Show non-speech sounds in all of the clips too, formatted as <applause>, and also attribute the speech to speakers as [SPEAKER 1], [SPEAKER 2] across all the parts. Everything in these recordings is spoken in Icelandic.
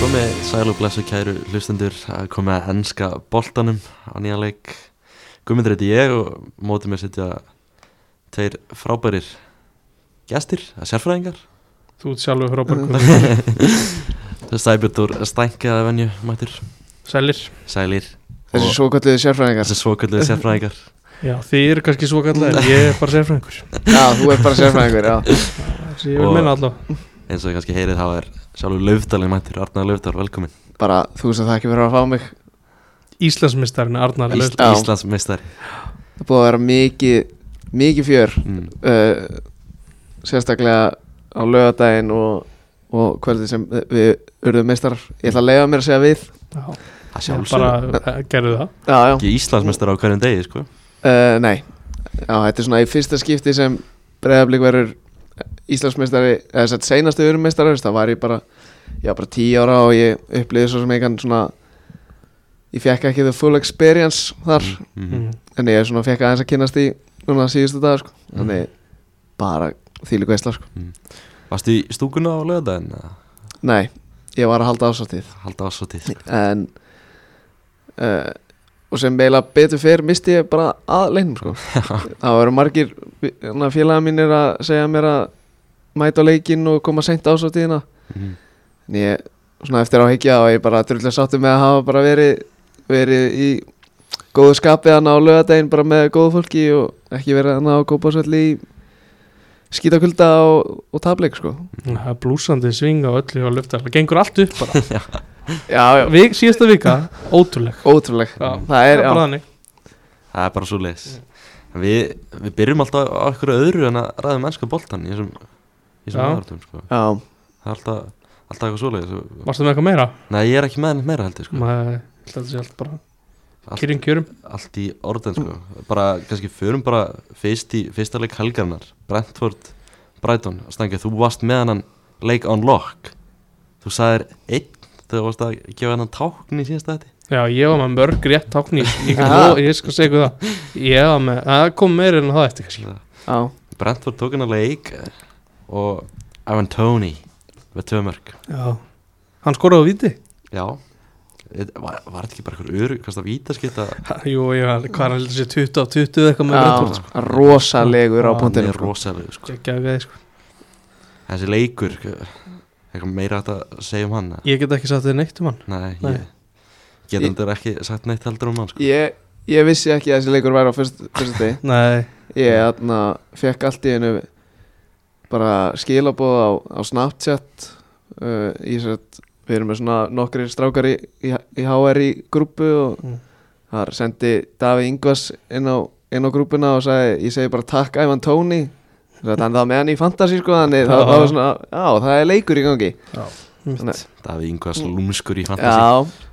[SPEAKER 1] komið sæl og blessu kæru hlustendur að komið að enska boltanum á nýja leik Guðmundur heiti ég og mótið mér sitja tveir frábærir gestir, að sérfræðingar <laughs>
[SPEAKER 2] Þú ert sjálfur frábær Guðmundur.
[SPEAKER 1] Sæbjörn úr stænkaða venju mættur,
[SPEAKER 2] Sælir
[SPEAKER 1] sælir
[SPEAKER 3] Þessi
[SPEAKER 1] Og-
[SPEAKER 3] svo kalliði sérfræðingar
[SPEAKER 1] þessi svoköldu sérfræðingar
[SPEAKER 2] Já, þið eru kannski svo kallar en ég er bara sérfræðingur
[SPEAKER 3] Já, þú er bara sérfræðingur, já
[SPEAKER 2] Þessi ég vil
[SPEAKER 1] Og-
[SPEAKER 2] minna allavega
[SPEAKER 1] eins og ég kannski heyrið þá er sjálfur Laufdalinn mættur, Arnar Laufdal, velkomin
[SPEAKER 3] Bara, þú veist að það ekki verið að fá mig
[SPEAKER 2] Íslandsmistarinn Arnar Laust
[SPEAKER 3] Já.
[SPEAKER 1] Íslands meistari
[SPEAKER 3] Það er búið að vera mikið, mikið fjör
[SPEAKER 1] mm.
[SPEAKER 3] uh, Sérstaklega á lögadaginn og, og kvöldið sem við urðum meistar Ég ætla að leiða mér að segja við
[SPEAKER 1] það
[SPEAKER 2] Bara
[SPEAKER 1] sjálfsögur
[SPEAKER 2] eh, gerðu það
[SPEAKER 3] Já, já,
[SPEAKER 1] ekki Íslands meistari á hverjum degi sko
[SPEAKER 3] uh, nei Já, þetta er svona í fyrsta skipti sem Breiðablík verður Íslandsmeistari eða sett seinastu örummeistari það var ég bara, ég var bara tíu ára og ég upplýði svo sem eitthvað svona ég fekk ekki the full experience þar
[SPEAKER 1] mm.
[SPEAKER 2] mm.
[SPEAKER 3] en ég svona fekk aðeins að kynast í núna síðustu dag sko.
[SPEAKER 1] Mm.
[SPEAKER 3] þannig bara þýlu veistla sko.
[SPEAKER 1] Varstu í stúkuna á löðdæðin að
[SPEAKER 3] nei, ég var að halda ásáttíð
[SPEAKER 1] halda ásvotið
[SPEAKER 3] en uh, og sem eiginlega betur fyrr misti ég bara að leiknum sko. það voru margir félaga mínir að segja mér að mæta á leikin og koma seint ásáttíðina
[SPEAKER 1] mm.
[SPEAKER 3] en ég svona eftir á higgja og ég bara drullu sáttu með að hafa bara verið verið í góðu skapi hann á lögadegin bara með góðu fólki og ekki verið hann á góðbásvelli í skítakulda og, og tableik sko
[SPEAKER 2] Það er blúsandi sving á öllu og luftar Það gengur allt upp bara
[SPEAKER 3] já,
[SPEAKER 2] Vik, Síðasta vika, ótrúleg
[SPEAKER 3] ótrúleg
[SPEAKER 2] Já,
[SPEAKER 3] það
[SPEAKER 2] bara
[SPEAKER 3] er, já,
[SPEAKER 2] þannig
[SPEAKER 1] Það er bara svo leis við, við byrjum alltaf á ykkur öðru en að ræða mennska boltan í þessum, í þessum
[SPEAKER 2] Já.
[SPEAKER 1] aðvartum sko.
[SPEAKER 3] já,
[SPEAKER 1] Það er alltaf, alltaf eitthvað svo leis
[SPEAKER 2] Varstu með eitthvað meira?
[SPEAKER 1] Nei, ég er ekki með henni meira heldur sko.
[SPEAKER 2] Nei, ég held að þetta sé allt bara
[SPEAKER 1] allt,
[SPEAKER 2] Kýrin kjörum
[SPEAKER 1] allt í orðin sko. Bara, kannski förum bara fyrst í fyrsta leik helgarnar Brentford, Brighton Stengi, þú varst með hennan leik on lock Þú sagðir einn þegar þú varst að gefa hennan tákn í síðasta þetta
[SPEAKER 2] Já, ég var með mörg rétt tákn í Ég,
[SPEAKER 3] Já.
[SPEAKER 2] ég, ég skal segja ykkur það Ég var með, það kom meira en það eftir kannski
[SPEAKER 3] já,
[SPEAKER 1] Brentford tók hennan leik og Ivan Tony með tvö mörg
[SPEAKER 2] Já Hann skoraði á viti
[SPEAKER 1] Já Þetta- Var, var þetta ekki bara eitthvað öru, hvað það vítaskita
[SPEAKER 2] Ha, Jú, jú, hann- hvað er hann heldur sér 20 á 20 eða eitthvað með Brentford sko.
[SPEAKER 3] já rosalegur á
[SPEAKER 2] Já,
[SPEAKER 1] Hann
[SPEAKER 3] punktinum
[SPEAKER 1] er
[SPEAKER 3] sko.
[SPEAKER 1] rosalegu sko.
[SPEAKER 2] Gekkjaður gæði, sko.
[SPEAKER 1] Þessi leikur, eh, eitthvað meira hægt að segja um hann eða?
[SPEAKER 2] Ég get ekki sagt þér neitt um hann
[SPEAKER 1] Nei,
[SPEAKER 2] Nei.
[SPEAKER 1] ég get
[SPEAKER 3] Ég-
[SPEAKER 1] endur ekki sagt neitt heldur um hann sko.
[SPEAKER 3] ég, ég vissi ekki að þessi leikur væri á fyrst, fyrstu degi
[SPEAKER 2] Nei,
[SPEAKER 3] ég þarna fekk allt í einu bara skilaboð á, á Snapchat uh, í sett við erum með svona nokkri strákar í, í, í HR í grúpu og
[SPEAKER 2] Mm.
[SPEAKER 3] þar sendi Davi Ingvars inn á, inn á grúpuna og sagði, ég segi bara takk Ævan Tóni þannig að það með hann í fantasy sko þannig það,
[SPEAKER 2] Já.
[SPEAKER 3] það var svona, já það er leikur í gangi
[SPEAKER 2] mitt.
[SPEAKER 3] Nei.
[SPEAKER 1] Það er yngvað slúmskur í fantasi
[SPEAKER 3] já,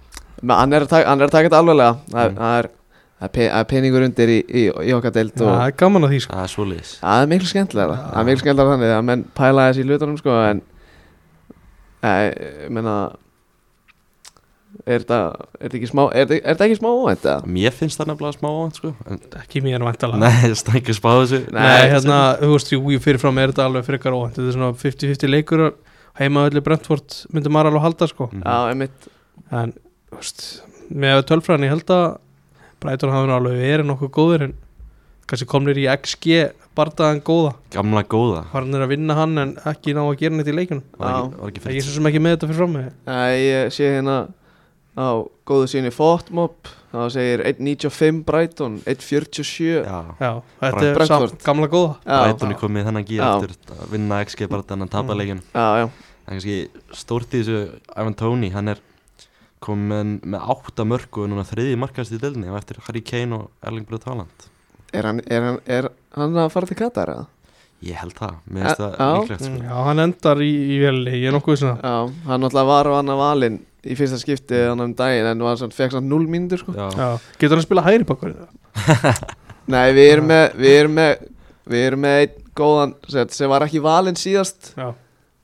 [SPEAKER 3] Men hann er að taka, hann er að taka þetta alvarlega það er,
[SPEAKER 1] Mm.
[SPEAKER 3] það er, það er, pe- það er peningur undir í, í, í okkar deilt og
[SPEAKER 2] það er gaman að því sko.
[SPEAKER 1] Það er svoleiðis
[SPEAKER 3] Það er miklu skemmtilega Það er miklu skemmtilega þannig að menn pæla þessi í hlutunum sko en ég meina er þetta er þetta ekki smá er þetta- er þetta ekki smá óvænt eða?
[SPEAKER 1] Mér finnst það nefnilega smá óvænt sko. en,
[SPEAKER 2] Ekki mér vantala Nei,
[SPEAKER 1] Nei, stænki spáðu þessu
[SPEAKER 3] Nei,
[SPEAKER 2] hérna, þú veist, jú, jú, fyrirfram er þetta alveg frekar óvænt Þetta er svona 50-50 leikur að heima öllu Brentford myndi maður alveg halda sko.
[SPEAKER 1] Mhm.
[SPEAKER 3] Já, einmitt
[SPEAKER 2] En, þú veist, með að tölfræðin ég held að Brighton hafa nú alveg verið nokkuð góðir en kannski komnir í XG bardaðan góða
[SPEAKER 1] Gamla góða
[SPEAKER 2] Hann er að vinna hann en ekki ná að gera neitt í leikunum
[SPEAKER 1] Var ekki,
[SPEAKER 3] Já.
[SPEAKER 1] var ekki
[SPEAKER 2] Ég er
[SPEAKER 1] fyrir
[SPEAKER 2] svo sem ekki með þetta fyrir fram með
[SPEAKER 3] Æ, Ég sé hérna á góðu síni Fotmob þá segir 1.95 Brighton 1.47
[SPEAKER 1] Já,
[SPEAKER 2] Já, þetta er
[SPEAKER 3] Brentford.
[SPEAKER 2] sam, gamla góða
[SPEAKER 3] Já,
[SPEAKER 1] Brighton er komið í þennan gíð
[SPEAKER 3] Já. Mhm.
[SPEAKER 1] aftur að vinna XG bara þannig að tapa
[SPEAKER 2] Mm.
[SPEAKER 1] leikin
[SPEAKER 3] já, já
[SPEAKER 1] Það er kannski stórt í þessu Ivan Tóni, hann er komin með átta mörg og er núna þriði markast í delinni og eftir Harry Kane og Erling Brut Haaland
[SPEAKER 3] Er hann, er, hann, er hann að fara til Katar eða?
[SPEAKER 1] Ég held það, mér finnst
[SPEAKER 3] Eh,
[SPEAKER 1] það
[SPEAKER 3] já.
[SPEAKER 1] líklegt sko.
[SPEAKER 2] Mm. Já, hann endar í, í veli, ég er nokkuð um svona
[SPEAKER 3] Já, hann náttúrulega var á annað valin í fyrsta skipti hann um daginn en var samt, fekk samt 0 mínútur sko
[SPEAKER 1] Já,
[SPEAKER 2] Já. Getur hann að spila hægri bakkar í það?
[SPEAKER 3] Nei, við erum með við erum með, við erum með einn góðan sem, sem var ekki valinn síðast
[SPEAKER 2] Já,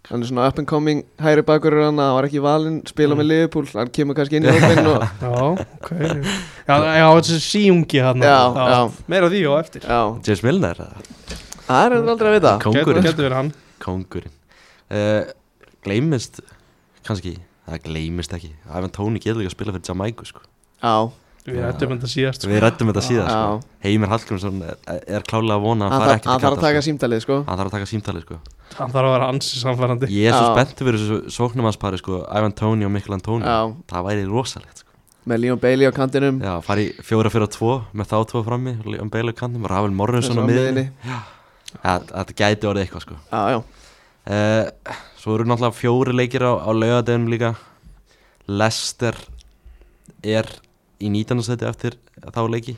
[SPEAKER 3] hann er svona up and coming hægri bakurur hann hann var ekki valinn, spila
[SPEAKER 2] Mm.
[SPEAKER 3] með Liverpool hann kemur kannski inn í hópinn og
[SPEAKER 2] <laughs> já, ok Já, já þessi síungi hann
[SPEAKER 3] já, já,
[SPEAKER 2] Meira af því og eftir
[SPEAKER 3] já
[SPEAKER 1] James Milner, eða?
[SPEAKER 3] það er aldrei að vita
[SPEAKER 1] Kóngurinn.
[SPEAKER 2] Getur verið hann
[SPEAKER 1] kóngurinn uh, Gleimist kannski það gleymist ekki Ivan Tóni getur líka að spila fyrir Jamaiku sko.
[SPEAKER 3] Já,
[SPEAKER 2] Við
[SPEAKER 1] Já.
[SPEAKER 2] rættum þetta síðast sko.
[SPEAKER 1] við rættum þetta síðan
[SPEAKER 3] já
[SPEAKER 1] sko. Heimir Hallgrímsson er, er klálega að vona að
[SPEAKER 3] Hann
[SPEAKER 1] hann fara ekki til
[SPEAKER 3] þarf hann þarf að
[SPEAKER 1] Katar
[SPEAKER 3] taka
[SPEAKER 1] sko.
[SPEAKER 3] símtalið sko
[SPEAKER 1] hann þarf að taka símtalið
[SPEAKER 3] <laughs>
[SPEAKER 1] sko.
[SPEAKER 2] Hann þarf að vera ansi samfærandi
[SPEAKER 1] ég er svo
[SPEAKER 3] Já.
[SPEAKER 1] spenntur fyrir þessu sóknumanspari sko, Ivan Tóni og Mikkel Antoni
[SPEAKER 3] Já,
[SPEAKER 1] það væri rosalegt sko.
[SPEAKER 3] með Leon Bailey á kantinum
[SPEAKER 1] já, fara í fjóra fjóra tvo með þá tvo frammi, um Leon Bailey á kantinum Ravel Morrison á
[SPEAKER 3] Þessu á
[SPEAKER 1] miðinni
[SPEAKER 3] miðjunni.
[SPEAKER 1] Já, þetta gæti orðið eitthvað sko
[SPEAKER 3] Já, já,
[SPEAKER 1] uh, Svo eru náttúrulega fjóri leikir á, á laugadeginum líka Lester er í 19. seti eftir þá leiki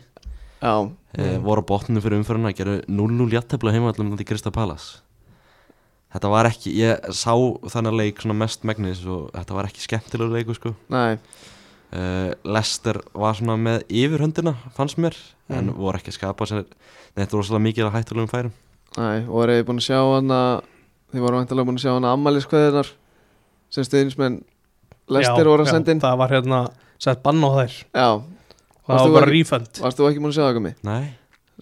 [SPEAKER 3] já
[SPEAKER 1] uh,
[SPEAKER 2] Mm.
[SPEAKER 1] voru á botninu fyrir umfyrirna gerðu 0-0 jattefla heima allir myndi Krista Palas Þetta var ekki, ég sá þannig leik svona mest megnis og þetta var ekki skemmtilegur leiku sko
[SPEAKER 3] Nei,
[SPEAKER 1] uh, Lester var svona með yfirhöndina fannst mér en
[SPEAKER 2] Mm.
[SPEAKER 1] voru ekki að skapa sér neitt rosalega mikið að hættulegum færum
[SPEAKER 3] nei, og voruð þið búin að sjá hann að Þið voru vantilega búin að sjá hann að ammæliskveðinar sem stuðnismenn Lester
[SPEAKER 2] Já,
[SPEAKER 3] voru að
[SPEAKER 2] já,
[SPEAKER 3] senda inn
[SPEAKER 2] Það var hérna, sett bann á þær
[SPEAKER 3] Já,
[SPEAKER 2] Það
[SPEAKER 3] Varst
[SPEAKER 2] var
[SPEAKER 3] þú
[SPEAKER 2] bara
[SPEAKER 3] ekki-
[SPEAKER 2] refund
[SPEAKER 3] varst þú ekki búin að sjá það komi?
[SPEAKER 1] Nei,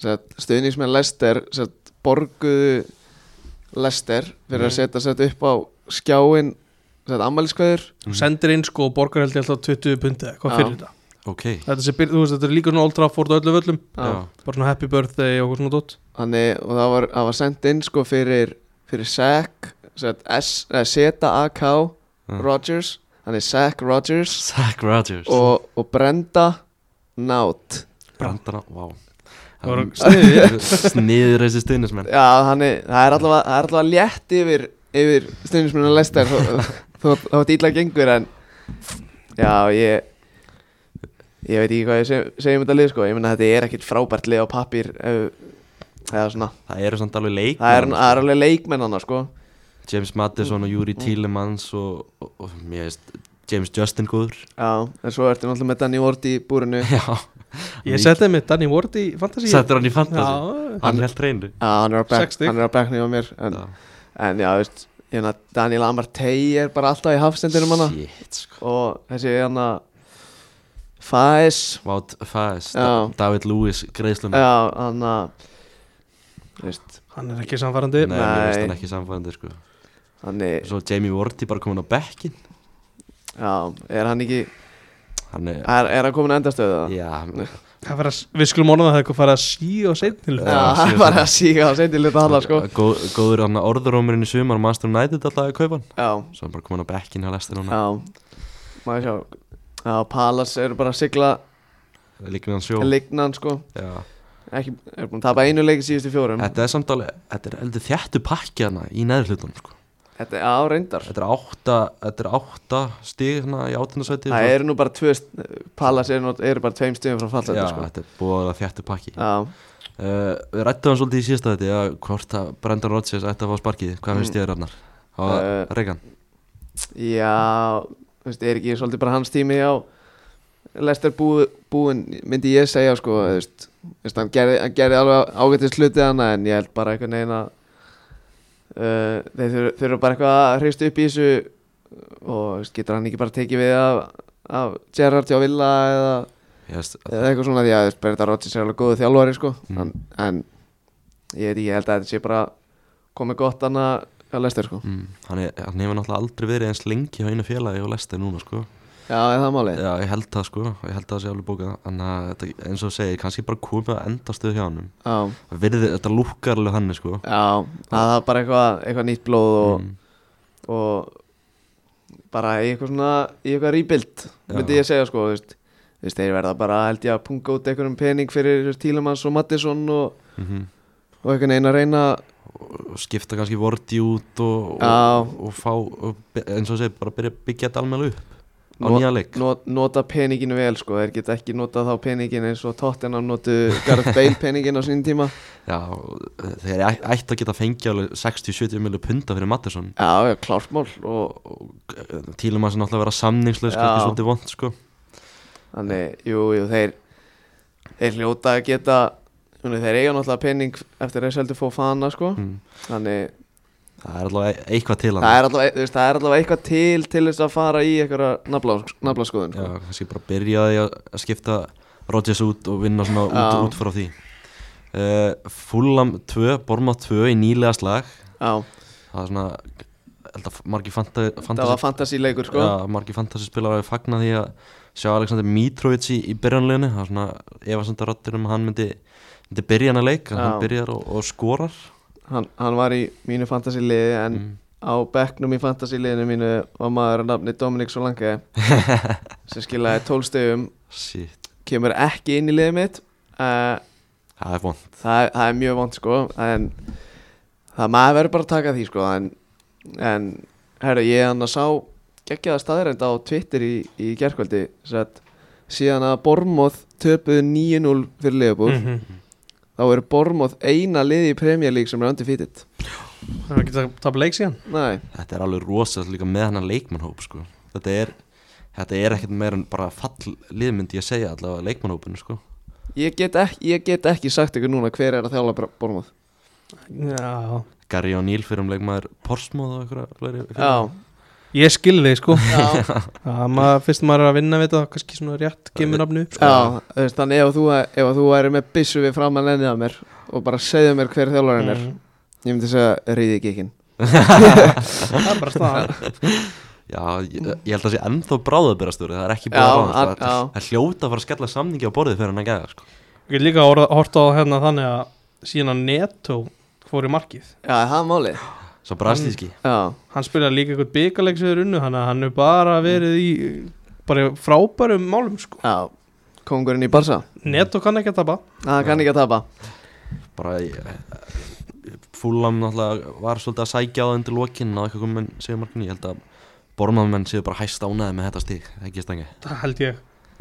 [SPEAKER 3] Sett, stuðnismenn Lester sett, borguðu Lester fyrir að setja sett upp á skjáin sett, ammæliskveður
[SPEAKER 1] Mhm.
[SPEAKER 2] Sendir inn sko og borgar held ég alltaf 20 pundi Hvað
[SPEAKER 3] Mm. Já.
[SPEAKER 2] fyrir þetta?
[SPEAKER 1] ok
[SPEAKER 2] Þetta, sé, byr- þú veist, þetta er líka svona Old Trafford á öllu völlum
[SPEAKER 3] Já.
[SPEAKER 2] Bara svona happy birthday og eitthvað svona dótt
[SPEAKER 3] Þannig, og það var, það var sendt inn sko fyrir, fyrir Sack sett, S, eh, Z-A-K
[SPEAKER 1] Já.
[SPEAKER 3] Rogers Þannig Sack Mm. Rogers
[SPEAKER 1] Zach Rogers
[SPEAKER 3] og, og Brenda Nátt
[SPEAKER 1] Brandana, vá
[SPEAKER 2] Það voru
[SPEAKER 1] <laughs> Sniður þessi stuðnismenn
[SPEAKER 3] Já, þannig, það er allavega, það er allavega létt yfir, yfir stundismennan Lester þó þetta ítla gengur en já, ég ég veit ekki hvað ég seg, segjum þetta lið sko, ég meina þetta er ekkit frábært lið á pappir eða svona,
[SPEAKER 1] Það eru samt alveg leik
[SPEAKER 3] það er, það er alveg leikmennana sko,
[SPEAKER 1] James Madison og
[SPEAKER 3] Mm.
[SPEAKER 1] Júri Tílemans og, og, og mér veist James Justin góður <laughs>
[SPEAKER 3] já, en svo ertu náttúrulega með Danny Ward í búrinu já,
[SPEAKER 1] Já
[SPEAKER 2] Ég setti mitt Danny Ward í fantasy
[SPEAKER 1] Settur hann í fantasy
[SPEAKER 2] Já,
[SPEAKER 1] Hann held reynu
[SPEAKER 3] hann er á
[SPEAKER 2] Sex
[SPEAKER 3] bekk
[SPEAKER 2] stig.
[SPEAKER 3] hann er á bekkni á mér, en, en já, veist ég meina, Daniel Amartey er bara alltaf í hafstendinum hana
[SPEAKER 1] Shit sko
[SPEAKER 3] og þessi hann að Faes
[SPEAKER 1] Vát Fæs
[SPEAKER 3] Já.
[SPEAKER 1] David Lewis greiðslum Nei,
[SPEAKER 3] Já, hann að þú veist,
[SPEAKER 2] hann er ekki samfærandi
[SPEAKER 1] mér veist
[SPEAKER 3] Nei.
[SPEAKER 1] hann ekki samfæðandi sko
[SPEAKER 3] hann er,
[SPEAKER 1] Svo Jamie Vorty bara komin á bekkin
[SPEAKER 3] já, er hann ekki
[SPEAKER 1] Hann er
[SPEAKER 3] er, er hann komin að endastöðu það?
[SPEAKER 1] Já
[SPEAKER 2] Það fyrir að, við skulum orða það eitthvað fara að sí og seinni
[SPEAKER 3] Já,
[SPEAKER 2] hluta.
[SPEAKER 3] <laughs>
[SPEAKER 1] Já,
[SPEAKER 3] hann
[SPEAKER 1] síðan
[SPEAKER 3] var
[SPEAKER 1] svona.
[SPEAKER 3] að síga á seindiluta hana sko
[SPEAKER 1] góð, Góður hann orðurómurinn í sumar Master United alltaf að kaupa hann
[SPEAKER 3] Já,
[SPEAKER 1] Svo hann bara komin á bekkin hjá lestir núna
[SPEAKER 3] já maður sjá Já, Palas eru bara að sigla
[SPEAKER 1] Líka við hann sjó
[SPEAKER 3] lignan sko
[SPEAKER 1] Já
[SPEAKER 3] ekki, er búin að tapa einu leik í síðustu fjórum
[SPEAKER 1] Þetta er samt alveg, þetta er heldur þjættu pakki hana í neðri hlutunum sko.
[SPEAKER 3] Þetta er á reyndar
[SPEAKER 1] Þetta er átta, þetta er átta stig hana í sko. áttundarsæti
[SPEAKER 3] Það eru nú bara tvö, Palas eru, nú- eru bara tveim stöðum frá
[SPEAKER 1] Já,
[SPEAKER 3] fallsætti sko
[SPEAKER 1] þetta er búið að vera þjættu pakki uh,
[SPEAKER 3] Já,
[SPEAKER 1] Við rættum hann svolítið í síðasta þetta að hvort að Brendan Rodgers ætti að fá sparkið Hvað
[SPEAKER 3] Mm.
[SPEAKER 1] finnst ég þér annar? Og
[SPEAKER 3] Eh,
[SPEAKER 1] Regan
[SPEAKER 3] Já, þú veist, er ekki svolítið bara hans tími á Lester bú, búin myndi ég segja sko, þú veist, þú veist hann, gerði, hann gerði alveg ágættist hluti hana en ég held bara eitthvað neina uh, þeir þur- þurfa bara eitthvað að hreist upp í þessu og þú veist, getur hann ekki bara tekið við af, af Gerard hjá Villa eða,
[SPEAKER 1] Ég veist,
[SPEAKER 3] eða eitthvað svona því að þú veist, Berita Rodgers er alveg góðu þjálfari sko,
[SPEAKER 1] Mm.
[SPEAKER 3] en, en ég veit ekki, ég held að þetta sé bara komið gott hana að Lester sko
[SPEAKER 1] mm, hann, er, hann hefur náttúrulega aldrei verið eins lengi á einu félagi og lestir núna sko.
[SPEAKER 3] Já, er það málið?
[SPEAKER 1] Já, ég held það sko, ég held það sé alveg bókað Þannig að þetta- eins og þú segir, kannski bara komið að endastuð hjá hann
[SPEAKER 3] Já.
[SPEAKER 1] Virði, Þetta lúkkar alveg þannig sko
[SPEAKER 3] Já, það var bara eitthvað, eitthvað nýtt blóð og,
[SPEAKER 1] Mm.
[SPEAKER 3] og bara í eitthvað svona, í eitthvað rýbild
[SPEAKER 1] Já.
[SPEAKER 3] myndi ég segja sko, þú veist, þú veist þeir verða bara held ég að punga út einhverjum pening fyrir Tílemanns og Mattisson og,
[SPEAKER 1] Mm
[SPEAKER 3] og einhvern veginn að reyna
[SPEAKER 1] og skipta kannski vorti út og,
[SPEAKER 3] Já.
[SPEAKER 1] og, og fá og, by- eins og segir, bara byrja að byggja þetta alveg upp á
[SPEAKER 3] Nó-
[SPEAKER 1] nýja leik
[SPEAKER 3] not, nota peninginu vel sko, þeir geta ekki notað þá peningin eins og Tottenham notu Gareth Bale peningin á sínum tíma
[SPEAKER 1] Já, og, eh, þeir æ- ættu að geta fengið alveg 60-70 milju punta fyrir Mattisson
[SPEAKER 3] Já, já, klártmál og
[SPEAKER 1] og tílum að sem náttúrulega vera samningslaus
[SPEAKER 3] Já.
[SPEAKER 1] kannski svolítið vond sko
[SPEAKER 3] þannig, jú, jú, þeir þeir hljóta að geta þannig, þeir eiga náttúrulega pening eftir að seldu fófana sko,
[SPEAKER 1] mm.
[SPEAKER 3] þannig
[SPEAKER 1] það er allavega e- eitthvað til hann
[SPEAKER 3] það er allavega, þú veist, það er allavega eitthvað til til þess að fara í eitthvað naflaskoðun
[SPEAKER 1] Já,
[SPEAKER 3] sko.
[SPEAKER 1] kannski bara byrja á því að að skipta Rodgers út og vinna svona út,
[SPEAKER 3] Já.
[SPEAKER 1] út frá því Eh, uh, Fulham 2, Borma 2 í nýlega slag
[SPEAKER 3] já,
[SPEAKER 1] það er svona held að margir fanta,
[SPEAKER 3] það var
[SPEAKER 1] fantasi,
[SPEAKER 3] fantasy leikur sko
[SPEAKER 1] ja, margir fantasi spilar að fagna því að sjá Alexander Mitrovic í, í byrjanleginu það var svona efasenda rottir um að hann myndi myndi byrja hann að leik en
[SPEAKER 3] Já.
[SPEAKER 1] hann byrjar og, og skorar
[SPEAKER 3] hann, hann var í mínu fantasy liði en á bekknum í fantasy liðinu mínu var maður að nafni Dominik <laughs> Solange sem skilaði tólstegum
[SPEAKER 1] shit,
[SPEAKER 3] kemur ekki inn í liðið mitt uh,
[SPEAKER 1] það er vond
[SPEAKER 3] það, það er mjög vond sko en það maður verður bara að taka því sko en, en herru ég hann að sá geggjaða staðreind á Twitter í, í gerkvöldi satt, síðan að Bormóð töpuðu 9-0 fyrir liðbúr
[SPEAKER 2] Mhm.
[SPEAKER 3] þá eru Bormóð eina liði í Premier League sem er undefeated
[SPEAKER 2] Það er ekki að tapa leik síðan
[SPEAKER 3] Nei,
[SPEAKER 1] þetta er alveg rosast líka með hann að leikmannhóp sko. þetta er þetta er ekkert meira en bara fall liðmyndi að segja allavega leikmannhópinu sko.
[SPEAKER 3] ég get, ekki, ég get ekki sagt ykkur núna hver er að þjála Bormóð
[SPEAKER 2] Já,
[SPEAKER 1] Gary O'Neill fyrir um leikmaður Porsmóð og einhverja fleiri fleiri.
[SPEAKER 3] Já,
[SPEAKER 2] ég skil þig sko
[SPEAKER 3] já,
[SPEAKER 2] Já, maður, fyrst maður er að vinna við þetta þá kannski svona rétt kemur nafnu upp sko.
[SPEAKER 3] já þú veist, þannig ef þú, ef þú væri með byssu við framann ennið að mér og bara segðu mér hver þjálfarinn er
[SPEAKER 2] Mm.
[SPEAKER 3] ég myndi segja reyði ekki ekki
[SPEAKER 2] Það er bara staðan
[SPEAKER 1] Já, ég, ég held að það sé ennþá bráðabirastur það er ekki
[SPEAKER 3] Já,
[SPEAKER 1] búið
[SPEAKER 3] að-
[SPEAKER 1] að ráðast það,
[SPEAKER 3] já.
[SPEAKER 1] það er hljóta að fara að skella samningi á borðið fyrir hann að geða sko.
[SPEAKER 2] Ég er líka að horfa- horta á hérna þannig að síðan að Neto fór í markið
[SPEAKER 3] Já, er það er málið
[SPEAKER 1] svo brastíski
[SPEAKER 3] Já,
[SPEAKER 2] Hann spilaði líka eitthvað byggaleg sem þeir unnu hann að hann er
[SPEAKER 3] Mm.
[SPEAKER 2] bara verið í bara frábærum málum sko
[SPEAKER 3] já, kongurinn í Barsa
[SPEAKER 2] Neto kann ekki að tapa
[SPEAKER 3] Það kann ekki að tapa
[SPEAKER 1] bara fúlam náttúrulega var svolítið að sækja á það undir lokin og eitthvað komin segja markinu, ég held að bormaðumenn séu bara hæst ánaði með þetta stík ekki stangi
[SPEAKER 2] Það held ég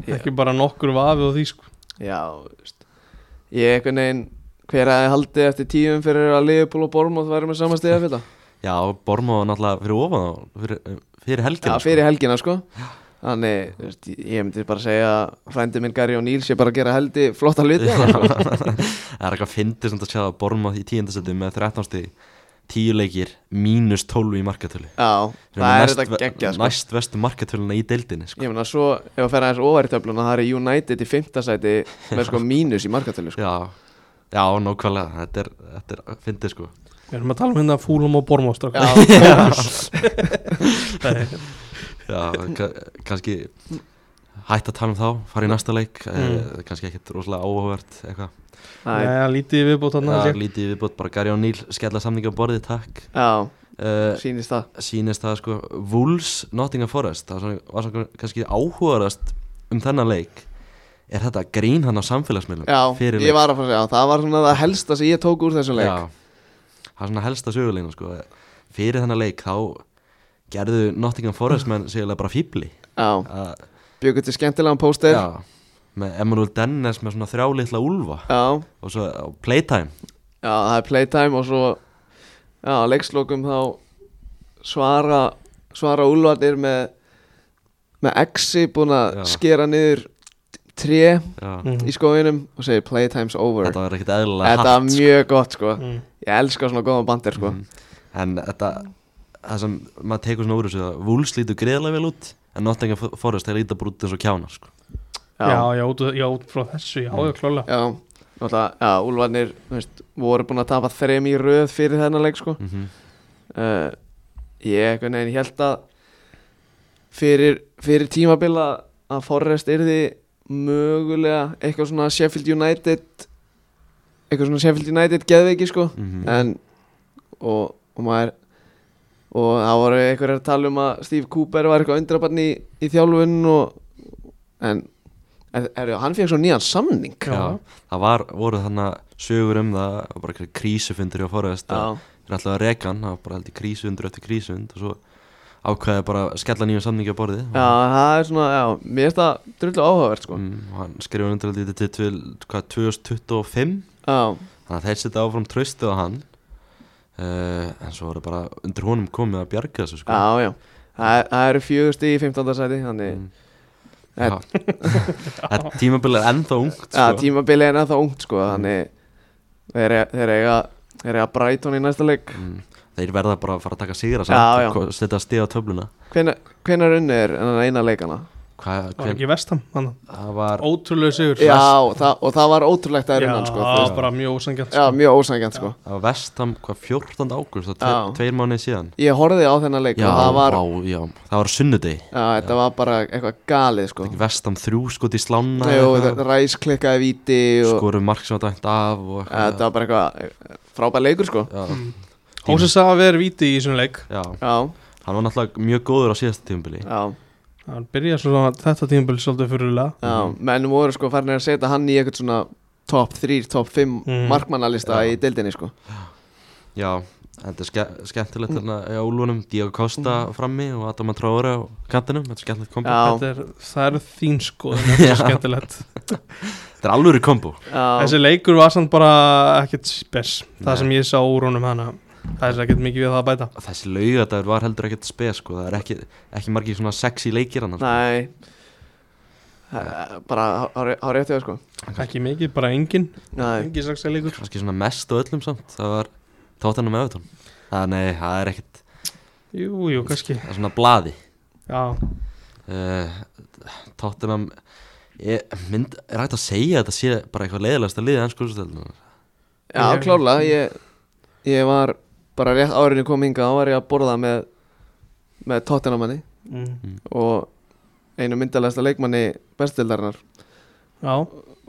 [SPEAKER 3] Já.
[SPEAKER 2] Ekki bara nokkur vafi og því sko
[SPEAKER 3] Já, þú veist Ég einhvern veginn, hver að haldið eftir tíum fyrir að Liverpool og Bormóð væri með sama stiga <laughs> fyrir
[SPEAKER 1] Já, Bormo náttúrulega fyrir ofan þá fyrir, fyrir
[SPEAKER 3] Já,
[SPEAKER 1] helgina <laughs>
[SPEAKER 3] fyrir helgina sko Þannig, þú veist, ég myndi bara segja að frændi minn Gary og Níls ég bara að gera heldi flotta <laughs> hluti þarna, sko.
[SPEAKER 1] Það er eitthvað fyndið sem þetta sjá að Bormo í tíundasötu með 13 stík 10 leikir, mínus 12 í markatölu
[SPEAKER 3] Já,
[SPEAKER 1] Þeir
[SPEAKER 3] það er
[SPEAKER 1] eru með
[SPEAKER 3] þetta
[SPEAKER 1] ve-
[SPEAKER 3] geggja sko.
[SPEAKER 1] Næst vestu markatöluna í deildinni sko.
[SPEAKER 3] Ég meina svo, ef að færa aðeins ofar í töfluna það er United í fimmta sæti með <laughs> sko mínus í markatölu sko.
[SPEAKER 1] Já, já, nákvæmlega Þetta er, þetta er að fyndið sko
[SPEAKER 2] Við erum að tala um hérna fúlum og bormóstrak
[SPEAKER 3] Já,
[SPEAKER 2] <laughs>
[SPEAKER 3] <laughs>
[SPEAKER 1] Já, ka kannski hætt að tala um þá, fara í næsta leik mm. kannski ekkert rosalega áhugavert eitthvað,
[SPEAKER 3] Æ,
[SPEAKER 2] Nei, lítið viðbótt hann
[SPEAKER 1] Já, lítið viðbútt, bara Gary og Níl skella samninga á borðið, takk
[SPEAKER 3] já,
[SPEAKER 1] uh,
[SPEAKER 3] sýnist það
[SPEAKER 1] sýnist það sko Wolves Nottingham Forest það var svona- var svona kannski áhugaðast um þennan leik er þetta grín hann á samfélagsmiðlum
[SPEAKER 3] Já,
[SPEAKER 1] fyrir
[SPEAKER 3] ég var að fara að segja, það var svona það helsta sem ég tók úr þessum leik
[SPEAKER 1] Já, það er svona helsta sögulegna sko fyrir þennan leik þá gerðu Nottingham Forest menn segjulega bara fýbli
[SPEAKER 3] Já, byggur til skemmtilegan póster Já,
[SPEAKER 1] Já, með Emanuel Dennis með svona þrjá litla úlfa
[SPEAKER 3] já,
[SPEAKER 1] og svo á playtime
[SPEAKER 3] það er playtime og svo Já, að leikslokum þá svara svara úlvarnir með með exi búin að
[SPEAKER 1] Já.
[SPEAKER 3] skera niður tré
[SPEAKER 1] Já,
[SPEAKER 2] Mhm.
[SPEAKER 3] í skóinum og segir playtime's over
[SPEAKER 1] þetta var ekkert eðlilega
[SPEAKER 3] Þetta var
[SPEAKER 1] hart, sko. Mhm.
[SPEAKER 3] mjög gott sko
[SPEAKER 2] Mm.
[SPEAKER 3] Ég elska svona góðan bandir sko
[SPEAKER 1] En þetta, það sem maður tekur svona úr þessu að Wolves lítur greiðlega vel út en Nottingham Fo- Forest, þeir líta bara út eins og kjánar sko.
[SPEAKER 3] Já, Mm.
[SPEAKER 2] Já, já, út, já, út frá þessu, já, já, klálega
[SPEAKER 3] já Náttúrulega, já, Úlfarnir þú veist, voru búin að tapa þrem í röð fyrir þennan leik sko
[SPEAKER 1] mm
[SPEAKER 3] uh, Ég einhvern veginn held að fyrir, fyrir tímabila að Forrest yrði mögulega eitthvað svona Sheffield United eitthvað svona Sheffield United geðveiki sko
[SPEAKER 1] Mm. Mhm.
[SPEAKER 3] en og, og maður og það voru einhverjar að tala um að Steve Cooper var eitthvað undrabarn í, í þjálfun og en er, er, hann fekk svo nýjan samning
[SPEAKER 2] Já.
[SPEAKER 1] Já, það var, voru þannig sögur um það, það var bara einhverjir krísufundur hjá Forrest,
[SPEAKER 3] Já.
[SPEAKER 1] það er alltaf að reka hann það var bara held í krísufund eftir krísufund og svo ákveði bara að skella nýjum samningi á borðið
[SPEAKER 3] já, það er svona, já, mér finnst það drullu áhugavert sko
[SPEAKER 1] mm, og hann skrifa undir held í þetta til hvað, 2025
[SPEAKER 3] já,
[SPEAKER 1] þannig að þeir setja áfram tröstu á hann uh, en svo voru bara undir honum komið að bjarga þessu sko.
[SPEAKER 3] já, já það, er- það eru fjögusti í 15. sæti þannig,
[SPEAKER 1] Mm.
[SPEAKER 3] Þetta-
[SPEAKER 1] Já. Þetta tímabil er ennþá ungt
[SPEAKER 3] já,
[SPEAKER 1] sko.
[SPEAKER 3] tímabilið er ennþá ungt sko, þannig þeir, e- þeir eiga þeir eiga Brighton í næsta leik
[SPEAKER 1] mm, Þeir verða bara að fara að taka sigra sko,
[SPEAKER 3] Já, já.
[SPEAKER 1] samt, setja stíð á töfluna
[SPEAKER 3] hvenar unni er en eina leikana
[SPEAKER 1] hvað,
[SPEAKER 2] var
[SPEAKER 1] hver,
[SPEAKER 2] ekki vestam hann.
[SPEAKER 1] það var
[SPEAKER 2] Ótrúlega sigur
[SPEAKER 3] Já, og það, og það var ótrúlegt að
[SPEAKER 2] já
[SPEAKER 3] reyna hann sko, þú veist.
[SPEAKER 2] bara mjög ósangjant
[SPEAKER 3] Já, mjög ósækjant sko
[SPEAKER 1] það var vestam, hvað, 14. ágúst það
[SPEAKER 3] Já.
[SPEAKER 1] er tveir mánuði síðan
[SPEAKER 3] Ég horfði á þennan leik
[SPEAKER 1] já,
[SPEAKER 3] og það var,
[SPEAKER 1] á, já, það var á sunnudegi
[SPEAKER 3] já, þetta var bara eitthvað galið sko
[SPEAKER 1] Ekki vestam þrjú skot í slána
[SPEAKER 3] Jú, þetta ræs klikkaði víti og
[SPEAKER 1] skorum mark sem var dæmt af og
[SPEAKER 3] ja, þetta var bara eitthvað frábær leikur sko
[SPEAKER 1] já,
[SPEAKER 2] Mm. Hósa sagði að vera víti í þessum leik
[SPEAKER 1] já,
[SPEAKER 3] Já,
[SPEAKER 1] hann var náttúrulega mjög góður á síðasta tímubili
[SPEAKER 3] já,
[SPEAKER 2] hann byrjaði svo að þetta tímabil svolítið fyrirlega
[SPEAKER 3] já Menn voru sko farinir að setja hann í eitthvað svona top 3, top 5
[SPEAKER 2] Mm.
[SPEAKER 3] markmannalista
[SPEAKER 1] Já.
[SPEAKER 3] í deildinni sko
[SPEAKER 1] já, þetta er ske skemmtilegt þarna í álunum, Diego Costa frammi og Adam Traore á kantinum þetta er skemmtilegt kombo,
[SPEAKER 3] Mhm. Já.
[SPEAKER 2] Þetta er, það er þín
[SPEAKER 3] <laughs>
[SPEAKER 2] skoðun þetta er
[SPEAKER 1] Já.
[SPEAKER 2] skemmtilegt
[SPEAKER 1] þetta er alvöru kombo
[SPEAKER 3] Já,
[SPEAKER 2] þessi leikur var samt bara ekkert spes það
[SPEAKER 1] Nei.
[SPEAKER 2] sem ég sá úr honum hana það er ekkert mikið við það að bæta
[SPEAKER 1] þessi laugadagur var heldur ekkert spes sko, það er ekki, ekki margir svona sexy leikir hann
[SPEAKER 3] nei Það- Bara á réttið sko
[SPEAKER 2] ekki mikið, bara engin,
[SPEAKER 3] Nei,
[SPEAKER 2] engin saksa leikur
[SPEAKER 1] kannski svona mest á öllum samt það var tóttanum með öðvitón það, nei, það er ekkert,
[SPEAKER 2] jú, jú, kannski
[SPEAKER 1] það er svona blaði
[SPEAKER 2] já,
[SPEAKER 1] uh, Tottenham ég, mynd, er hægt að segja að þetta sé bara eitthvað leiðilegast að liða enn skúrstöldun
[SPEAKER 3] já
[SPEAKER 2] Ég-
[SPEAKER 3] klála ég, ég var bara rétt árinu kom hinga og var ég að borða með með Tottenhamanni
[SPEAKER 2] mm.
[SPEAKER 3] og einu myndalegasta leikmanni bestildarinnar
[SPEAKER 2] já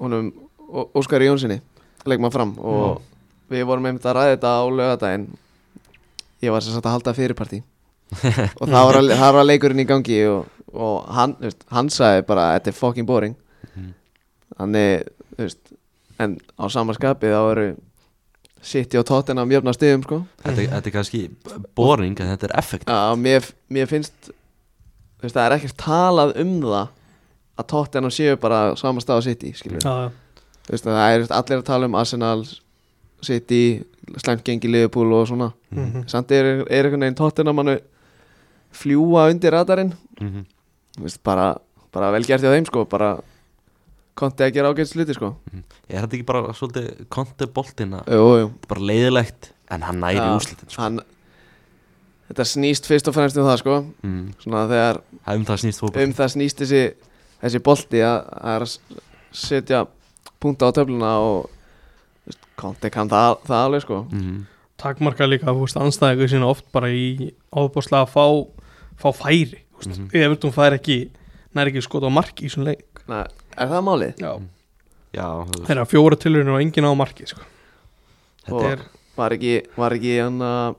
[SPEAKER 3] honum Ó- Óskari Jónssoni leikmann fram og við vorum einmitt að ræða þetta á lögadaginn ég var sem sagt að halda fyrirparti og það var, að, það var að leikurinn í gangi og, og hann, þú veist, hann sagði bara þetta er fucking boring
[SPEAKER 1] Mhm.
[SPEAKER 3] þannig, þú veist en á sama skapi þá eru City og Tottenham jöfna stiðum sko
[SPEAKER 1] þetta, þetta er kannski boring en þetta er effekt
[SPEAKER 3] Já, mér, mér finnst þú veist, það er ekkert talað um það að Tottenham séu bara á sama stað á City, skilur
[SPEAKER 2] já, já.
[SPEAKER 3] þú veist, það er allir að tala um Arsenal City, slæmt gengi Liverpool og svona,
[SPEAKER 2] Mhm.
[SPEAKER 3] samt er, er einhvern veginn Tottenham mannu fljúa undir radarinn,
[SPEAKER 1] mm -hmm.
[SPEAKER 3] þú veist, bara bara vel gert hjá þeim, sko, bara konti að gera ágætt sluti, sko
[SPEAKER 1] Mhm. er þetta ekki bara svolítið konteboltina
[SPEAKER 3] jú, jú,
[SPEAKER 1] bara leiðilegt en hann næri
[SPEAKER 3] Já.
[SPEAKER 1] ja. úslitin sko.
[SPEAKER 3] hann þetta snýst fyrst og fremst um það, sko
[SPEAKER 1] mm.
[SPEAKER 3] svona þegar
[SPEAKER 1] það er um það snýst fókbalt
[SPEAKER 3] um það snýst þessi, þessi bolti að, að er að s- setja punta á töfluna og þú veist, Conte kann það, það alveg sko
[SPEAKER 1] mm.
[SPEAKER 2] takmarka líka, þú veist, anstæðingur sína oft bara í ofbúrslega að fá fá færi, þú veist,
[SPEAKER 1] Mhm.
[SPEAKER 2] mm. ef þú fær ekki nær ekki skot á marki í svona leik
[SPEAKER 3] Nei, er það málið?
[SPEAKER 2] já,
[SPEAKER 1] já, þú veist,
[SPEAKER 2] þeirra fjóra tilurinn og engin á marki, sko
[SPEAKER 1] þetta
[SPEAKER 3] Og-
[SPEAKER 1] er
[SPEAKER 2] er,
[SPEAKER 3] Var ekki, var ekki hann að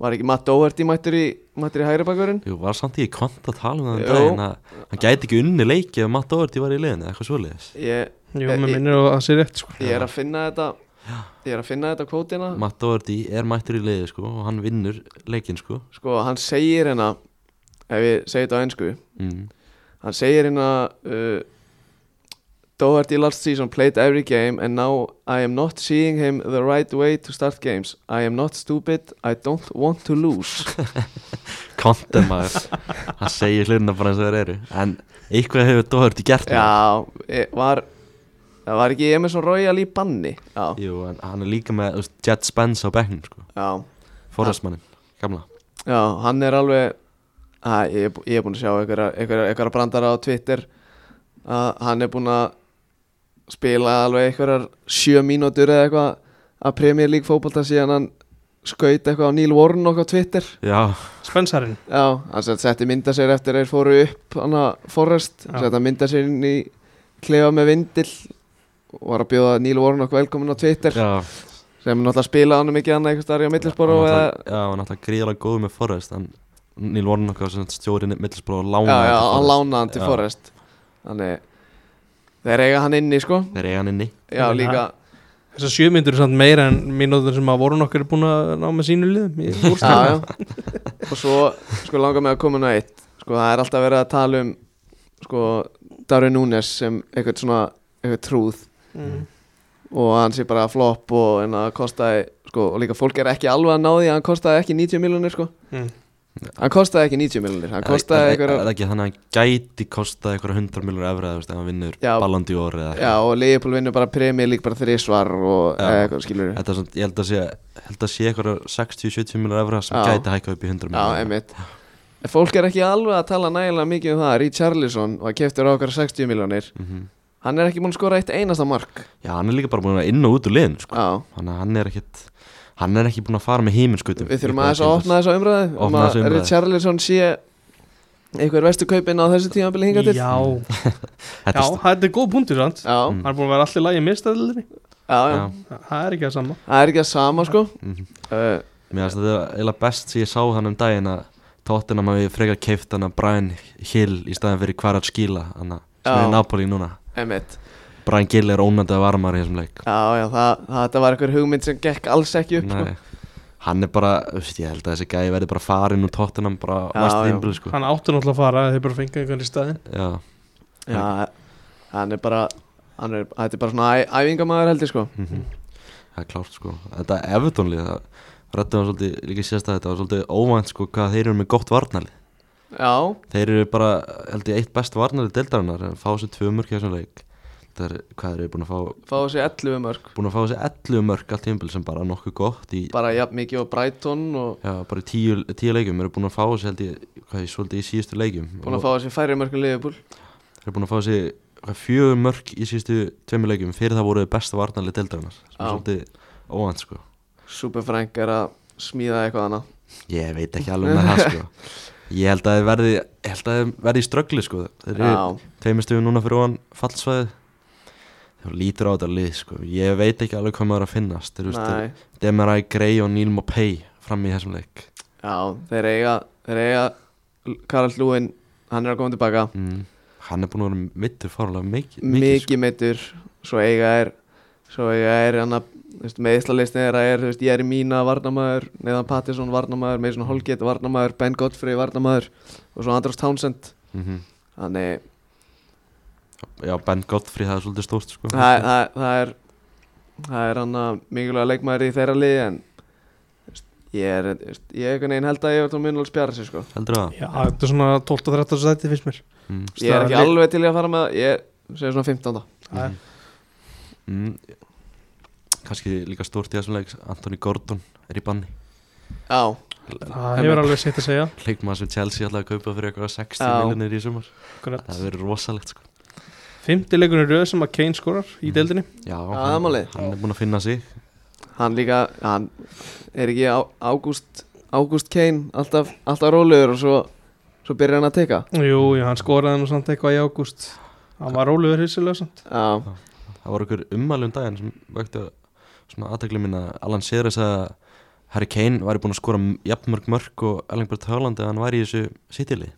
[SPEAKER 3] var ekki Matt Doherty mættur í, mættur í hægri bakurinn?
[SPEAKER 1] Jú, var samt í kont að tala um það um
[SPEAKER 3] Jú.
[SPEAKER 1] daginn að hann gæti ekki unni leiki ef Matt Doherty var í liðinu, eða eitthvað svoleiðis
[SPEAKER 3] Ég,
[SPEAKER 2] jú,
[SPEAKER 3] Eh,
[SPEAKER 2] með
[SPEAKER 3] ég-
[SPEAKER 2] minnir að það sé rétt, sko
[SPEAKER 3] ég er að finna þetta ég er að finna þetta kvótina
[SPEAKER 1] Matt Doherty er mættur í liði sko og hann vinnur leikin sko
[SPEAKER 3] sko hann segir hérna ef ég segi þetta á ennsku
[SPEAKER 1] mm.
[SPEAKER 3] hann segir hérna uh, Doherty last season played every game and now I am not seeing him the right way to start games I am not stupid, I don't want to lose
[SPEAKER 1] Content
[SPEAKER 3] <laughs>
[SPEAKER 1] maður Hann segir hlutina bara eins og þeir eru En eitthvað hefur Doherty gert maður.
[SPEAKER 3] Já, e- var það var ekki Emerson Royal í banni Já,
[SPEAKER 1] Jú, en hann er líka með þú veist, Jet Spence á bekknum sko.
[SPEAKER 3] já,
[SPEAKER 1] Forrestmannin, gamla
[SPEAKER 3] já hann er alveg að, ég, er bú- ég er búin að sjá einhverja, einhverja, einhverja brandara á Twitter að hann er búin að spila alveg einhverjar sjö mínútur eða eitthvað að Premier League fótbolta síðan hann skaut eitthvað á Neil Warren okkur á Twitter
[SPEAKER 1] Já,
[SPEAKER 2] Spensarinn,
[SPEAKER 3] Já, hann sett- setti mynda sér eftir að þeir fóru upp hann að Forrest,
[SPEAKER 2] Já.
[SPEAKER 3] setti að mynda sér inn í klefa með vindil og var að bjóða Neil Warnock velkomin á Twitter
[SPEAKER 1] já
[SPEAKER 3] sem náttúrulega spila hann mikið annað einhvers starf á Middlesboro
[SPEAKER 1] Hann
[SPEAKER 3] eða,
[SPEAKER 1] náttúrulega- Já, hann náttúrulega gríðalega góð með Forrest En Neil Warren okkar sem stjórið Middlesbrough og
[SPEAKER 3] já,
[SPEAKER 1] lána
[SPEAKER 3] já, hann lánaði hann til
[SPEAKER 1] Já.
[SPEAKER 3] Forrest þannig þeir eiga hann inni sko
[SPEAKER 1] Þeir eiga hann inni
[SPEAKER 3] já,
[SPEAKER 2] Já.
[SPEAKER 3] líka,
[SPEAKER 2] þessar sjö myndir er samt meira en mínútur sem að voru nokkur búin að ná með sínu liðum í
[SPEAKER 3] já,
[SPEAKER 2] úrslitum.
[SPEAKER 3] já og svo sko langar mig að koma inn á eitt sko það er alltaf verið að tala um sko Darwin Núnes sem eitthvað svona, eitthvað trúð
[SPEAKER 2] Mm.
[SPEAKER 3] og hann sé bara flop og en að kostaði sko, og líka fólk er ekki alveg að ná því að hann kostaði ekki 90 miljonir sko
[SPEAKER 2] Mm.
[SPEAKER 3] hann kostaði ekki 90 miljonir hann kostaði
[SPEAKER 1] Er- er- Er
[SPEAKER 3] einhverja
[SPEAKER 1] það ekki þannig að hann gæti kostaði einhverja 100 miljonur efra eða þú veist, ef hann vinnur
[SPEAKER 3] Já.
[SPEAKER 1] ballandi orð eða
[SPEAKER 3] já og Leopold vinnur bara premi líka bara þrísvar og
[SPEAKER 1] Já.
[SPEAKER 3] eða eitthvað skilur
[SPEAKER 1] Þetta er svona, ég held að sé, held að sé eitthvað 60-70 miljonar efra sem
[SPEAKER 3] Já.
[SPEAKER 1] gæti hækka upp í 100
[SPEAKER 3] já
[SPEAKER 1] miljonar
[SPEAKER 3] emitt En Fólk er ekki alveg að tala nægilega mikið um það Richarlison var keftur á okkar 60 miljónir
[SPEAKER 1] Mhm.
[SPEAKER 3] Hann er ekki búin að skora eitt einasta mark
[SPEAKER 1] Já, hann er líka bara búin að inn og út úr liðin sko.
[SPEAKER 3] Já,
[SPEAKER 1] Þannig að hann er ekkit Hann er ekki búin að fara með heiminskautum
[SPEAKER 3] við þurfum aðeins að opna þessa umræðu um
[SPEAKER 1] Opna
[SPEAKER 3] að
[SPEAKER 1] þessa umræðu.
[SPEAKER 3] Richarlison sé einhver vestu kaupin á þessu tímabili hinga til
[SPEAKER 2] Já, já,
[SPEAKER 1] Þetta
[SPEAKER 2] þetta er góð punktur sant?
[SPEAKER 3] Já,
[SPEAKER 1] Mm.
[SPEAKER 2] Hann er búin að vera allir lægi mistæðilinni
[SPEAKER 3] já,
[SPEAKER 1] er
[SPEAKER 3] já,
[SPEAKER 1] Já,
[SPEAKER 2] Það er ekki það sama
[SPEAKER 3] það er ekki að sama sko
[SPEAKER 1] mhm.
[SPEAKER 3] uh,
[SPEAKER 1] Mér finnst þetta eiginlega best sem ég sá hann um daginn að Tottenham hafi frekar keift hann að Brian Hill í staðan fyrir hvar að skila hann sem er
[SPEAKER 3] Já.
[SPEAKER 1] í Napoli núna
[SPEAKER 3] Emmett
[SPEAKER 1] Brian Gill er ónandi að varmar í þessum leik
[SPEAKER 3] Já, já, það, það, það var einhver hugmynd sem gekk alls ekki upp sko.
[SPEAKER 1] Nei, Hann er bara, veist, ég held að þessi gæði verði bara farin úr Tottenham bara
[SPEAKER 3] Já,
[SPEAKER 1] næstu
[SPEAKER 3] já.
[SPEAKER 1] tímbili sko
[SPEAKER 2] Hann átti náttúrulega að fara þeir bara fengið einhvern í staðin
[SPEAKER 1] Já,
[SPEAKER 3] Já, hann er bara hann er, Þetta er bara svona æ, æfingamæður heldur sko
[SPEAKER 1] mhm. það er klárt sko Þetta er efutónlið, það rættum við svolítið líka sérst að þetta var svolítið óvænt sko hvað þeir eru með gott varnalið
[SPEAKER 3] Já,
[SPEAKER 1] Þeir eru bara, held ég, eitt best varnalið deildarinnar en fá sér tvö mörk í þessum leik Það er, hvað eru búin að fá
[SPEAKER 3] fá þessi 11 mörg
[SPEAKER 1] búin að fá þessi 11 mörg allt tímpil sem bara nokkuð gott í,
[SPEAKER 3] bara jafn mikið á Brighton og
[SPEAKER 1] já, bara í tíu, tíu leikum eru búin að fá þessi held ég, hvað ég svolítið í síðustu leikum
[SPEAKER 3] búin að fá þessi færri mörg í Liverpool
[SPEAKER 1] þeir eru búin að fá þessi hvað, fjögur mörg í síðustu tveimur leikum fyrir það voru besta varnarlega deildarinnar sem er
[SPEAKER 3] Já.
[SPEAKER 1] svolítið óvænt sko
[SPEAKER 3] Superfrank er að smíða eitthvað annað
[SPEAKER 1] ég veit ekki alveg með það
[SPEAKER 3] <laughs>
[SPEAKER 1] sko ég held að þeir verði, ég held að þeir verði í ströggli sko þeir eru
[SPEAKER 3] Já,
[SPEAKER 1] tveimur stöðum núna fyrir ofan fallsvæði þeir lítur á þetta lið sko ég veit ekki alveg hvað maður er að finnast þeir,
[SPEAKER 3] næ,
[SPEAKER 1] veist, Demarai Gray og Neil Mopay fram í þessum leik
[SPEAKER 3] já, þeir eiga þeir eiga Karl Lúin hann er að koma tilbaka
[SPEAKER 1] mm. hann er búin að vera mittur fárlega mikið, sko. mikið,
[SPEAKER 3] mikið meittur, svo eiga er svo eiga er hann að meðslalistin er að er, þú veist, ég er í mína varnamaður, neðan Pattinson varnamaður með svona Holgate varnamaður, Ben Godfrey varnamaður og svo Andros Townsend
[SPEAKER 1] sko. mm
[SPEAKER 3] þannig,
[SPEAKER 1] já Ben Godfrey það er svolítið stórt sko
[SPEAKER 3] það, það, það er það er hann að mikilvæga leikmaður í þeirra liði en þú veist, ég er, þú veist, ég er einhvern veginn held að ég er tóð munul spjara sig sko
[SPEAKER 1] heldur það
[SPEAKER 2] Já, þetta er svona 12-13 sæti fyrst mér
[SPEAKER 1] mm.
[SPEAKER 3] ég er ekki
[SPEAKER 2] Staðarleik.
[SPEAKER 3] alveg til í að fara með það, ég er, segir svona 15
[SPEAKER 2] Það er-
[SPEAKER 1] Mm. kannski líka stórt í þessum leik Anthony Gordon er í banni
[SPEAKER 3] Já,
[SPEAKER 2] Það hefur alveg sitt að segja
[SPEAKER 1] leikmaður sem Chelsea alltaf að kaupa fyrir eitthvað 60
[SPEAKER 3] Já.
[SPEAKER 1] miljonir í sumar það
[SPEAKER 2] Akkurat.
[SPEAKER 1] verður rosalegt sko
[SPEAKER 2] Fimmti leikunir röð sem að Kane skorar í deildinni
[SPEAKER 1] já,
[SPEAKER 3] það er
[SPEAKER 1] hann,
[SPEAKER 3] málið.
[SPEAKER 1] hann er búin að finna sig
[SPEAKER 3] hann líka, hann er ekki á, Ágúst Ágúst Kane, alltaf, alltaf rólegur og svo, svo byrjar hann að teka
[SPEAKER 2] Jú, já, hann skoraði nú samt eitthvað í ágúst Hann var rólegur hissulega samt
[SPEAKER 3] Já,
[SPEAKER 1] það var okkur ummælum um daginn sem vöktu svona aðtekli mín að Alan Seres að Harry Kane væri búin að skora jafnmörg mörg og Erling Bert Haaland að hann væri í þessu sitili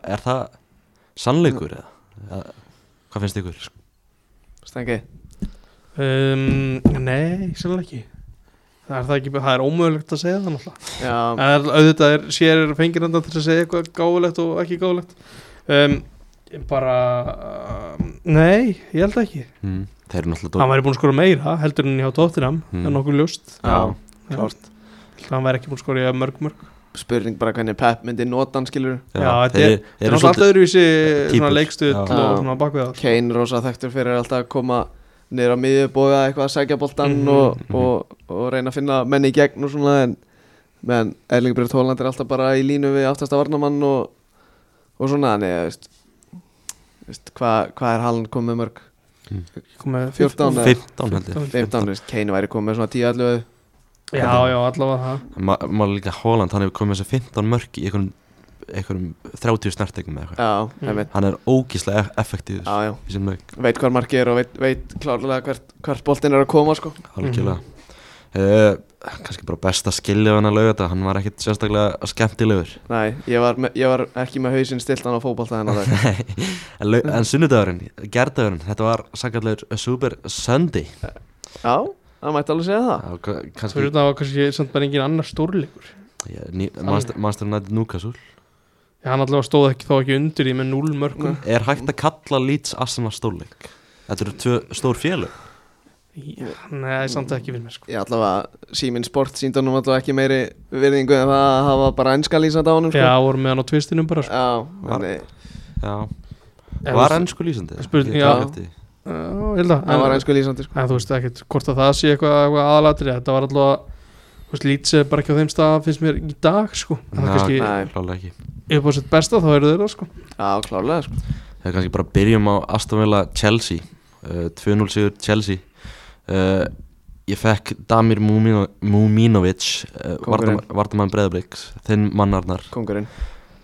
[SPEAKER 1] er það sannleikur eða? eða hvað finnst ykkur?
[SPEAKER 3] stengi
[SPEAKER 2] um, Nei, sérlega ekki Það er, það, ekki, það er ómögulegt að segja það náttúrulega
[SPEAKER 3] Já,
[SPEAKER 2] Það er auðvitað er, sér er fengir andan til að segja eitthvað gáfulegt og ekki gáfulegt um, ég Bara um, Nei, ég held ekki
[SPEAKER 1] Mm. þeir eru náttúrulega
[SPEAKER 2] Hann væri búin að skora meira heldur en hjá Tottenham
[SPEAKER 1] Mm.
[SPEAKER 2] Það er nokkuð ljóst
[SPEAKER 3] já,
[SPEAKER 2] Já.
[SPEAKER 3] klárt
[SPEAKER 2] Held að Hann væri ekki búin að skora í mörg mörg
[SPEAKER 3] Spurning bara hvernig Pep myndi nota hann skilur
[SPEAKER 1] Já,
[SPEAKER 2] Já, þetta
[SPEAKER 1] þeir
[SPEAKER 2] er-
[SPEAKER 1] eru-
[SPEAKER 2] Það
[SPEAKER 1] þeir
[SPEAKER 2] er
[SPEAKER 1] eru
[SPEAKER 2] náttúrulega alltaf
[SPEAKER 1] svolítið
[SPEAKER 2] öðruvísi svona
[SPEAKER 1] Típull.
[SPEAKER 2] leikstuð
[SPEAKER 1] Já.
[SPEAKER 2] og
[SPEAKER 3] Já.
[SPEAKER 2] svona bakveðar
[SPEAKER 3] Kane rosa þekktur fyrir alltaf að koma niður á miðjubóða eitthvað að sækja boltan
[SPEAKER 2] Mhm.
[SPEAKER 3] og, og, og reyna að finna menni í gegn og svona en menn Erling Breit Hóland er alltaf bara í línu við aftasta varnamann og, og svona þannig, þú veist, þú veist hvað hva er Halland komið mörg
[SPEAKER 2] Komið
[SPEAKER 3] 14 eða?
[SPEAKER 1] 15 held ég
[SPEAKER 3] 15, þú veist, Kane væri komið með svona 10 allavega
[SPEAKER 2] Já, já, allavega það
[SPEAKER 1] Ma- maður líka Holland, hann hefur komið með þessi 15 mörg í einhverjum, einhverjum 30 snertegum eða eitthvað
[SPEAKER 3] Já,
[SPEAKER 2] Mm.
[SPEAKER 3] mm. einmitt
[SPEAKER 1] hann er ógíslega effektíður
[SPEAKER 3] Já, já,
[SPEAKER 1] í sem leik,
[SPEAKER 3] veit hvað markið er og veit, veit klárlega hvert, hvert boltin er að koma sko
[SPEAKER 1] algjörlega uh, kannski bara best að skilja hann að lauga þetta, hann var ekkit sérstaklega skemmtilegur
[SPEAKER 3] Nei, ég var, me, ég var ekki með hausinn stiltan á fótbolta þennan dag
[SPEAKER 1] en, lau- en sunnudagurinn, gerdagurinn þetta var sakkallur Super Sunday
[SPEAKER 3] Já, það mætti alveg segja það
[SPEAKER 1] Já, ka-
[SPEAKER 2] Svo eru
[SPEAKER 1] kannski
[SPEAKER 2] þetta var kannski samt bara engin annar stórleikur
[SPEAKER 1] Já, ný- Manchester Manchester United Newcastle
[SPEAKER 2] Já, hann allavega stóð ekki, þá ekki undir í með 0 mörgum
[SPEAKER 1] er hægt að kalla Leeds Arsenal stórleik þetta eru tvö stór félög
[SPEAKER 2] Já, Nei, samt ekki fyrir mér sko
[SPEAKER 3] Ég allavega, síminn sport síndi honum allavega ekki meiri virðingu en það að hafa bara ennska lýsand á honum sko
[SPEAKER 2] Já, voru með hann á tvistinum bara sko.
[SPEAKER 3] Já,
[SPEAKER 1] Var-
[SPEAKER 3] þannig,
[SPEAKER 1] Já,
[SPEAKER 2] En
[SPEAKER 1] var
[SPEAKER 2] þú-
[SPEAKER 1] ennsku lýsandi?
[SPEAKER 2] Spurning-
[SPEAKER 1] Ég
[SPEAKER 2] já.
[SPEAKER 1] tók eftir því.
[SPEAKER 2] Já, ég held að
[SPEAKER 3] það var
[SPEAKER 2] en,
[SPEAKER 3] ensku lýsandi sko
[SPEAKER 2] en þú veist ekkert hvort að það sé eitthvað, eitthvað aðalatri Þetta var allavega Þú veist, Leeds er bara ekki á þeim stað finnst mér í dag sko það er
[SPEAKER 1] Nei,
[SPEAKER 2] kannski
[SPEAKER 3] Nei,
[SPEAKER 1] klálega ekki
[SPEAKER 2] upp á sitt besta þá eru þeir það sko
[SPEAKER 3] já, klálega sko.
[SPEAKER 1] Það er kannski bara að byrjum á Aston Villa Chelsea uh, 2-0 sigur Chelsea uh, Ég fekk Damir Mumino- Muminovic uh,
[SPEAKER 3] Kóngurinn.
[SPEAKER 1] Vardamann Breðabliks Þinn mannarnar
[SPEAKER 3] Kongurinn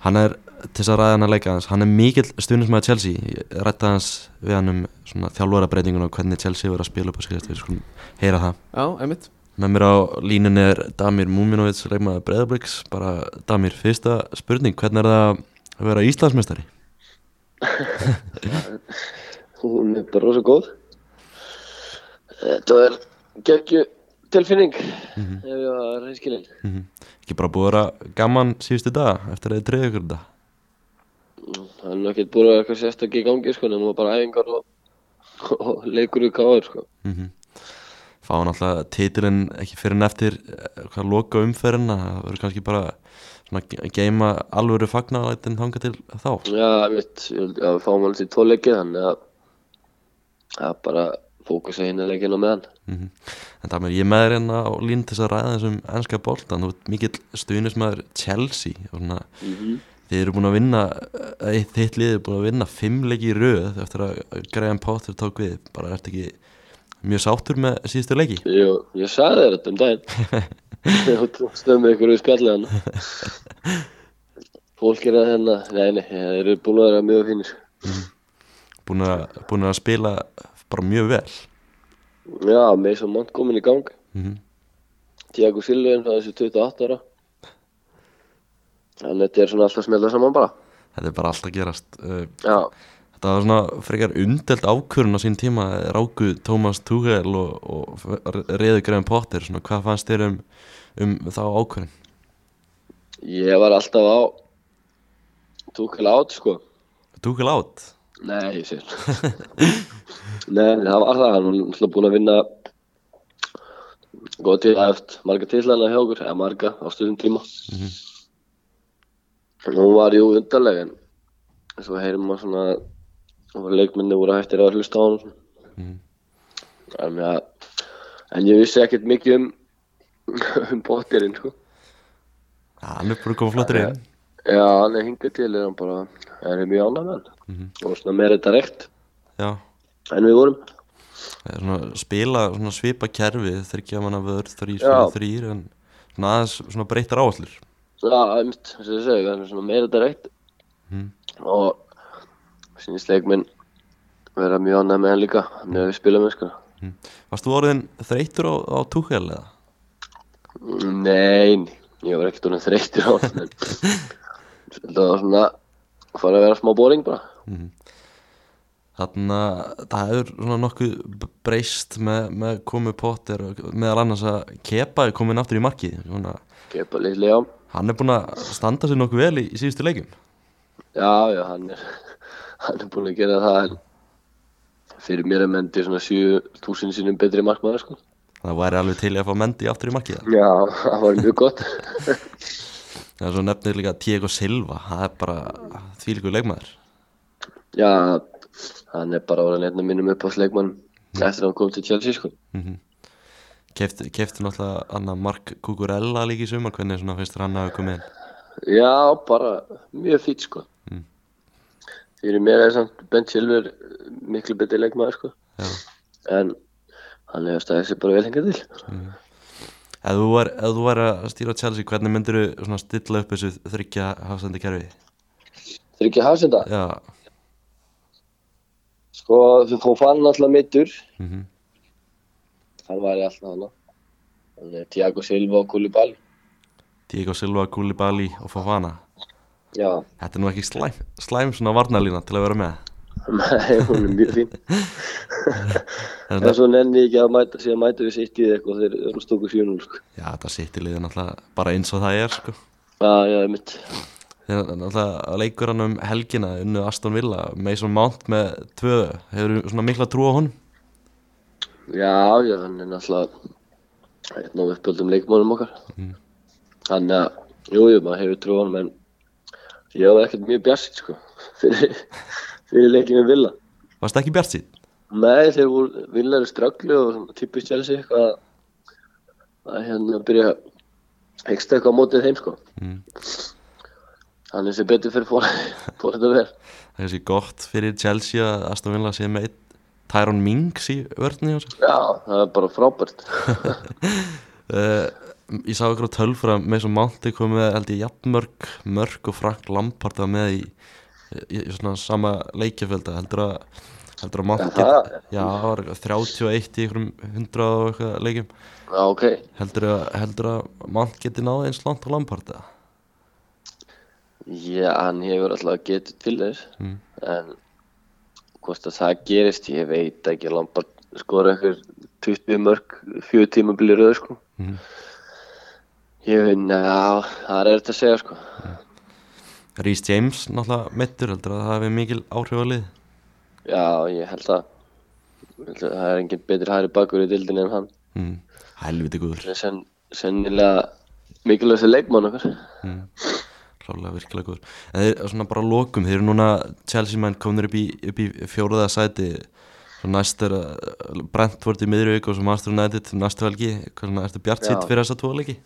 [SPEAKER 1] Hann er, til þess að ræða hann að leika hans Hann er mikill stuðnismæða Chelsea Ég rætta hans við hann um svona þjálfarabreitinguna og hvernig Chelsea verður að spila upp á skriðast Við skulum heyra það
[SPEAKER 3] Já, einmitt
[SPEAKER 1] Með mér á línunni er Damir Muminovic leikmaður Breðabliks Bara Damir, fyrsta spurning Hvernig er það að vera Íslandsmeistari?
[SPEAKER 4] hún er bara rosa góð Eh, þetta er geggju tilfinning ef ég var reynskilinn
[SPEAKER 1] Mhm. ekki bara búið að vera gaman síðustu dag eftir að þið treyðu ykkur um þetta
[SPEAKER 4] það er nú ekkert búið að eitthvað sérstakki í gangi sko nema bara æfingar og, og leikur við káður sko
[SPEAKER 1] mm -hmm. fá náttúrulega titilinn ekki fyrir en eftir eh, hvað loka umferðina það verður kannski bara svona að geima alvöru fagnalætin þanga til þá
[SPEAKER 4] já, mitt, ég held að við fáum alveg til tvo leikið þannig að það er bara fókusa hérna hinn að leikinu meðan
[SPEAKER 1] mm -hmm. en það með ég er með þér hérna á lín til þess að ræða þessum ennska boltan þú ert mikill stuðnismæður Chelsea og svona
[SPEAKER 4] mm -hmm.
[SPEAKER 1] Þið eru búin að vinna, eh, þitt lið er búin að vinna fimm leiki í röð eftir að Graham Potter tók við, bara ertu ekki mjög sáttur með síðustu leiki?
[SPEAKER 4] Jú, ég sagði þér þetta um daginn Þú stömmið ykkur við spjallið hann Fólk er að hérna Nei, nei, þeir eru búin að vera mjög fínir
[SPEAKER 1] búin að, búin að spila bara mjög vel
[SPEAKER 4] Já, með svo mann komin í gang
[SPEAKER 1] mm
[SPEAKER 4] Tiago Silva er frá þessu 28 ára Þannig að þetta er svona alltaf að smelda saman bara
[SPEAKER 1] þetta er bara allt að gerast Uh,
[SPEAKER 4] Já,
[SPEAKER 1] þetta var svona frekar umdelt ákvörun á sín tíma, ráku Tómas Túgel og, og reðu Graham Potter svona, hvað fannst þér um, um þá ákvörun?
[SPEAKER 4] ég var alltaf á Túkel át, sko
[SPEAKER 1] Túgel átt?
[SPEAKER 4] Nei, ég sé Nei, það var það, hann var náttúrulega búinn að vinna góð til aðeft marga titlana hjá okkur, eða marga á stundum tíma
[SPEAKER 1] Mhm.
[SPEAKER 4] Hún var jú undarleg en svo heyrum maður svona og leikminni voru hættir að hlusta á hann
[SPEAKER 1] Mhm.
[SPEAKER 4] en, ja, en ég vissi ekkert mikið um <laughs> um bóttirinn sko.
[SPEAKER 1] Ja, hann er bara komið flottur inn
[SPEAKER 4] Já, hann er hingað til er hann bara, er ég mjög ánægð með hann
[SPEAKER 1] Mhm.
[SPEAKER 4] og svona meira þetta rekt
[SPEAKER 1] já,
[SPEAKER 4] en við vorum
[SPEAKER 1] það er svona, spila svona svipa kerfi þryggja manna vörð, þrýr,
[SPEAKER 4] Já.
[SPEAKER 1] fyrir þrýr en svona aðeins svona breyttar áallur
[SPEAKER 4] Já, einmitt, þess að ég segi, það er svona meira direkt
[SPEAKER 1] Mhm.
[SPEAKER 4] og sínist leikminn vera mjög annað með hann líka, hann hefur spilað með sko.
[SPEAKER 1] varst þú orðin þreyttur á, á Túgel eða?
[SPEAKER 4] Nein, ég var ekkert honum þreyttur á hann, en þetta var svona, fara að vera smá boring bara.
[SPEAKER 1] Þannig að það hefur svona nokkuð b- breyst með, með komu Potter og meðal annars að Kepa er komin aftur í markið. Svona,
[SPEAKER 4] Kepa litlega á.
[SPEAKER 1] hann er búin að standa sér nokkuð vel í, í síðustu leikum.
[SPEAKER 4] Já, já, hann er, <laughs> hann er búinn að gera það, en fyrir mér er Mendy svona 7000 sinnum betri markmaður sko.
[SPEAKER 1] Það væri alveg til í að fá Mendy aftur í markið.
[SPEAKER 4] Já, það var mjög gott.
[SPEAKER 1] Það er svo nefnir líka Diego Silva, það er bara þvílíkur leikmaður.
[SPEAKER 4] Já, hann er bara orðin einn af mínum uppáðsleikmann
[SPEAKER 1] Mm.
[SPEAKER 4] eftir að hann kom til Chelsea sko.
[SPEAKER 1] Kefti, kefti náttúrulega annað Mark Kukurella líka í sumar, hvernig svona finnst þér hann að hafa komið inn?
[SPEAKER 4] Já, bara mjög fýtt sko.
[SPEAKER 1] Mm.
[SPEAKER 4] Fyrir mér er samt Ben Silver eh, miklu betri leikmaður sko.
[SPEAKER 1] Já.
[SPEAKER 4] En hann hefur staðið sér bara vel hengið til.
[SPEAKER 1] Ef þú væri- ef þú væri að stýra Chelsea, hvernig myndir þú stilla upp þessu þryggja hafsendi kerfi?
[SPEAKER 4] Þeir ekki hafði þetta.
[SPEAKER 1] Já,
[SPEAKER 4] Sko, þú þú fann alltaf mittur.
[SPEAKER 1] mm
[SPEAKER 4] Hann var í alltaf hana. Hann er Tiago Silva og Koulibaly.
[SPEAKER 1] Diego Silva, Koulibaly og Fofana.
[SPEAKER 4] Já,
[SPEAKER 1] Þetta er nú ekki slæm, slæm svona varnarlína til að vera með.
[SPEAKER 4] Nei, hún er mjög fín.
[SPEAKER 1] En
[SPEAKER 4] en svo nenni ég ekki að mæta, síðan mæta við sitt í eitthvað þegar þeir stóku 7-0 sko.
[SPEAKER 1] Já, þetta sitt í liðin alltaf bara eins og það er, sko.
[SPEAKER 4] Já, já, mitt.
[SPEAKER 1] Þegar alltaf leikur hann um helgina unnu Aston Villa, Mason Mount með tvö, hefur svona mikla trú á hún.
[SPEAKER 4] Já, já, hann er náttúrulega einn af uppöldum leikmónum okkar.
[SPEAKER 1] Mhm.
[SPEAKER 4] Þannig að, jú, jú, maður hefur trú á hann, en ég var ekkert mjög bjarsinn, sko, <laughs> fyrir, fyrir leikin við Villa.
[SPEAKER 1] Varst ekki bjart síðan?
[SPEAKER 4] Nei, þeir voru Villa eru strögglu og svona typist Chelsea eitthvað að- að hérna byrja að hyggst eitthvað á mótið heim sko
[SPEAKER 1] Mm.
[SPEAKER 4] hann er sem betur fyrir <laughs> fórhættar
[SPEAKER 1] Það
[SPEAKER 4] vel
[SPEAKER 1] er kannski gott fyrir Chelsea að Aston Villa sé með einn Tyrone Mings í vörðni hjá sér
[SPEAKER 4] já, það er bara frábært
[SPEAKER 1] uh, Ég sá ykkur á tölfra með svo Mounti komið held ég jafnmörg mörg og Frank Lampard var með í, í, í svona sama leikjafölda heldur að heldur að Mounti
[SPEAKER 4] Já, það-
[SPEAKER 1] já, það var eitthvað 31 í einhverjum 100 og eitthvað leikjum
[SPEAKER 4] já, ok,
[SPEAKER 1] heldur að, heldur að Mount geti náð eins langt á Lampard eða?
[SPEAKER 4] já, hann hefur alltaf getið til þess
[SPEAKER 1] Mm.
[SPEAKER 4] en hvort að það gerist ég veit ekki, Lampard skora einhver 20 mörg, fjögur tíma byrja röð sko
[SPEAKER 1] Mhm.
[SPEAKER 4] ég veit, ná, það er þetta að segja sko
[SPEAKER 1] Rhys James náttúrulega mittur heldur að það hefði mikil áhrif á lið
[SPEAKER 4] Já, ég held að ég held að það er enginn betri hæri bakur í dildinni en hann
[SPEAKER 1] mm. helviti guður
[SPEAKER 4] Það er sen, sennilega mikilvægstu leikmann okkar
[SPEAKER 1] Mm. Klálega virkilega góður En þeir svona bara að lokum, þeir eru núna Chelsea menn komnir upp í, upp í fjóraða sæti Svo næst er uh, Brentford í miðri auk og svo Master United næstu helgi, hvað svona, ertu bjart sitt
[SPEAKER 4] Já.
[SPEAKER 1] fyrir þessa tvo leiki?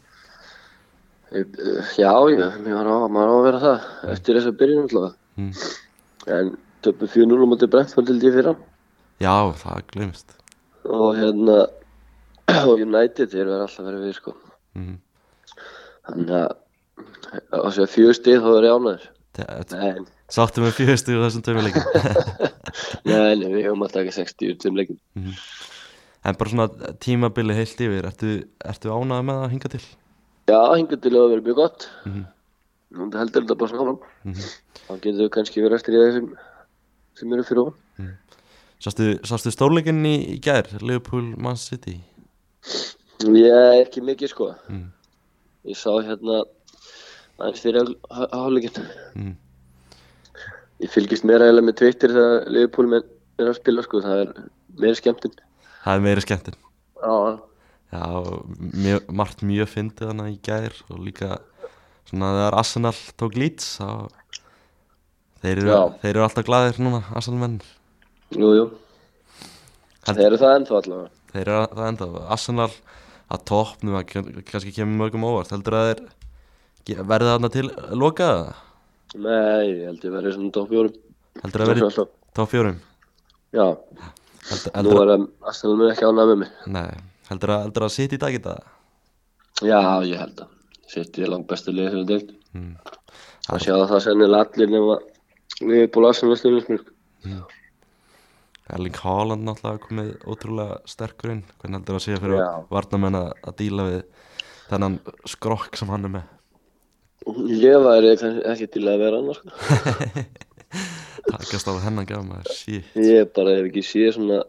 [SPEAKER 4] Ég- eh, Já, ég, maður, á, maður á að vera það eftir þess að byrja náttúrulega
[SPEAKER 1] Mm.
[SPEAKER 4] en töpu 4-0 á móti Brentford dildi ég fyrir hann
[SPEAKER 1] Já, það glemist
[SPEAKER 4] og hérna <clears throat> og United þeir verða alltaf verið við sko
[SPEAKER 1] mm.
[SPEAKER 4] þannig að á þess að fjögur stið þá er ég ánæður Nei,
[SPEAKER 1] Sáttu eh, með fjöstu í þessum tveimur leikum
[SPEAKER 4] nei, nei, við höfum alltaf ekki 60 úr þeim leikum
[SPEAKER 1] <laughs> En bara svona tímabili heilt yfir, ertu, ertu ánað með að hinga til?
[SPEAKER 4] Já, hingað til að vera mjög gott
[SPEAKER 1] Mhm.
[SPEAKER 4] Nú heldur þetta bara svona áfram Þá getur þau kannski verið eftir í það sem sem eru fyrir ofan
[SPEAKER 1] Sástu, sástu stórleikin í, í gær, Liverpool, Man City
[SPEAKER 4] Ég ekki mikið sko
[SPEAKER 1] Mhm.
[SPEAKER 4] Ég sá hérna aðeins fyrir áhugleikin
[SPEAKER 1] Mhm.
[SPEAKER 4] Ég fylgist meira eða með Twitter þegar Liverpool menn er að spila sko Það er meira skemmtinn
[SPEAKER 1] Það er meira skemmtin
[SPEAKER 4] Já,
[SPEAKER 1] Já, mjö, margt mjög fyndið hana í gær og líka svona þegar Arsenal tók lýts þá þeir eru,
[SPEAKER 4] Já.
[SPEAKER 1] þeir eru alltaf glaðir núna, Arsenal menn
[SPEAKER 4] jú, jú
[SPEAKER 1] Held-
[SPEAKER 4] Það eru það ennþá allavega
[SPEAKER 1] þeir eru að- það enda, Arsenal að toppnum að kann- kannski kemur mörgum á óvart heldur að þeir ge- verði þarna til lokaða,
[SPEAKER 4] Nei, ég held ég verið svona topp fjórum
[SPEAKER 1] heldur að verði
[SPEAKER 4] Alltaf.
[SPEAKER 1] topp fjórum
[SPEAKER 4] Já,
[SPEAKER 1] heldur,
[SPEAKER 4] nú
[SPEAKER 1] heldur,
[SPEAKER 4] er það Arsenal mun ekki ánað með mig
[SPEAKER 1] nei, heldur að, heldur að sitt í dag í dag
[SPEAKER 4] Já, ég held að City er langt bestu liðið sem við deilt
[SPEAKER 1] Mm.
[SPEAKER 4] Það sjá það sennilega allir nema Liverpool Arsenal sko. stjórnismur
[SPEAKER 1] Erling Haaland náttúrulega komið ótrúlega sterkur inn hvernig heldur að segja fyrir
[SPEAKER 4] Já.
[SPEAKER 1] varnamenn að, að díla við þennan skrokk sem hann er með
[SPEAKER 4] Ég væri kannski ekki til að vera annars sko.
[SPEAKER 1] takast á hennan gaf maður sí,
[SPEAKER 4] Ég bara hef ekki séð svona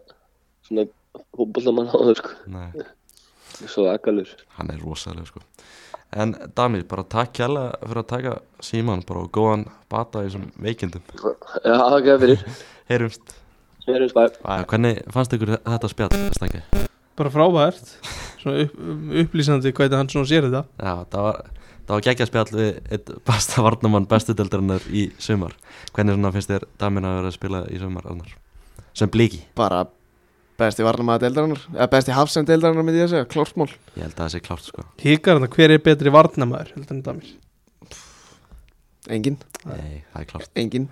[SPEAKER 4] svona hópallamann á þau sko.
[SPEAKER 1] nei,
[SPEAKER 4] Svo akkalur
[SPEAKER 1] hann er rosalega sko en Dami, bara takk kjalla fyrir að taka síman bara og góðan bata í þessum veikindum
[SPEAKER 4] Já, það er fyrir
[SPEAKER 1] heyrumst,
[SPEAKER 4] Við erum spæm
[SPEAKER 1] Æ, hvernig fannst ykkur þetta spjall stengi?
[SPEAKER 2] bara frábært svona upp, upplýsandi hvað hann svona sér þetta
[SPEAKER 1] Já, það var, það var geggja spjall við eitt besta varnamann bestu deildarinnar í sumar. Hvernig svona finnst þér damin að vera að spila í sumar annar? Sem blíki,
[SPEAKER 3] bara besti varnamaða deildarinnar eða besti hafsend deildarinnar myndi ég að segja, klortmál
[SPEAKER 1] ég held að það sé klárt sko.
[SPEAKER 2] hikar hann hver er betri varnamaður heldur en Damir
[SPEAKER 3] engin,
[SPEAKER 1] Nei, það er klárt.
[SPEAKER 3] engin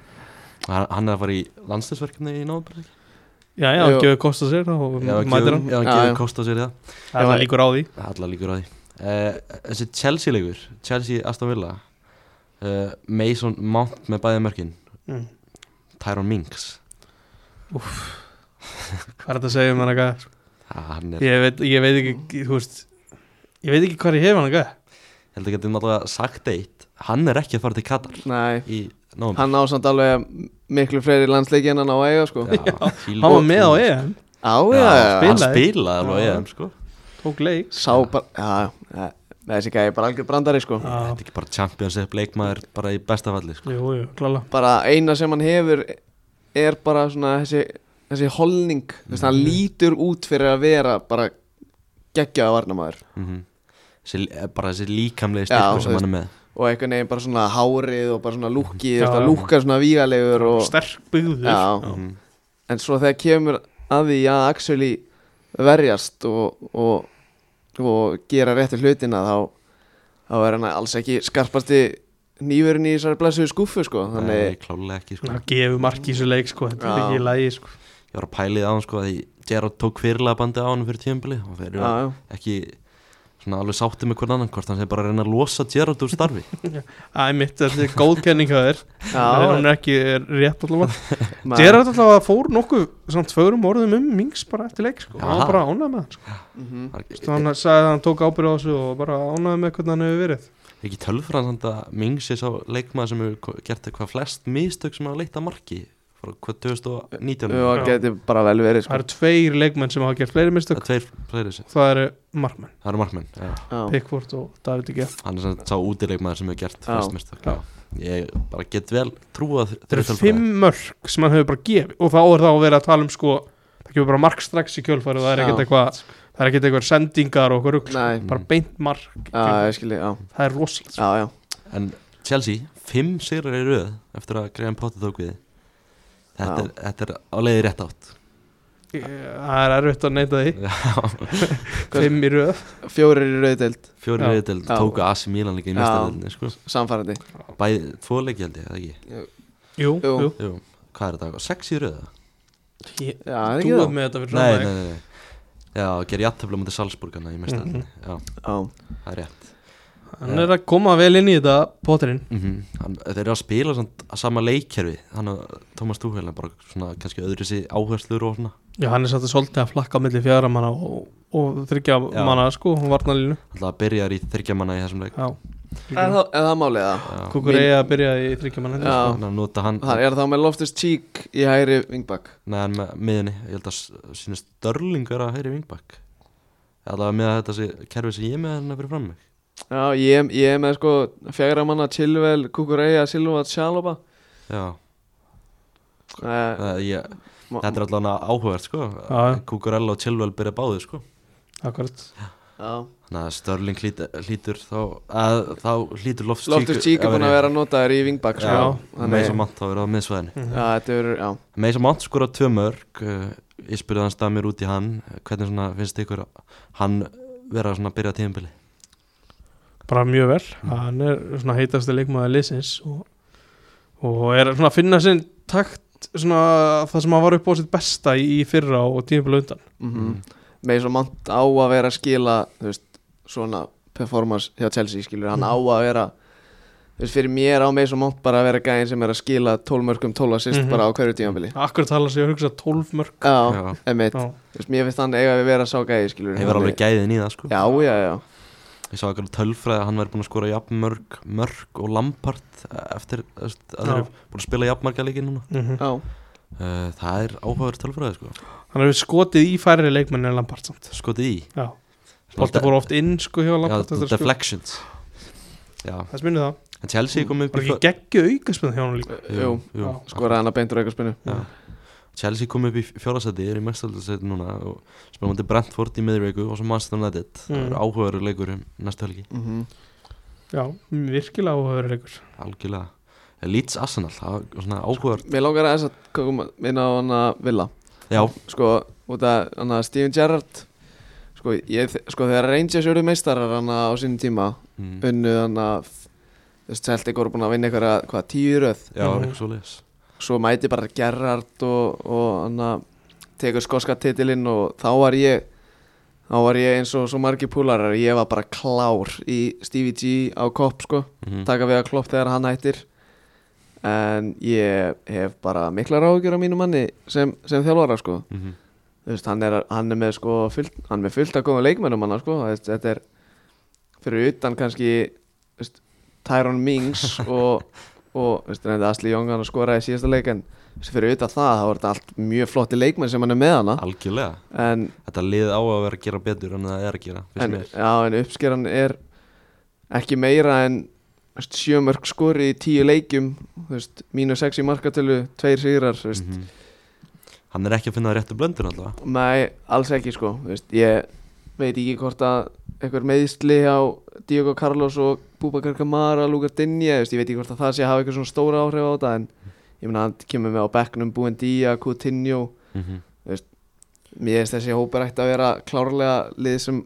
[SPEAKER 1] Hann, hann er að fara í landslisverkefni í náðum.
[SPEAKER 2] já já,
[SPEAKER 3] Jú.
[SPEAKER 2] gefur kosta sér og mætir hann
[SPEAKER 1] Já, hann
[SPEAKER 3] Já, já.
[SPEAKER 1] gefur kost á sér í það.
[SPEAKER 2] það
[SPEAKER 3] Já,
[SPEAKER 2] er líkur á því
[SPEAKER 1] Það er allar líkur á því. Uh, þessi Chelsea-leikur, Chelsea-Aston Villa, uh, Mason Mount með bæði mörkin,
[SPEAKER 2] Mm.
[SPEAKER 1] Tyrone Minks.
[SPEAKER 2] hvað er þetta að segja um hann eitthvað
[SPEAKER 1] Já, hann er,
[SPEAKER 2] ég veit, ég veit ekki, þú veist ég veit ekki hvað ég hef hann eitthvað
[SPEAKER 1] ég held að getum náttúrulega sagt eitt, hann er ekki að fara til Katar
[SPEAKER 3] nei,
[SPEAKER 1] í náðum.
[SPEAKER 3] hann ásand alveg miklu fleiri landsleiki en hann á að eiga sko
[SPEAKER 1] Já,
[SPEAKER 2] hann var með á EM,
[SPEAKER 3] á já, já,
[SPEAKER 1] hann
[SPEAKER 2] spilaði.
[SPEAKER 1] spilaði alveg
[SPEAKER 2] Já.
[SPEAKER 1] EM sko
[SPEAKER 2] tók leik
[SPEAKER 3] sá bara já, já, þessi gæði bara algjör brandari sko
[SPEAKER 2] já,
[SPEAKER 1] þetta er ekki bara Champions League leikmaður bara í besta falli sko.
[SPEAKER 2] jú, jú, klála
[SPEAKER 3] bara eina sem hann hefur er bara svona þessi, þessi holning, þess að hann
[SPEAKER 2] Mhm.
[SPEAKER 3] lítur út fyrir að vera bara geggjaða varnamaður
[SPEAKER 1] mm þessi, eh, bara þessi líkamlegi
[SPEAKER 3] Já,
[SPEAKER 1] styrkur sem
[SPEAKER 3] þú
[SPEAKER 1] hann er með
[SPEAKER 3] og einhvern veginn bara svona hárið og bara svona lúkið,
[SPEAKER 2] Já.
[SPEAKER 3] þetta lúka svona vígalegur og,
[SPEAKER 2] sterk byggður
[SPEAKER 3] Já. en svo þegar kemur að því að actually verjast og, og, og gera réttu hlutina þá þá er hann alls ekki skarpasti nýverinn í þessari blessuðu skúffu sko
[SPEAKER 1] Nei,
[SPEAKER 3] þannig
[SPEAKER 1] klálega ekki sko.
[SPEAKER 2] Það gefur marki í þessu leik sko, þetta er
[SPEAKER 3] Já.
[SPEAKER 2] ekki í lagi sko.
[SPEAKER 1] Ég var að pæli á hann sko að því Gerard tók fyrirlega bandi á hann fyrir tíðanbili og þeir
[SPEAKER 3] já,
[SPEAKER 1] eru
[SPEAKER 3] já,
[SPEAKER 1] ekki svona alveg sátti með hvern annan hvort hann sé bara að reyna að losa Gerard úr starfi
[SPEAKER 2] Æ, mitt, þetta er góð kenning hjá þér en hún
[SPEAKER 3] já,
[SPEAKER 2] er ekki rétt allavega
[SPEAKER 3] maður-
[SPEAKER 2] Gerard allavega fór nokkuð svona tvörum orðum um Mings bara eftir leik sko.
[SPEAKER 1] Já.
[SPEAKER 2] hann var bara ánægð með hann sko.
[SPEAKER 3] Mhm.
[SPEAKER 2] Þú veist, hann sagði að hann tók ábyrð á þessu og bara ánægð með hvernig hann hefur verið
[SPEAKER 1] ekki tölfræðan samt að Mings er sá leikmaður sem hefur ko- gert eitthvað flest mistök sem hafa leitt að marki frá hvað 2019
[SPEAKER 3] já,
[SPEAKER 2] Já.
[SPEAKER 3] geti bara vel verið
[SPEAKER 2] það
[SPEAKER 3] sko
[SPEAKER 2] eru tveir leikmenn sem hafa gert fleiri
[SPEAKER 1] það
[SPEAKER 2] mistök
[SPEAKER 1] er tveir fleiri sem
[SPEAKER 2] það eru markmenn,
[SPEAKER 1] það eru markmenn já.
[SPEAKER 3] já,
[SPEAKER 2] Pickford og David G
[SPEAKER 1] hann er samt sá útileikmaður sem hefur gert
[SPEAKER 3] Já.
[SPEAKER 1] flest mistök
[SPEAKER 2] Já.
[SPEAKER 1] já. ég bara get vel trúa
[SPEAKER 2] það eru fimm mörg sem hann hefur bara gefið og það er þá að vera að tala um sko það gefur bara mark strax í kjölfæri og það er ekkert
[SPEAKER 3] Já.
[SPEAKER 2] eitthvað það er ekkert eitthvað sendingar og okkur rugg
[SPEAKER 3] Nei.
[SPEAKER 2] bara beint mark
[SPEAKER 3] já,
[SPEAKER 2] Sko, það
[SPEAKER 3] ég skilji, já,
[SPEAKER 2] er rosalegt sko.
[SPEAKER 3] já, já
[SPEAKER 1] en Chelsea, fimm sigrar í röð eftir að Graham Potter tók við þetta,
[SPEAKER 3] Já.
[SPEAKER 1] er, þetta er á leiði rétt átt
[SPEAKER 2] Ég- það er erfitt að neita því <laughs> fimm í röð
[SPEAKER 3] fjórir í rauðdeild,
[SPEAKER 1] fjóri
[SPEAKER 2] Já.
[SPEAKER 1] reyðdelt,
[SPEAKER 3] Já.
[SPEAKER 1] tóku AC Milan líka í
[SPEAKER 3] Já.
[SPEAKER 1] mestaröldinni sko.
[SPEAKER 3] samfærandi
[SPEAKER 1] bæði, tvo leiki held ég, eða ekki
[SPEAKER 2] jú,
[SPEAKER 3] Jú.
[SPEAKER 2] jú.
[SPEAKER 1] Jú, hvað er þetta, sex í röða?
[SPEAKER 2] Ég,
[SPEAKER 3] já,
[SPEAKER 2] þú
[SPEAKER 3] það er ekki
[SPEAKER 2] er
[SPEAKER 3] það
[SPEAKER 2] með þetta fyrir
[SPEAKER 1] Nei,
[SPEAKER 2] fram
[SPEAKER 1] nei, nei, nei Já, gerir játtöflum undir Salzburgana hérna í mestaröldinni Já,
[SPEAKER 3] já,
[SPEAKER 1] það er rétt
[SPEAKER 2] hann er að koma vel inn í þetta potterinn
[SPEAKER 1] mm hann, Þeir eru að spila samt, sama leikkerfi hann og Thomas Tuchel en bara svona kannski öðru sér áherslur og svona
[SPEAKER 2] já hann er satt að svolítið að flakka á milli fjara manna og, og þryggja
[SPEAKER 1] Já.
[SPEAKER 2] manna sko hún varna línu
[SPEAKER 1] Alltaf að byrja í þryggja manna í þessum leik
[SPEAKER 2] já
[SPEAKER 3] er það, er það málið það
[SPEAKER 1] Já.
[SPEAKER 2] Kukur
[SPEAKER 3] Mín-
[SPEAKER 2] eigi að byrja í þryggja manna
[SPEAKER 3] Já.
[SPEAKER 1] Þannig að nota hann
[SPEAKER 3] það er þá með Loftus Cheek í hægri vingbak
[SPEAKER 1] Nei, en með miðinni, ég held að sína Störling er að hægri vingbakk Allavega með þetta sé, kerfi sem ég er með hann að fyrir fram mig
[SPEAKER 3] já, ég, ég er með sko fjagra manna Chilwell, Kukureya, Silva, Tjaloba
[SPEAKER 1] Já,
[SPEAKER 3] uh,
[SPEAKER 1] það, ég, þetta er allavega áhugavert sko
[SPEAKER 2] Já.
[SPEAKER 1] Kukurella og Chilwell byrja báðir sko
[SPEAKER 2] akkurat
[SPEAKER 3] já,
[SPEAKER 1] Þannig að Störling hlít, hlítur þá að, Þá hlítur Loftus
[SPEAKER 3] Loftus Cheek er búin að vera notaður í vingbak sko.
[SPEAKER 1] Já,
[SPEAKER 3] þannig
[SPEAKER 1] Meisa Mount þá er það á miðsvæðinu
[SPEAKER 3] já, þetta eru, já
[SPEAKER 1] Meisa Mount skora tvö mörg uh, Ég spurði hans damir út í hann Hvernig svona finnst ykkur hann vera svona að byrja tíðanbili
[SPEAKER 2] bara mjög vel hann er svona heitasti leikmaður liðsins og, og er svona að finna sinn takt svona það sem hann var upp á sitt besta í fyrra og tímafélag undan
[SPEAKER 3] mm með svo mannt á að vera að skila þú veist, svona performance hjá Chelsea skilur, hann
[SPEAKER 2] Mhm.
[SPEAKER 3] á að vera þú veist, fyrir mér á með svo mannt bara að vera gæðin sem er að skila 12 mörgum 12 assist
[SPEAKER 2] Mhm.
[SPEAKER 3] bara á hverju tímanbili
[SPEAKER 2] akkur tala sig að hugsa 12 mörg
[SPEAKER 3] já,
[SPEAKER 1] Ég
[SPEAKER 3] emitt,
[SPEAKER 2] Já.
[SPEAKER 3] þú veist, mér finnst þannig eiga við vera sá gæði skilur
[SPEAKER 1] var
[SPEAKER 3] Þannig-
[SPEAKER 1] alveg gæðin í það sko
[SPEAKER 3] já, já, já,
[SPEAKER 1] Ég sá eitthvað tölfræði að hann væri búin að skora jafn mörg Mörg og Lampart Eftir þú veist, að þeir
[SPEAKER 2] Já.
[SPEAKER 1] eru búin að spila jafn marga leiki núna
[SPEAKER 2] Mhm.
[SPEAKER 3] já,
[SPEAKER 1] uh, Það er áhugaverð tölfræði sko
[SPEAKER 2] hann hefur skotið í færri leikmenn en Lampard samt
[SPEAKER 1] Skotið í
[SPEAKER 2] já Bolti fór oft inn sko hjá
[SPEAKER 1] Já,
[SPEAKER 2] Lampard þetta er sko
[SPEAKER 1] deflections Já,
[SPEAKER 2] það sminni það
[SPEAKER 1] en Chelsea kom upp
[SPEAKER 2] bara
[SPEAKER 1] í
[SPEAKER 2] ekki geggju aukaspinn hjá hann líka
[SPEAKER 3] jú,
[SPEAKER 1] jú.
[SPEAKER 2] Já.
[SPEAKER 3] skoraði hann að beintur eitthvað spinnu
[SPEAKER 1] Já. Chelsea kom upp í fjórasæti er í mestaldarsæti núna og spilum hundi Brentford í miðurveiku og svo Manchester United það
[SPEAKER 2] Mm.
[SPEAKER 1] eru áhugaður leikur um næstu helgi
[SPEAKER 3] mm
[SPEAKER 2] Mhm.
[SPEAKER 3] -hmm.
[SPEAKER 2] já virkilega áhugaður leikur
[SPEAKER 1] algjörlega Eh, Leeds Arsenal, það var svona áhugaður
[SPEAKER 3] Mér langar að þess að koma inn á hann að Villa
[SPEAKER 1] Já,
[SPEAKER 3] sko, út af hann að Steven Gerrard sko, ég, sko þegar Rangers eru meistarar hann á sínum tíma
[SPEAKER 1] mm.
[SPEAKER 3] unnu hann að þessi Celtic voru búin að vinna einhverja, hvað, tíu í röð
[SPEAKER 1] já,
[SPEAKER 2] Mhm.
[SPEAKER 1] eitthvað svo leiðis
[SPEAKER 3] svo mæti bara Gerrard og, og hann að tekur skoska titilinn og þá var ég þá var ég eins og svo margir púlarar ég var bara klár í Stevie G á kopp sko,
[SPEAKER 1] Mhm. Mm.
[SPEAKER 3] taka við að klopp þegar hann hættir en ég hef bara mikla ráðgjur á mínu manni sem, sem þjálfara sko
[SPEAKER 1] Mhm.
[SPEAKER 3] Þú veist, hann, er, hann er með sko fullt, hann er með fullt að góða leikmennum hann sko. Þú veist, þetta er fyrir utan kannski þú veist, Tyrone Mings og, og þú veist, reyndi Asli Jóngan að skora í síðasta leik en þú veist, fyrir utan það þá er þetta allt mjög flotti leikmenn sem hann er með hana
[SPEAKER 1] Algjörlega,
[SPEAKER 3] en,
[SPEAKER 1] þetta lið á að vera að gera betur en það er að gera finnst
[SPEAKER 3] en,
[SPEAKER 1] mér.
[SPEAKER 3] já, en uppskeran er ekki meira en þú veist, sjö mörg skori í tíu leikjum þú veist, mínus sex í markatölu tveir sigrar þú veist,
[SPEAKER 1] Mhm. Hann er ekki að finna réttu blöndur alltaf
[SPEAKER 3] Nei, alls ekki sko Þú veist, Ég veit ekki hvort að einhver meðisli á Diego Carlos og Búbakar Kamara, Luka Dinja veist, ég veit ekki hvort að það sé að hafa eitthvað svona stóra áhrif á þetta en ég meina hann kemur með á bekknum Buendía, Coutinho
[SPEAKER 1] mm -hmm.
[SPEAKER 3] mér finnst þessi hópur ætti að vera klárlega lið sem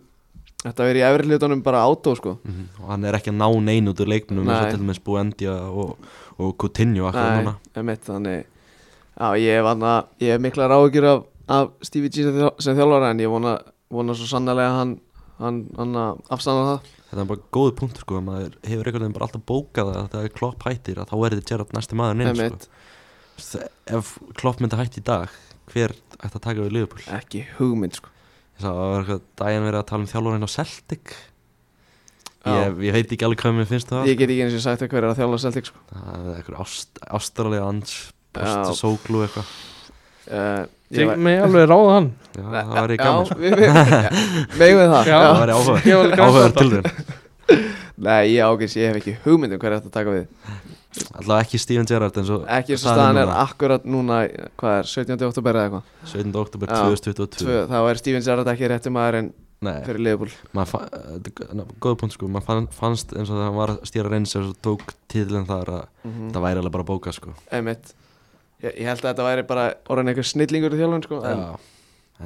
[SPEAKER 3] Þetta verið í efri hlutunum bara átó sko
[SPEAKER 1] Mhm, og hann er ekki að ná nein út úr leiknum eins og
[SPEAKER 3] Nei.
[SPEAKER 1] til dæmis Buendia og, og Coutinho akkur núna
[SPEAKER 3] emitt, þannig Já, ég hef, anna, ég hef miklar áhyggjur af, af Stevie G sem, þjál- sem þjálfara en ég vona, vona svo sannlega að hann, hann, hann afstanna það
[SPEAKER 1] þetta er bara góði punktur sko maður hefur einhvern veginn bara alltaf bókað það að þegar Klopp hættir að þá er þetta Gerrard næsti maður inn sko.
[SPEAKER 3] Emitt,
[SPEAKER 1] Þe- ef Klopp myndi hætti í dag hver ætti að taka við Liverpool ég
[SPEAKER 3] ekki hugmynd sko
[SPEAKER 1] sá að það var eitthvað daginn verið að tala um þjálfurinn á Celtic
[SPEAKER 3] Já.
[SPEAKER 1] ég, ég veit ekki alveg hvað mér finnst um það sko-
[SPEAKER 3] Ég get ekki eins og sagt að hver er að þjálfa Celtic sko
[SPEAKER 1] það er eitthvað ást, ástralega ans
[SPEAKER 3] Já.
[SPEAKER 1] posta sóglu eitthvað
[SPEAKER 3] uh, ég
[SPEAKER 2] Þið
[SPEAKER 3] var-
[SPEAKER 2] með alveg ráða hann
[SPEAKER 1] Já, það væri gaman
[SPEAKER 3] Já,
[SPEAKER 1] sko.
[SPEAKER 3] við- við- Megum við það
[SPEAKER 2] Já.
[SPEAKER 1] það væri áhuga
[SPEAKER 2] Ég var alveg grænt
[SPEAKER 1] áhugaður
[SPEAKER 2] þetta.
[SPEAKER 1] tilraun
[SPEAKER 3] Nei, ég ágæs, ég hef ekki hugmynd um hver er að taka við
[SPEAKER 1] Alltaf ekki Steven Gerrard eins og
[SPEAKER 3] Ekki eins og
[SPEAKER 1] staðan
[SPEAKER 3] staðan
[SPEAKER 1] er
[SPEAKER 3] er
[SPEAKER 1] núna.
[SPEAKER 3] akkurat núna Hvað er, 17. oktober eða eitthvað
[SPEAKER 1] 17. oktober
[SPEAKER 3] Já.
[SPEAKER 1] 2022
[SPEAKER 3] Tvö, Þá er Steven Gerrard ekki rétti maður en
[SPEAKER 1] Nei,
[SPEAKER 3] fyrir liðbúl
[SPEAKER 1] maður fa- eh, þetta er gó- góð punkt sko maður fann, fannst eins og það var að stýra reyns og tók tíðlinn þar að
[SPEAKER 3] Mm.
[SPEAKER 1] það væri alveg bara að bóka sko
[SPEAKER 3] Einmitt Ég, ég held að þetta væri bara orðin einhver snillingur í þjálfun sko, en
[SPEAKER 1] Já.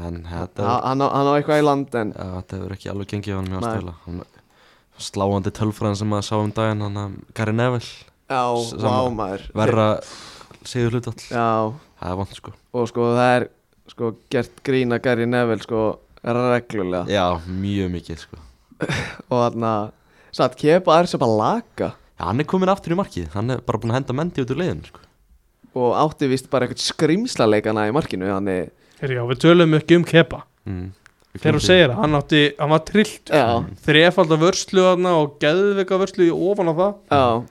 [SPEAKER 1] En þetta
[SPEAKER 3] ha- hann, á- hann á eitthvað í land en
[SPEAKER 1] Já, þetta hefur ekki alveg gengið á hann mjög
[SPEAKER 3] Nei.
[SPEAKER 1] aðstæðilega hann, sláandi tölfræðin sem maður sá um daginn hann að Gary Neville
[SPEAKER 3] já,
[SPEAKER 1] S-
[SPEAKER 3] vá
[SPEAKER 1] sama.
[SPEAKER 3] maður
[SPEAKER 1] verra sigur hlutall
[SPEAKER 3] Já,
[SPEAKER 1] það er vant sko
[SPEAKER 3] og sko það er sko gert grína Gary Neville sko reglulega
[SPEAKER 1] já, mjög mikið sko
[SPEAKER 3] og hann að satt kepa er sem bara laka
[SPEAKER 1] já, hann er komin aftur í markið hann er bara búin að henda mendi út úr leiðin sko.
[SPEAKER 3] og átti vist bara eitthvað skrimsla leikana í markinu þannig,
[SPEAKER 2] Herri, já, við tölum ekki um kepa
[SPEAKER 1] mm. Við
[SPEAKER 2] Þegar
[SPEAKER 1] komum
[SPEAKER 2] hún
[SPEAKER 1] því.
[SPEAKER 2] segir það, hann átti, hann var trillt
[SPEAKER 3] já,
[SPEAKER 2] Þrefaldar vörslu þarna og geðveika vörslu í ofan á það
[SPEAKER 3] já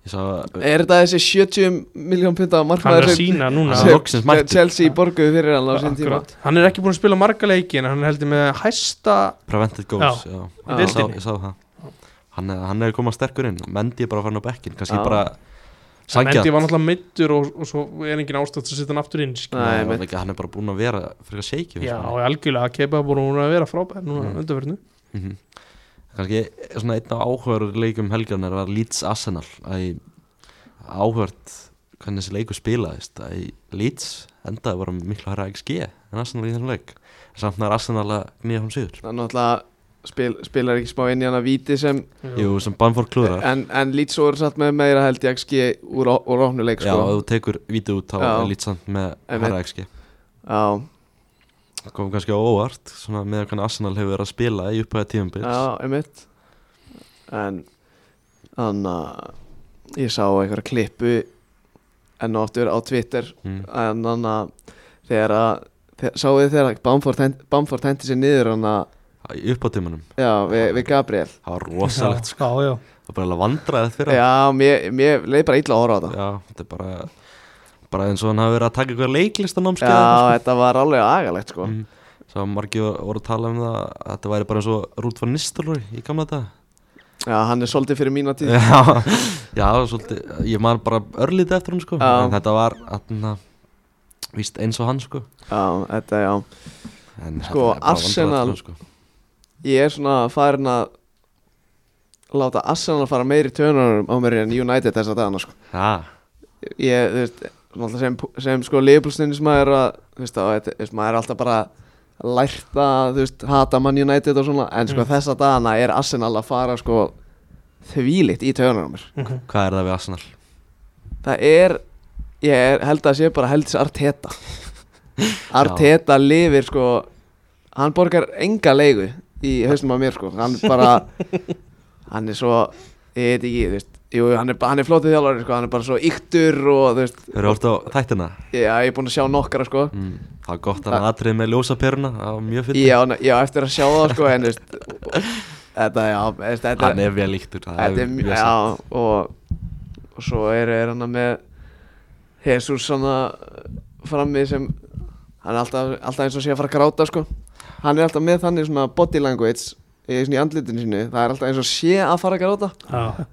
[SPEAKER 1] ég sá eh, að
[SPEAKER 3] Er þetta þessi 70 miljón punta
[SPEAKER 2] Hann er
[SPEAKER 3] markmaður
[SPEAKER 2] að sína núna
[SPEAKER 1] Hann er loksins
[SPEAKER 3] sem
[SPEAKER 1] mættur.
[SPEAKER 3] Chelsea borguðu fyrir hann á sín tíma
[SPEAKER 2] Akkurat. Hann er ekki búin að spila marga leiki en hann er heldur með hæsta
[SPEAKER 1] Prevented Goals já.
[SPEAKER 3] Já.
[SPEAKER 1] Ég, sá,
[SPEAKER 2] Deildinni.
[SPEAKER 1] ég sá það hann, er- hann er komað sterkur inn Mendi er bara farin á bekkin kannski
[SPEAKER 3] Já.
[SPEAKER 1] bara sangjant
[SPEAKER 2] Mendi var náttúrulega meittur og, og svo er engin ástætt að setja hann aftur inn skilur.
[SPEAKER 1] Nei,
[SPEAKER 3] Nei, einmitt.
[SPEAKER 1] ekki, hann er bara búin að vera fyrir að seikju
[SPEAKER 2] Já, og algjörlega kepa búin hún að vera frábær núna
[SPEAKER 1] Mm.
[SPEAKER 2] mm. undanverðinu
[SPEAKER 1] kannski svona einn af áhugaður leikum helgarnar var Leeds Arsenal að áhugart hvernig þessi leiku spilaðist að í Leeds endaði bara með miklu hæra XG en Arsenal í þessum leik samt nær Arsenal að nýja hún sigur
[SPEAKER 3] Það náttúrulega spil, spilar ekki smá inn í hann að víti sem
[SPEAKER 1] Jú, sem Bamford klúðrar
[SPEAKER 3] en, en Leeds voru satt með meira held ég XG úr, á- úr ofnu leik
[SPEAKER 1] Já, ef
[SPEAKER 3] sko.
[SPEAKER 1] þú tekur vítið út þá
[SPEAKER 3] Já.
[SPEAKER 1] er Leeds samt með
[SPEAKER 3] Einmitt.
[SPEAKER 1] hæra XG
[SPEAKER 3] Já,
[SPEAKER 1] kom kannski á óvart svona með hvernig Arsenal hefur verið að spila í upphæða tíðanbils
[SPEAKER 3] já, einmitt En Þannig að ég sá einhverja klippu enn og aftur á Twitter
[SPEAKER 1] mm.
[SPEAKER 3] en þannig að þegar að þegar- sáuð þið þegar að Bamford hent- Bamford hendi sér niður hann að
[SPEAKER 1] í upphæða tímanum
[SPEAKER 3] já, við, við Gabriel
[SPEAKER 1] það var rosalegt, sko.
[SPEAKER 2] Já, já, já.
[SPEAKER 1] það var bara alveg vandræðið fyrir hann.
[SPEAKER 3] Já, mér, mér leið bara illa að horfa á þetta
[SPEAKER 1] já, þetta er bara bara eins og hann hafi verið að taka eitthvað leiklistanámskeið eða eitthvað,
[SPEAKER 3] Já, þetta var alveg agalegt sko
[SPEAKER 1] Mm. Svo margir voru að tala um það að þetta væri bara eins og Rút van Nistelrooy í gamla þetta
[SPEAKER 3] Já, hann er svolítið fyrir mína tíð
[SPEAKER 1] Já, <laughs> já, svolítið, ég man bara örlítið eftir hann sko
[SPEAKER 3] Já.
[SPEAKER 1] En þetta var, atna, víst eins og hann sko
[SPEAKER 3] Já, þetta, já
[SPEAKER 1] en þetta er
[SPEAKER 3] Sko,
[SPEAKER 1] bara
[SPEAKER 3] Arsenal-
[SPEAKER 1] vandræðalegt, sko.
[SPEAKER 3] Ég er svona farin að láta Arsenal fara meiri tönurum á mér en United þess að dagana sko
[SPEAKER 1] Já,
[SPEAKER 3] Ég, þú veist, náttúrulega sem, sem sko liðbúlstunni sem maður er að þú veist, á, þetta, þú veist, maður er alltaf bara lært að, þú veist, hata mann United og svona En sko
[SPEAKER 2] Mm.
[SPEAKER 3] þess að dagana er Arsenal að fara sko þvílitt í tönurum mér
[SPEAKER 2] Mhm.
[SPEAKER 1] hvað er það við Arsenal?
[SPEAKER 3] Það er, ég er, held að sé bara heldis Arteta Arteta lifir sko Hann borgar enga leigu í hausnum að mér sko Hann bara, hann er svo, ég veit ekki, þú veist Jú, hann er, hann er flótið þjálfari sko, hann er bara svo yktur og þú veist
[SPEAKER 1] Þeir eru orðið á þættina
[SPEAKER 3] Já, ég er búinn að sjá nokkara sko
[SPEAKER 1] mm. Það var gott að hann atrið með ljósaperuna Það var mjög fyrir
[SPEAKER 3] Já, n- já, eftir að sjá það sko, en þú veist Þetta, já, þú veist, þetta
[SPEAKER 1] Hann er vel líktur það
[SPEAKER 3] Þetta er mjög,
[SPEAKER 1] mjög satt.
[SPEAKER 3] já, og, og svo er, er hann með Jesus svona frammi sem hann er alltaf, alltaf eins og sé að fara að gráta sko. hann er alltaf með þannig svona body language í, svona í andlitinu sínu það er alltaf eins og sé að fara að gráta
[SPEAKER 2] Já.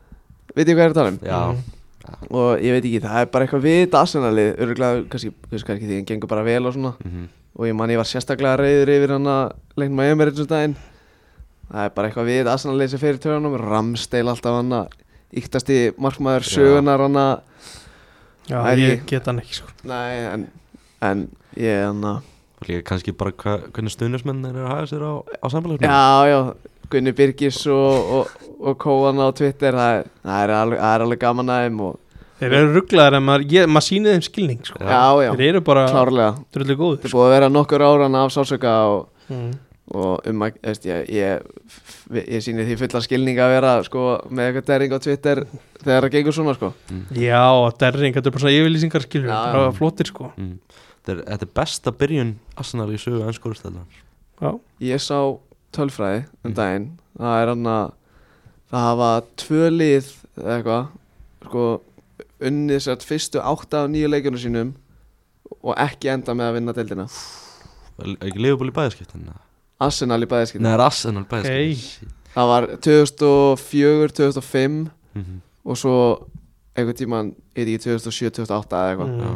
[SPEAKER 3] veit ég hvað ég er að tala um
[SPEAKER 1] Já,
[SPEAKER 2] Mhm.
[SPEAKER 3] og ég veit ekki, það er bara eitthvað við þetta arsenalið, öruglega, kannski, kannski, kannski því hann gengur bara vel og svona
[SPEAKER 1] mhm.
[SPEAKER 3] og ég man ég var sérstaklega reyður yfir hann að leiknum að Emirates um daginn það er bara eitthvað við Arsenal leysi fyrir törunum Ramsteil alltaf hann að yktast í markmaður
[SPEAKER 1] Já.
[SPEAKER 3] sögunar hann að
[SPEAKER 2] Já,
[SPEAKER 3] Það er
[SPEAKER 2] ég
[SPEAKER 3] ég-
[SPEAKER 2] get hann ekki sko.
[SPEAKER 3] nei en, en ég hann að
[SPEAKER 1] Og líka kannski bara hva, hvernig stuðnismenn er að hafa sér á, á samfélagsmiðlum
[SPEAKER 3] já já Gunni Birgis og, og, og Kóan á Twitter það er, það er, alveg, það er alveg gaman að þeim og,
[SPEAKER 2] Þeir eru rugglaðar en maður, ég, maður sýnir þeim skilning sko.
[SPEAKER 1] Já.
[SPEAKER 3] já, já,
[SPEAKER 2] Þeir eru bara
[SPEAKER 3] klárlega
[SPEAKER 2] drullu góður
[SPEAKER 3] Þetta er búið að vera nokkur áran af sásöka og,
[SPEAKER 2] mm.
[SPEAKER 3] og um að, veist, ég, ég, ég sýni því fulla skilning að vera sko, með eitthvað dering á Twitter þegar það gengur svona sko.
[SPEAKER 2] Já, derring, þetta er bara svona yfirlýsingar skilur
[SPEAKER 3] Já,
[SPEAKER 2] bara flottir sko
[SPEAKER 1] mm. þetta, er, þetta er besta byrjun Arsenal í sögu ennsku úrstæðunar
[SPEAKER 2] Já,
[SPEAKER 3] Ég sá tölfræði um daginn það er hann að það hafa tvö lið eða eitthvað sko, unnið sér fyrstu átta af nýju leikjunum sínum og ekki enda með að vinna deildina
[SPEAKER 1] ekki Liverpool í bæðaskiptin
[SPEAKER 3] Arsenal í bæðiskiptum
[SPEAKER 1] Nei, það er Arsenal bæðaskiptin
[SPEAKER 3] það var 2004, 2005
[SPEAKER 1] okay.
[SPEAKER 3] og svo einhvern tíman, ég veit ekki 2007, 2008 eða eitthvað
[SPEAKER 2] Mm.
[SPEAKER 1] Já.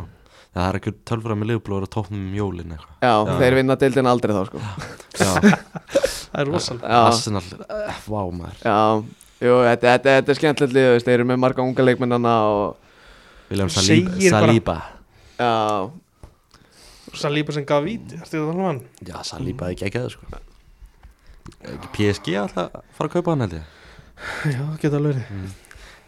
[SPEAKER 1] Það er ekki tölfra með Liverpool að vera toppnum um jólin
[SPEAKER 2] <laughs>
[SPEAKER 1] eitthvað
[SPEAKER 3] já,
[SPEAKER 1] Já.
[SPEAKER 3] þeir vinna deildin aldrei þá sko
[SPEAKER 1] Já,
[SPEAKER 2] það er rosalega
[SPEAKER 3] já,
[SPEAKER 1] Arsenal, eh, vá maður
[SPEAKER 3] já Jú, þetta, þetta, þetta er skemmtilegt lið, þú veist, þeir eru með marga unga leikmennana og
[SPEAKER 1] William
[SPEAKER 2] Þú
[SPEAKER 1] Saliba,
[SPEAKER 2] segir
[SPEAKER 1] Saliba.
[SPEAKER 2] bara-
[SPEAKER 3] já,
[SPEAKER 2] Saliba sem gaf víti, ertu þetta alveg hann?
[SPEAKER 1] Já, Saliba er ekki ekki að það
[SPEAKER 2] Mm.
[SPEAKER 1] sko Ekki PSG alltaf að fara að kaupa hann held ég
[SPEAKER 2] Já, það geta alveg verið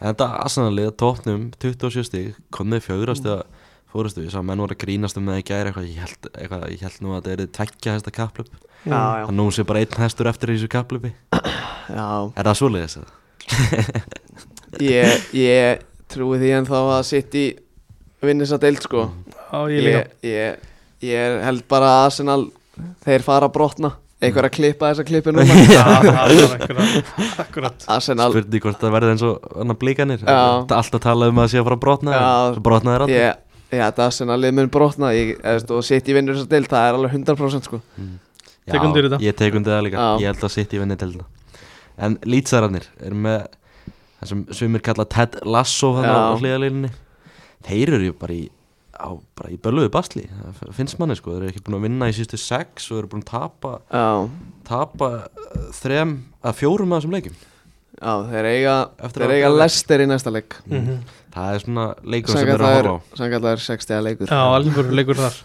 [SPEAKER 1] En þetta aðsannarlega tóknum 27 stík, komnið fjögrastu
[SPEAKER 3] Mm.
[SPEAKER 1] að fórustu, ég sá að menn voru að grínast um það í gæri eitthvað, ég held, eitthvað, ég held nú að þetta er tveggja hesta kapplöp,
[SPEAKER 3] já, já,
[SPEAKER 1] að nú sé bara einn hestur eftir í þessu kapplöpi,
[SPEAKER 3] já.
[SPEAKER 1] er það svoleiðis?
[SPEAKER 3] <laughs>
[SPEAKER 1] eða?
[SPEAKER 3] ég, ég trúi því ennþá að sitt í vinnis að deild sko
[SPEAKER 2] Já, ég líka
[SPEAKER 3] ég, ég held bara að Arsenal þeir fara að brotna einhver að klippa þessa
[SPEAKER 2] <laughs>
[SPEAKER 3] klippi núna
[SPEAKER 2] Já, það er akkurat Akkurat
[SPEAKER 3] Arsenal,
[SPEAKER 1] Spurning hvort það verði eins og hann blíkanir,
[SPEAKER 3] Já.
[SPEAKER 1] alltaf talað um að sé að fara að brotna,
[SPEAKER 3] Já.
[SPEAKER 1] en svo brotna þeir alltaf.
[SPEAKER 3] ég, ég held að Arsenal lið mun brotna ég, eðst, og sitt í vinnis að deild það er alveg 100% sko
[SPEAKER 1] Já,
[SPEAKER 2] Tek undir þetta.
[SPEAKER 1] Ég tek undir það líka,
[SPEAKER 3] Já.
[SPEAKER 1] ég held að sitt í vinni til þetta En lýtsararnir eru með það sem sumir kalla Ted Lasso hann
[SPEAKER 3] Já.
[SPEAKER 1] á hliðalílinni Þeir eru bara í, á, bara í bölluðu basli, það f- finnst manni sko Þeir eru ekki búin að vinna í sístu sex og eru búin að tapa,
[SPEAKER 3] já,
[SPEAKER 1] tapa uh, þrem að fjórum af þessum leikum
[SPEAKER 3] já þeir eiga
[SPEAKER 1] Eftir
[SPEAKER 3] þeir
[SPEAKER 1] að-
[SPEAKER 3] eiga lester í næsta leik
[SPEAKER 2] Mhm.
[SPEAKER 1] Það er svona leikum sem þeir
[SPEAKER 3] Sannkallað
[SPEAKER 1] eru að
[SPEAKER 3] er-
[SPEAKER 1] horfa á
[SPEAKER 3] sannkallað er 60 leikur
[SPEAKER 2] Já, alveg leikur þar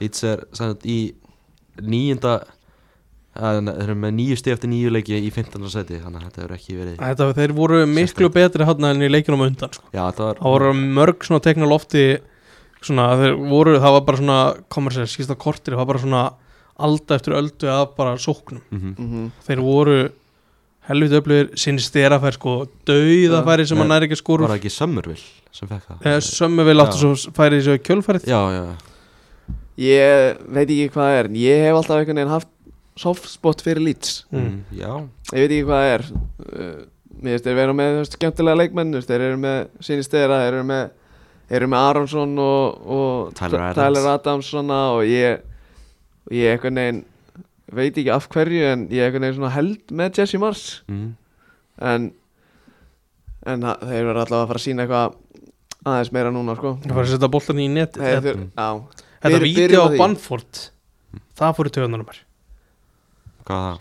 [SPEAKER 1] Leeds er sannsagt í nýjunda að- Þeir eru með nýju stið eftir nýju leiki í 15. seti Þannig að þetta hefur ekki verið
[SPEAKER 2] Þetta, þeir voru miklu betri hátna enn í leikinum á undan sko.
[SPEAKER 1] Já, þetta var
[SPEAKER 2] Það voru mörg svona tekna lofti svona, þeir voru, það var bara svona komur sér, skýrst á kortir, það var bara svona alda eftir öldu að bara sóknum
[SPEAKER 1] Mhm.
[SPEAKER 3] Mhm.
[SPEAKER 2] Þeir voru helviti öflugir sinni sterafær sko, dauðafæri sem
[SPEAKER 1] Nei,
[SPEAKER 2] hann er ekki að skora
[SPEAKER 1] Var
[SPEAKER 2] úr.
[SPEAKER 1] það ekki Summerville sem fekk það?
[SPEAKER 2] Eh, Sömmu vil áttu svo færi þessu kjölfærið
[SPEAKER 1] Já, já,
[SPEAKER 3] ég veit ekki hvað það er en ég hef alltaf einhvern veginn haft soft spot fyrir Leeds
[SPEAKER 1] mm. já
[SPEAKER 3] ég veit ekki hvað það er uh, mér finnst þeir vera með þú veist, skemmtilega leikmenn þú veist, þeir eru með sínistera þeir eru með, þeir eru með Aronsson og, og
[SPEAKER 1] Tyler
[SPEAKER 3] Ta-
[SPEAKER 1] Adams.
[SPEAKER 3] Tyler Adams svona, og ég og ég eitthvað neginn veit ekki af hverju en ég eitthvað neginn svona held með Jesse Mars
[SPEAKER 1] mm.
[SPEAKER 3] en, en ha- þeir eru allavega að fara að sína eitthvað aðeins meira núna sko
[SPEAKER 2] Það var að setja boltan í neti
[SPEAKER 3] þeir, þeir,
[SPEAKER 1] Mm.
[SPEAKER 3] á,
[SPEAKER 2] Þetta hérna.
[SPEAKER 3] Byrjum-
[SPEAKER 2] vídeo
[SPEAKER 3] byrjum á
[SPEAKER 2] á
[SPEAKER 3] því.
[SPEAKER 2] Banford Það fór í töðunar mér
[SPEAKER 1] Hvað var það?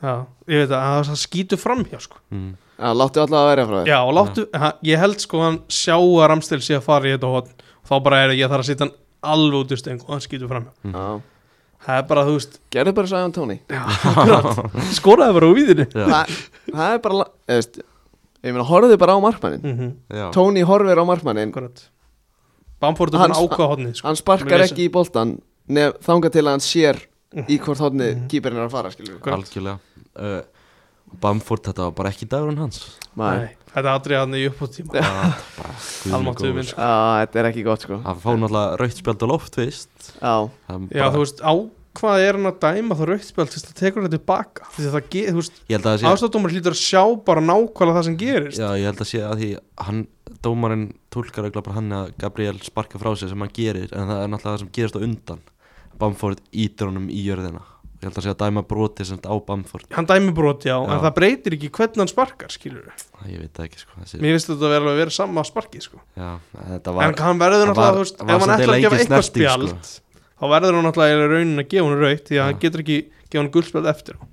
[SPEAKER 2] Já, ég veit að það- það skýtu fram hjá sko
[SPEAKER 1] Mm.
[SPEAKER 3] á, láttu allavega að vera frá þér
[SPEAKER 2] Já, og láttu, ha, ég held sko hann sjá að Ramstil sé að fara í þetta hotn og þá bara er ég þarf að setja hann alveg út í steng og hann skýtur fram hjá
[SPEAKER 3] Já.
[SPEAKER 2] Það er bara, þú veist,
[SPEAKER 3] gerðu bara Sæðan Tóni
[SPEAKER 2] skoraði bara úr víðinu
[SPEAKER 1] Já,
[SPEAKER 3] Þa, það er bara la- eða, veist, ég meina horfðu bara á markmannin
[SPEAKER 2] mm -hmm.
[SPEAKER 1] já.
[SPEAKER 3] Tóni horfir á markmannin
[SPEAKER 2] Akkurat Bamford er búin að
[SPEAKER 3] Hans-
[SPEAKER 2] ákvaða hotnið sko.
[SPEAKER 3] hann sparkar
[SPEAKER 2] Með
[SPEAKER 3] ekki í boltan nef þanga til að hann sér í hvort hodni kýperinn er að fara skilur við.
[SPEAKER 2] Akkurat.
[SPEAKER 1] algjörlega uh, Bamford þetta var bara ekki dagurinn hans
[SPEAKER 3] Nei.
[SPEAKER 2] Nei, Þetta atriði hann í uppbúttíma
[SPEAKER 1] Já, bara guð minn
[SPEAKER 2] Almáttugur
[SPEAKER 1] góður.
[SPEAKER 2] minn, sko.
[SPEAKER 3] Á, þetta er ekki gott sko
[SPEAKER 1] Að fá náttúrulega rautt spjald á loft, veist
[SPEAKER 3] á,
[SPEAKER 1] Það er
[SPEAKER 2] Já,
[SPEAKER 1] bara-
[SPEAKER 2] þú veist, á hvað er hann að dæma það rauktspjald þess að tekur hann tilbaka því að það ge, þú veist,
[SPEAKER 1] Ég held að það sé
[SPEAKER 2] ástæðdómar hlýtur að sjá bara nákvæmlega það sem gerist
[SPEAKER 1] Já, ég held að sé að því hann, dómarinn tólkar auðvitað bara hann að Gabriel sparka frá sér sem hann gerir en það er náttúrulega það sem gerist á undan Bamford ítir honum í jörðina Ég held að sé að dæma broti sem sagt á Bamford
[SPEAKER 2] Hann dæmi brot, já, en
[SPEAKER 1] Já.
[SPEAKER 2] það breytir ekki hvernig hann sparkar, skilur
[SPEAKER 1] Æ, Ég veit það ekki sko þessi,
[SPEAKER 2] Mér finnst þetta að vera alveg að vera sama sparkið, sko
[SPEAKER 1] Já, þetta var
[SPEAKER 2] En hann verður
[SPEAKER 1] það
[SPEAKER 2] náttúrulega,
[SPEAKER 1] var-
[SPEAKER 2] þú veist,
[SPEAKER 1] var
[SPEAKER 2] ef hann
[SPEAKER 1] samt
[SPEAKER 2] ætlar að
[SPEAKER 1] eiginlega
[SPEAKER 2] gefa
[SPEAKER 1] ekki
[SPEAKER 2] eitthvað
[SPEAKER 1] snerting, sko.
[SPEAKER 2] spjald þá verður hann náttúrulega í raunin að gefa hann raukt því að
[SPEAKER 1] Já.
[SPEAKER 2] hann getur ekki gefa hann guldspjald eftir á.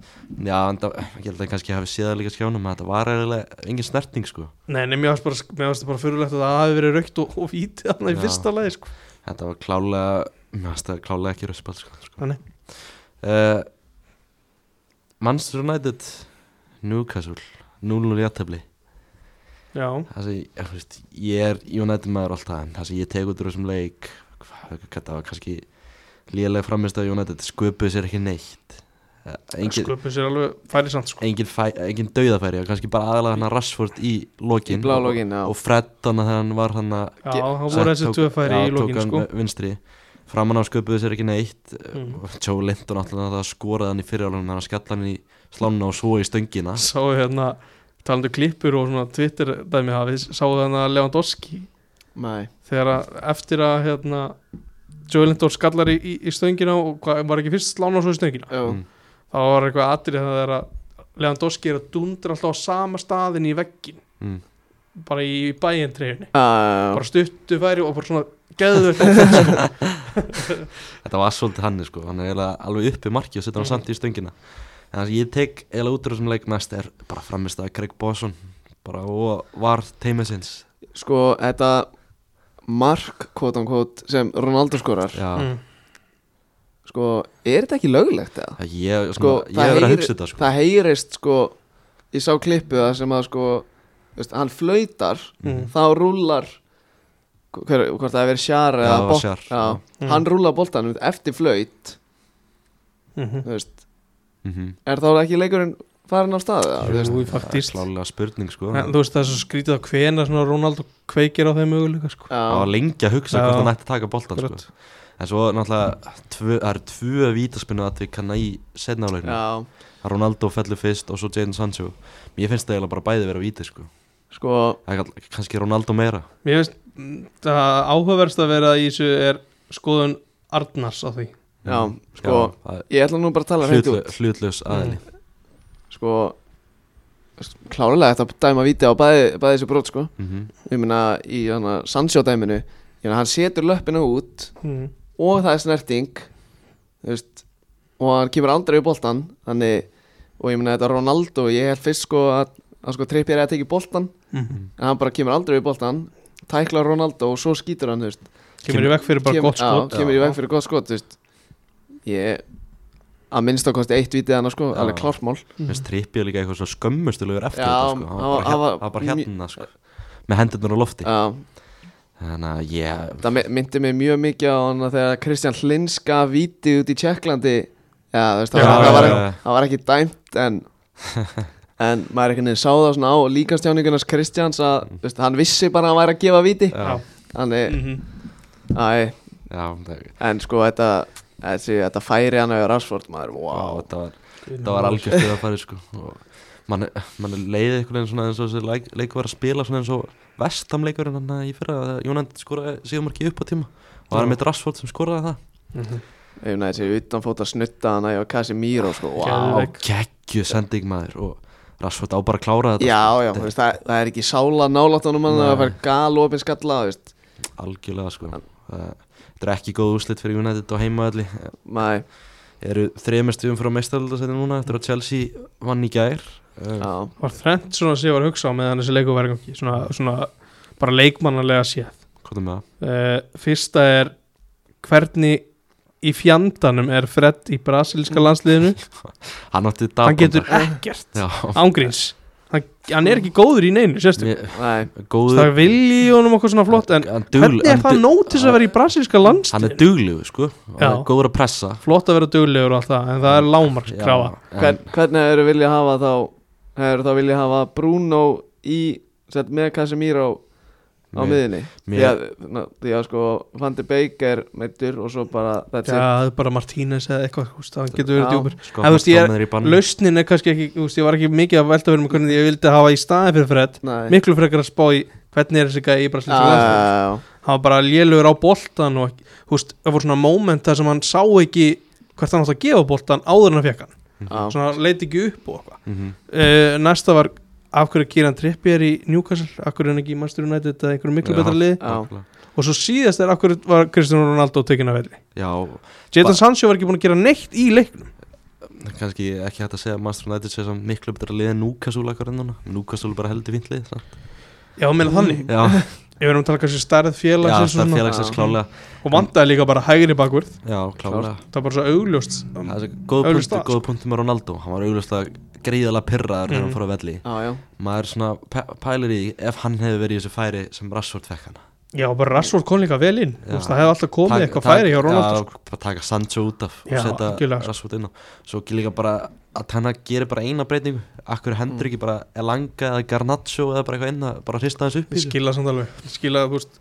[SPEAKER 1] Já, en það, ég held að kannski hafi séð það líka á skjánum að þetta var eiginlega engin snerting sko
[SPEAKER 2] Nei, nei, mér finnst bara, mér finnst bara fyrirlegt að það hafi verið raukt og, og vítið hann í
[SPEAKER 1] Já.
[SPEAKER 2] fyrsta lagi, sko
[SPEAKER 1] Þetta var klálega, mér finnst það klálega ekki röspall sko, sko.
[SPEAKER 2] Nei.
[SPEAKER 1] Uh, Manchester United Newcastle 0-0 játtabli
[SPEAKER 2] já,
[SPEAKER 1] það sem ég, þú veist, ég er United maður alltaf en það sem ég tek út úr þessum leik hvað, hvað það var kannski lélega framist af United sköpuðu sér ekki neitt Eh, engin,
[SPEAKER 2] sköpum sér alveg færi samt sko
[SPEAKER 1] engin, fæ, engin dauðafæri og kannski bara aðalega hann að Rashford í
[SPEAKER 3] Í
[SPEAKER 1] lokin
[SPEAKER 3] blá lokin, já
[SPEAKER 1] og, og Fred þannig að hann var hann að
[SPEAKER 2] já, það voru þessi tvö færi í lokin sko
[SPEAKER 1] vinstri framan á sköpuðu sér ekki neitt
[SPEAKER 2] Mm.
[SPEAKER 1] og Joe Linton alltaf skoraði hann í fyrirjálunum hann skalla hann í slána og svo í stöngina
[SPEAKER 2] sá hérna talandu klippur og svona Twitter dæmi hafi sáðu hérna Lewandowski
[SPEAKER 3] Nei,
[SPEAKER 2] þegar að eftir að hérna Joe Lindor skallar í, í, í stöngina og hva, var ekki fyrst slána svo í stöngina
[SPEAKER 3] jú,
[SPEAKER 1] Mm.
[SPEAKER 2] þá var eitthvað atrið þegar það er að Lewandowski er að dundra alltaf á sama staðin í veggin
[SPEAKER 1] mm.
[SPEAKER 2] bara í bæjendreifinni
[SPEAKER 3] já, já,
[SPEAKER 2] bara stuttu færi og bara svona geðvöld sko.
[SPEAKER 1] þetta var svolítið hann sko, hann er eiginlega alveg uppi í marki og setja hann
[SPEAKER 2] Mm.
[SPEAKER 1] samt í stöngina en það sem ég tek eiginlega út úr þessum leik mest er bara framist að Craig Bosson bara og var teimisins
[SPEAKER 3] já Sko, þetta mark, kvót án kvót, sem Ronaldo skorar
[SPEAKER 1] <laughs> já,
[SPEAKER 2] mm.
[SPEAKER 3] Sko, er þetta ekki löglegt eða?
[SPEAKER 1] það ég,
[SPEAKER 3] Sko,
[SPEAKER 1] sko, ég
[SPEAKER 3] það
[SPEAKER 1] hef verið að
[SPEAKER 3] heyri-
[SPEAKER 1] hugsa þetta sko.
[SPEAKER 3] Það heyrist, sko, ég sá klippu það sem að, sko, þú veist, hann flautar
[SPEAKER 2] Mm.
[SPEAKER 3] þá rúlar hver, hvort það hefur verið sjar
[SPEAKER 1] Já,
[SPEAKER 3] eða
[SPEAKER 1] það var
[SPEAKER 3] bolt-
[SPEAKER 1] Sjar,
[SPEAKER 3] já,
[SPEAKER 1] já.
[SPEAKER 2] Mm.
[SPEAKER 3] hann rúlar boltanum eftir flaut
[SPEAKER 2] Mm
[SPEAKER 3] þú veist,
[SPEAKER 1] mm -hmm.
[SPEAKER 3] er þá ekki leikurinn farin af stað eða, þú veist,
[SPEAKER 2] Jú,
[SPEAKER 1] það er
[SPEAKER 2] faktist en,
[SPEAKER 1] klálega spurning sko.
[SPEAKER 2] Þú veist það er svo skrítið á hvena svona Ronaldo kveikir á þeim möguleika sko.
[SPEAKER 1] það var
[SPEAKER 3] já,
[SPEAKER 1] lengi að hugsa
[SPEAKER 2] Já.
[SPEAKER 1] hvort hann ætti að taka boltan sko.
[SPEAKER 2] Akkurat.
[SPEAKER 1] en svo náttúrulega tvö, það eru tvö vítaspinnu að því kannar í setnáleikinu
[SPEAKER 3] já,
[SPEAKER 1] Ronaldo fellur fyrst og svo Jadon Sancho mér finnst það eiginlega bara bæði vera víti sko.
[SPEAKER 3] sko
[SPEAKER 1] Það er kann- kannski Ronaldo meira
[SPEAKER 2] Mér finnst mm, það áhugaverst að vera í þessu er skoðun Arnars á því
[SPEAKER 3] já, sko,
[SPEAKER 1] Já, það
[SPEAKER 3] ég ætla nú bara að tala
[SPEAKER 1] er
[SPEAKER 3] hreint
[SPEAKER 1] hlutlau-
[SPEAKER 3] út,
[SPEAKER 1] hlutlaus
[SPEAKER 2] Mm.
[SPEAKER 1] aðili
[SPEAKER 3] sko þú veist, klárlega þetta að dæma víti á bæði, bæði þessu brot, sko
[SPEAKER 1] Mhm.
[SPEAKER 3] ég meina í hana Sancho dæminu ég meina hann setur löppina út
[SPEAKER 2] mm.
[SPEAKER 3] og það er snerting þú veist, og hann kemur aldrei í boltan þannig, og ég meina þetta Ronaldo ég held fyrst sko að, að sko trippir að teki boltan,
[SPEAKER 2] Mhm.
[SPEAKER 3] en hann bara kemur aldrei í boltan tæklar Ronaldo og svo skýtur hann þú veist,
[SPEAKER 2] Kemur í vekk fyrir bara
[SPEAKER 3] Kem-
[SPEAKER 2] gott skot
[SPEAKER 3] já, kemur í veg fyrir gott skot þú veist. ég að minnst að kosti eitt vitið hann sko,
[SPEAKER 1] Já.
[SPEAKER 3] alveg klartmál
[SPEAKER 2] Mm.
[SPEAKER 1] Mér finnst trippið líka eitthvað svo skömmustulegur eftir
[SPEAKER 3] Já,
[SPEAKER 1] þetta sko.
[SPEAKER 3] hann var-
[SPEAKER 1] hann
[SPEAKER 3] hann
[SPEAKER 1] var bara, hér,
[SPEAKER 3] var
[SPEAKER 1] hann var bara
[SPEAKER 3] mjög-
[SPEAKER 1] hérna sko. með hendurnar á lofti
[SPEAKER 3] Já,
[SPEAKER 1] þannig að ég
[SPEAKER 3] það my- myndi mig mjög mikið á hann að þegar Kristján Hlinska vitið út í Tjekklandi já, þú veist, það,
[SPEAKER 2] Já,
[SPEAKER 3] var, það, var,
[SPEAKER 1] já, já.
[SPEAKER 3] það var ekki dæmt
[SPEAKER 1] <laughs>
[SPEAKER 3] en, en maður einhvern veginn sá það svona á líkastjáningunars Kristjáns að mm. veist, hann vissi bara að hann væri að gefa viti
[SPEAKER 1] já,
[SPEAKER 3] þannig,
[SPEAKER 2] Mhm.
[SPEAKER 3] æ,
[SPEAKER 1] já, það-
[SPEAKER 3] en sko þetta, þessi, þetta færi hann á Rashford maður,
[SPEAKER 1] vá,
[SPEAKER 3] wow
[SPEAKER 1] þetta var, þetta var
[SPEAKER 2] <laughs>
[SPEAKER 1] algjörst að fara sko. og mann man leiði einhvern veginn svona eins og þessi leik, leik var að spila svona eins og vestamleikurinn hann að í fyrra þegar Jónand skoraði síðumarki upp á tíma og það
[SPEAKER 2] Já.
[SPEAKER 1] er með Rashford sem skoraði það
[SPEAKER 2] Mhm.
[SPEAKER 3] ef neða þessi utanfóta snutta hann að Casemiro sko, wow
[SPEAKER 2] Geðveik.
[SPEAKER 1] og geggju sending maður og Rashford á bara að klára þetta
[SPEAKER 3] Já,
[SPEAKER 1] sko.
[SPEAKER 3] já, þú veist, það, það er ekki sála nálátt á númann að
[SPEAKER 1] Nei.
[SPEAKER 3] það fær galopin skalla, þú veist
[SPEAKER 1] algjörlega sko Það- þetta er ekki góð úslit fyrir United og heimaðalli
[SPEAKER 3] Nei, eru,
[SPEAKER 1] þrejumest við um frá meistaröldarsæti núna eftir að Chelsea vann í gær
[SPEAKER 3] já,
[SPEAKER 1] uh,
[SPEAKER 2] Var þrennt svona sem ég var að hugsa á meðan þessi leiku var í gangi svona, svona bara leikmannarlega séð
[SPEAKER 1] hvað er með það?
[SPEAKER 2] uh, Fyrsta er hvernig í fjandanum er Fred í brasilíska landsliðinu
[SPEAKER 1] hann átti dagbanda
[SPEAKER 2] Hann getur ekkert
[SPEAKER 1] já,
[SPEAKER 2] ángríns hann, hann er ekki góður í neinu, sérstu
[SPEAKER 1] mér,
[SPEAKER 3] nei,
[SPEAKER 1] góður
[SPEAKER 2] Það vilji honum okkur svona flott en
[SPEAKER 1] hann, dugl,
[SPEAKER 2] hvernig er það nót til þess að vera í brasilíska
[SPEAKER 1] hann er
[SPEAKER 2] landsliðinu?
[SPEAKER 1] duglegu sko hann
[SPEAKER 2] Já.
[SPEAKER 1] er góður að pressa
[SPEAKER 2] Flott að vera duglegur og allt það en það er lámarkskrafa
[SPEAKER 1] Já, en,
[SPEAKER 3] Hvern, hvernig hefur viljað hafa þá hefur þá viljað hafa Bruno í sett með Casemiro á
[SPEAKER 1] Mér-
[SPEAKER 3] miðinni því
[SPEAKER 1] mér-
[SPEAKER 3] að, na, því að sko Van de Beek er meittur og svo bara
[SPEAKER 2] Já,
[SPEAKER 3] þetta
[SPEAKER 2] það er bara Martínez eða eitthvað, þú veist, hann getur verið
[SPEAKER 3] Já.
[SPEAKER 2] djúpur
[SPEAKER 1] sko,
[SPEAKER 2] En þú veist, ég er-
[SPEAKER 1] hann er í bann
[SPEAKER 2] Lausnin er kannski ekki, þú veist, ég var ekki mikið að velta verið með hvernig ég vildi hafa í staðin fyrir Fred
[SPEAKER 3] er
[SPEAKER 2] Miklu frekar að spá í hvernig er þessi gæði í brasilíska
[SPEAKER 3] Ah.
[SPEAKER 2] landsliðinu
[SPEAKER 3] mikilvægt
[SPEAKER 2] Hann var bara lélugur á boltan og ekki- þú veist, það voru svona moment þar sem hann sá ekki hvert hann átt að gefa boltan áður en að fekk hann Svona leit ekki upp og eitthvað
[SPEAKER 1] Mhm.
[SPEAKER 2] uh, Næsta var, af hverju Kieran Trippi er í Newcastle, af hverju er hann ekki í Manchester United eða einhverju miklu
[SPEAKER 1] Já.
[SPEAKER 2] betra liði
[SPEAKER 3] Já.
[SPEAKER 1] Nákvæmlega.
[SPEAKER 2] Og svo síðast er af hverju var Cristiano Ronaldo tekinn af velli
[SPEAKER 1] já,
[SPEAKER 2] Jadon
[SPEAKER 1] Ba-
[SPEAKER 2] Sancho var ekki búin að gera neitt í leiknum
[SPEAKER 1] kannski ekki hægt að segja að Master United sé samt miklu betra liðið Núkasúl akkur en núna Núkasúl bara heldur fínt lið samt.
[SPEAKER 2] Já, meina þannig
[SPEAKER 1] já,
[SPEAKER 2] Ég verðum að tala kannski stærð
[SPEAKER 1] já
[SPEAKER 2] <laughs> félagsins
[SPEAKER 1] það er
[SPEAKER 2] félag.
[SPEAKER 1] félagsins klálega
[SPEAKER 2] og vandaði líka bara hægri bakvörð
[SPEAKER 1] já, klálega
[SPEAKER 2] það var bara svo augljóst
[SPEAKER 1] það er svo góð
[SPEAKER 2] Mm.
[SPEAKER 1] punktu,
[SPEAKER 2] Augljóst það,
[SPEAKER 1] góð punktu með Ronaldo hann var augljóslega gríðalega pyrraður þegar
[SPEAKER 2] Mhm.
[SPEAKER 1] hann fór að velli
[SPEAKER 3] Já, já,
[SPEAKER 1] maður svona pæ- pælir í ef hann hefði verið í þessu færi sem Rashford fekk hann
[SPEAKER 2] Já, bara Rashford kom líka vel inn Þú
[SPEAKER 1] Já.
[SPEAKER 2] veist, Það hefði alltaf komið
[SPEAKER 1] Taka-
[SPEAKER 2] eitthvað færi hjá
[SPEAKER 1] taka-
[SPEAKER 2] Ronaldo sko.
[SPEAKER 1] já, bara taka Sancho út af
[SPEAKER 2] Já,
[SPEAKER 1] og setja
[SPEAKER 2] algjörlega. sko.
[SPEAKER 1] Rashford inn á svo ekki líka bara að hann gerir bara eina breytingu akkur
[SPEAKER 2] Mm.
[SPEAKER 1] hendur ekki bara Elanga eða Garnacho eða bara eitthvað inn að bara hrista þessu upp í
[SPEAKER 2] Ég
[SPEAKER 1] þessu.
[SPEAKER 2] skila samt alveg Ég skila, þú veist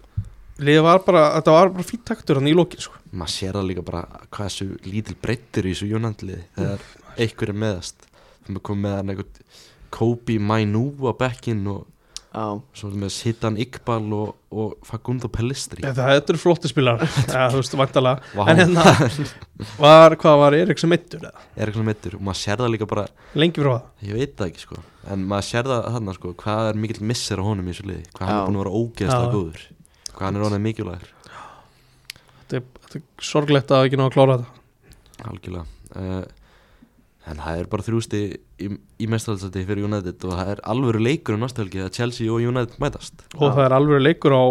[SPEAKER 2] Liðið var bara, þetta var bara fýtt taktur hann í lókin sko.
[SPEAKER 1] maður sér það líka bara hvað þessu lítil breyttir í þessu jónandliði þegar
[SPEAKER 2] Mm.
[SPEAKER 1] einhver er meðast þegar maður kom með hann eitthvað Kobe Mainu á bekkinn og
[SPEAKER 3] já
[SPEAKER 1] svo með Sitan Iqbal og, og Fagundo Pellistri
[SPEAKER 2] Þetta þetta eru flotti spilar ja, Þú veist, vandalega
[SPEAKER 1] Vá,
[SPEAKER 2] En
[SPEAKER 1] <laughs>
[SPEAKER 2] hérna var, hvað var Erik sem eittur eða?
[SPEAKER 1] er eitthvað meittur og maður sér það líka bara
[SPEAKER 2] Lengi frá það
[SPEAKER 1] ég veit það ekki sko en maður sér það þarna sko hvað er mikill missir á honum í þessu liði hvað hann
[SPEAKER 3] Já.
[SPEAKER 1] er búin að vera
[SPEAKER 2] Já.
[SPEAKER 1] ógeðslega góður hvað hann er honum mikilvægur
[SPEAKER 2] Þetta er, þetta er sorglegt að ekki ná að klára þetta
[SPEAKER 1] algjörlega uh, en það er bara þrjústi í, í mestarhaldsæti fyrir United og það er alvöru leikur um náttúrulega að Chelsea og United mætast
[SPEAKER 2] Og það er alveg leikur á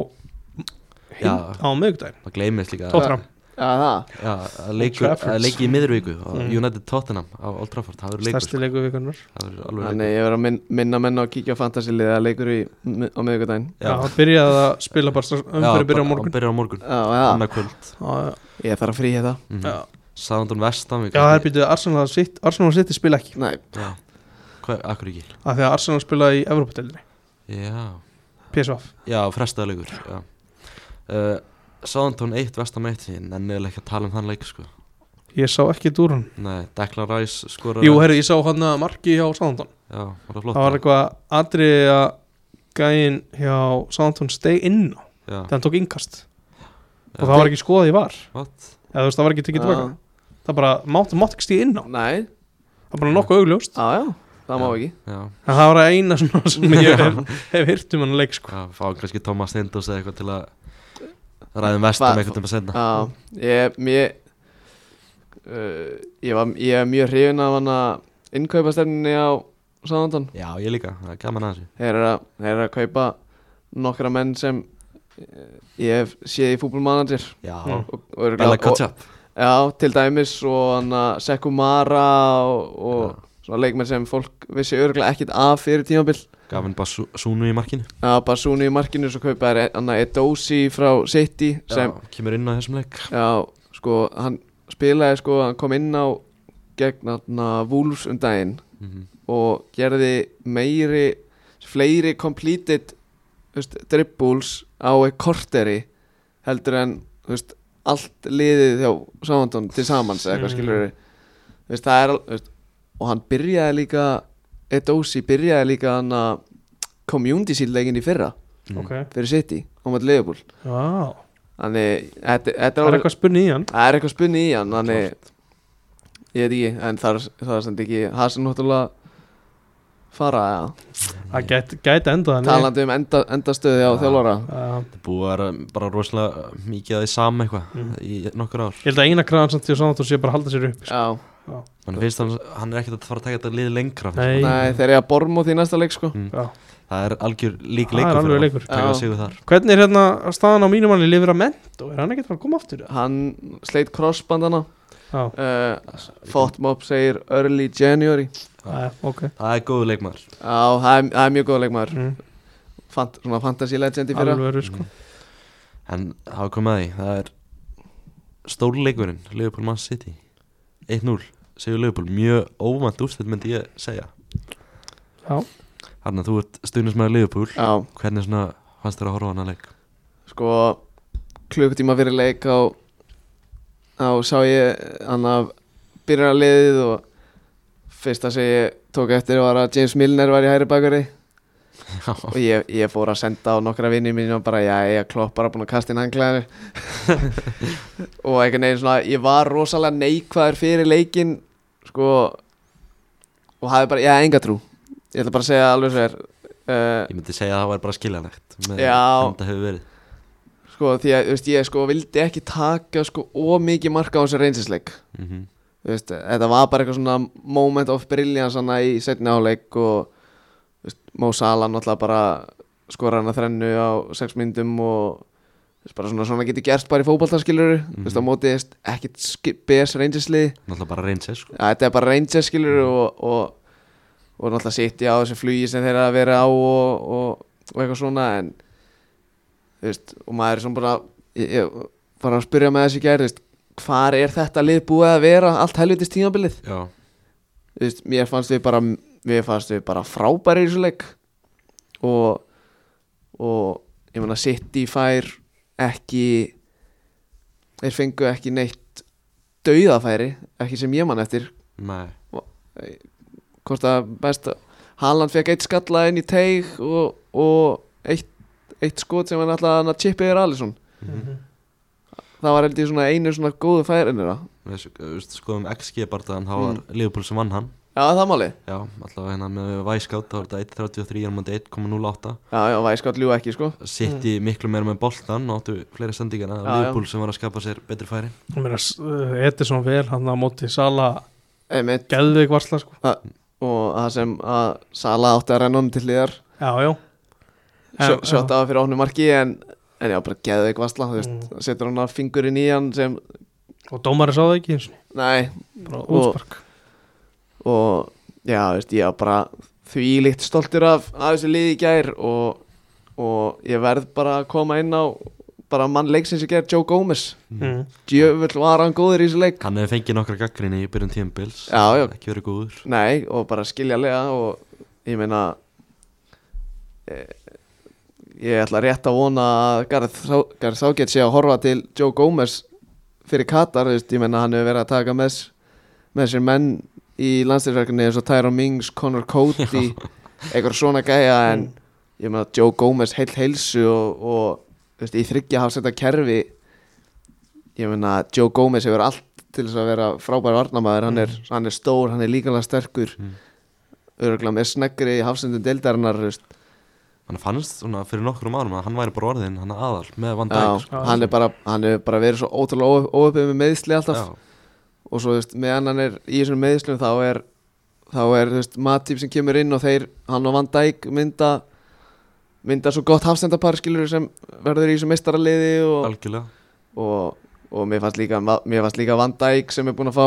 [SPEAKER 1] Já.
[SPEAKER 2] Hinn á miðvikudaginn
[SPEAKER 1] maður gleymist líka að-
[SPEAKER 2] Tóttram
[SPEAKER 3] Já, það,
[SPEAKER 1] já, að leikur,
[SPEAKER 2] Trafford.
[SPEAKER 1] að leiki í miðurviku
[SPEAKER 2] Mm.
[SPEAKER 1] United Tottenham á Old Trafford það verður leikur,
[SPEAKER 2] Stærsti leikur vikunar
[SPEAKER 1] sko. það verður alveg
[SPEAKER 3] þannig
[SPEAKER 1] leikur
[SPEAKER 3] ég verður að minn, minna menn á að kíkja á fantasiliðið að leikur í, á miðvikudaginn
[SPEAKER 2] Já, það byrjaði að spila bara strax- Umhverju byrja á
[SPEAKER 1] bara- hann
[SPEAKER 2] morgun
[SPEAKER 1] byrjar á morgun
[SPEAKER 3] Já, já,
[SPEAKER 1] annað kvöld
[SPEAKER 2] Já, já.
[SPEAKER 3] ég þarf að frí þetta
[SPEAKER 1] mm
[SPEAKER 2] Já,
[SPEAKER 1] -hmm. Southampton Vestam
[SPEAKER 2] Já, það er byrjuð Arsenal sitt Arsenal sitt spila ekki
[SPEAKER 3] Nei,
[SPEAKER 1] hvað, akkur ekki
[SPEAKER 2] Af því að Arsenal spilaði í Evropadeildinni
[SPEAKER 1] já,
[SPEAKER 2] PSV
[SPEAKER 1] já frestaða leikur já. Uh, Southampton 1 Vestam 1 ég nenniði ekki að tala um þann leik sko.
[SPEAKER 2] Ég sá ekki dúr hann
[SPEAKER 1] nei, Declan Rice skorar
[SPEAKER 2] Jú, herri, ég sá hann að marki hjá Sándón
[SPEAKER 1] já, var það flott
[SPEAKER 2] Það var eitthvað atriði að gæinn hjá Sándón steg inn á
[SPEAKER 1] já,
[SPEAKER 2] þegar hann tók innkast
[SPEAKER 1] já,
[SPEAKER 2] og það var ekki skoðað í var
[SPEAKER 1] what?
[SPEAKER 2] eða þú veist, það var ekki tekið tilbaka
[SPEAKER 3] Já.
[SPEAKER 2] Það bara mátt, mátt ekki stíð inn á
[SPEAKER 3] Nei,
[SPEAKER 2] Það er bara nokkuð augljóst
[SPEAKER 3] já, já, það má
[SPEAKER 1] Já.
[SPEAKER 3] ekki
[SPEAKER 1] já,
[SPEAKER 2] En Það var að eina svona <laughs> sem ég hef, hef hirt um hann leik sko.
[SPEAKER 1] já, fá kannski Thomas Steindos eða eitthvað til að um ræðum Vestam
[SPEAKER 3] Hvað-
[SPEAKER 1] eitthvað til að senda
[SPEAKER 3] Já, ég, mér uh, ég, var, ég er mjög hrifin af hann að innkaupastefninni á Sáðandan
[SPEAKER 1] já, ég líka, það er gaman að þessu
[SPEAKER 3] Þeir eru að, þeir eru að kaupa nokkra menn sem eh, ég hef séð í fútbolmanager
[SPEAKER 1] já,
[SPEAKER 2] Mm.
[SPEAKER 3] og, og, örugglega-
[SPEAKER 1] Bella
[SPEAKER 3] og,
[SPEAKER 1] Kotchap
[SPEAKER 3] Já, til dæmis og hann að Sekumara og, og svona leikmenn sem fólk vissi örgulega ekkit af fyrir tímabil
[SPEAKER 1] gaf hann bara sú- súnu í markinu
[SPEAKER 3] að Bassúni í markinu svo kaupa er hann að Edosi frá City sem
[SPEAKER 1] já, kemur inn á þessum leik
[SPEAKER 3] Já, sko, hann spilaði sko, hann kom inn á gegn hérna Wolves um daginn
[SPEAKER 1] mm
[SPEAKER 3] og gerði meiri, fleiri completed þú veist, dribbles á eitt korteri heldur en þú veist, allt liðið hjá Sándon til samans eða
[SPEAKER 2] Mm.
[SPEAKER 3] hvað skilur veist, það er al- þú veist, og hann byrjaði líka Edosi byrjaði líka hann að community seed leikinn í fyrra
[SPEAKER 2] Ok,
[SPEAKER 3] fyrir City á mætt liðbúl
[SPEAKER 2] já
[SPEAKER 3] þannig þetta, þetta
[SPEAKER 2] Það er
[SPEAKER 3] alveg-
[SPEAKER 2] eitthvað spurning í hann
[SPEAKER 3] Það er eitthvað spunni í hann Þannig Ég veit ekki En það er, það er samt ekki Það sem náttúrulega Fara ja.
[SPEAKER 2] Það gæti gæti endað hann
[SPEAKER 3] Talandi um enda, endastöði
[SPEAKER 1] Já.
[SPEAKER 3] á þjálfara
[SPEAKER 2] Já.
[SPEAKER 1] búið að vera bara rosalega mikið að því sama eitthvað
[SPEAKER 2] Mm.
[SPEAKER 1] í nokkur ár
[SPEAKER 2] Ég held að eina kraðan samt til Sándón sé bara að halda sér upp sko.
[SPEAKER 3] Já
[SPEAKER 1] hann finnst hann, hann er ekkert að fara að taka þetta lið lengra finnst mér.
[SPEAKER 2] Nei.
[SPEAKER 3] Nei, þeir eru að bormóð í næsta leik sko
[SPEAKER 1] Mm.
[SPEAKER 2] Já.
[SPEAKER 1] það er algjör lík
[SPEAKER 2] Það er
[SPEAKER 1] leikur fyrir
[SPEAKER 2] alveg
[SPEAKER 1] hann.
[SPEAKER 2] leikur.
[SPEAKER 1] taka
[SPEAKER 3] Já.
[SPEAKER 1] sigur þar
[SPEAKER 2] Hvernig er hérna staðan á mínum manni lifir að ment og er hann ekkert að koma aftur? eða?
[SPEAKER 3] Hann sleit crossbandana
[SPEAKER 2] Já,
[SPEAKER 3] uh, Fotmob segir early January
[SPEAKER 2] já, ok
[SPEAKER 1] það er góðu leikmaður
[SPEAKER 3] Já, það er, það er mjög góð leikmaður
[SPEAKER 2] mm,
[SPEAKER 3] Fant, Svona fantasy legend í fyrra
[SPEAKER 2] Alvöru sko
[SPEAKER 1] en það er komið að því það er stórleikurinn Liverpool Man City 1-0 segur Liverpool mjög óvænt úrstætt myndi ég segja
[SPEAKER 2] Já,
[SPEAKER 1] hann að þú ert stuðnismæður Liverpool
[SPEAKER 3] Já,
[SPEAKER 1] hvernig svona fannst þér að horfa á hana leik
[SPEAKER 3] sko klukkutíma fyrir leik á, á sá ég hann að byrja að liðið og fyrsta sem ég tók eftir var að James Milner var í hæri bakari og ég, ég fór að senda á nokkra vinni mín og bara já, ég klopp bara búin að kasta inn hanglaðinu og einhvern veginn svona ég var rosalega neikvæður fyrir leikin sko og hafði bara, já, enga trú ég ætla bara að segja alveg svo er uh,
[SPEAKER 1] ég myndi segja að það var bara skiljanlegt með
[SPEAKER 3] Já.
[SPEAKER 1] hvernig það hefur verið
[SPEAKER 3] sko því að þú veist, ég sko vildi ekki taka sko ómikið marka á þessu reynsisleik
[SPEAKER 1] mm
[SPEAKER 3] Þú veist, þetta var bara eitthvað svona moment of brilliance hana í setni áleik og þú veist, Mo Salah náttúrulega bara skora hana þrennu á sex myndum og þú veist, bara svona, svona getur gert bara í fótballtarskilur mm -hmm. á móti þú veist, ekkit skip- bes reyndislið
[SPEAKER 1] náttúrulega bara reynsir sko
[SPEAKER 3] ja, þetta er bara reyndislið skilur og, og og náttúrulega sitja á þessu flugi sem þeir eru að vera á og, og, og eitthvað svona en þú veist, og maður er svona bara ég, ég var að spyrja með þessu í gær, þú veist, hvar er þetta lið búið að vera allt helvitist tímabilið
[SPEAKER 1] já,
[SPEAKER 3] Þú veist, mér fannst við bara mér fannst við bara frábæri í þessu leik og og ég meina City fær ekki þeir fengu ekki neitt dauðafæri, ekki sem ég man eftir
[SPEAKER 1] nei
[SPEAKER 3] hvort að best Haaland fekk eitt skalla inn í teig og, og eitt, eitt skot sem hann alltaf hann að chippa yfir Alisson það var held ég svona einu svona góðu færinir já,
[SPEAKER 1] við sk- við skoðum XG barðan þá var Liverpool sem vann hann
[SPEAKER 3] það er máli
[SPEAKER 1] já, allavega hérna með Væskátt þá var þetta 1.33 á múti 1.08
[SPEAKER 3] já, já, væskátt ljú ekki sko
[SPEAKER 1] City miklu meira með boltan áttu fleiri sendingarna,
[SPEAKER 3] Já, já.
[SPEAKER 1] Liverpool sem var að skapa sér betri færi
[SPEAKER 2] Ég meina, þetta er svona vel hann að móti Sala
[SPEAKER 3] Einmitt.
[SPEAKER 2] geðveik varsla sko
[SPEAKER 3] og það sem að Sala átti að renna honum til liðar
[SPEAKER 2] Já, já En- já.
[SPEAKER 3] sjótt af fyrir ofnu marki en, en já, bara geðu ekki vassla þú veist,
[SPEAKER 2] Mm.
[SPEAKER 3] setur hann að fingurinn í hann sem,
[SPEAKER 2] Og dómari sá það ekki eins og
[SPEAKER 3] nei,
[SPEAKER 2] bara
[SPEAKER 3] Og-
[SPEAKER 2] útspark
[SPEAKER 3] og já, þú veist, ég var bara því líkt stoltur af, af þessu liði í gær og, og ég verð bara að koma inn á bara mann leiksins í gær, Joe Gómez
[SPEAKER 2] mm.
[SPEAKER 3] djöfull var hann góður í þessu leik
[SPEAKER 1] hann hefði fengið nokkra gaggrinni í byrjun tímbils
[SPEAKER 3] Já, já.
[SPEAKER 1] ekki verið góður
[SPEAKER 3] Nei, og bara skiljalega og ég meina eh, ég ætla rétt að vona að Garð, Garð Ságett sé að horfa til Joe Gómez fyrir Katar, þú veist, ég meina hann hefur verið að taka með, s- með sér menn í landstyrverkunni eins og Tyrone Mings, Connor Cody eitthvað svona gæja en ég meina Joe Gómez heill heilsu og, og þú veist, í þryggja hafsetta kerfi ég meina Joe Gómez hefur allt til þess að vera frábær varnamaður hann er, hann er stór, hann er líkanlega sterkur mm. örgulega með sneggri hafsendum deildarinnar þú veist.
[SPEAKER 1] hann fannst svona fyrir nokkrum árum að hann væri bara orðin hann aðal með Van
[SPEAKER 3] Já,
[SPEAKER 1] Dijk sko.
[SPEAKER 3] hann er bara hann hefur bara verið svo ótrúlega óöfum með meðsli alltaf
[SPEAKER 1] Já,
[SPEAKER 3] og svo þú veist, meðan hann er í þessum meðslum þá er þá er þú veist, matýp sem kemur inn og þeir, hann og Van Dijk mynda mynda svo gott hafsendapar skilur sem verður í þessu meistaraliði og,
[SPEAKER 1] algjörlega
[SPEAKER 3] og, og mér fannst líka mér fannst líka Van Dijk sem er búin að fá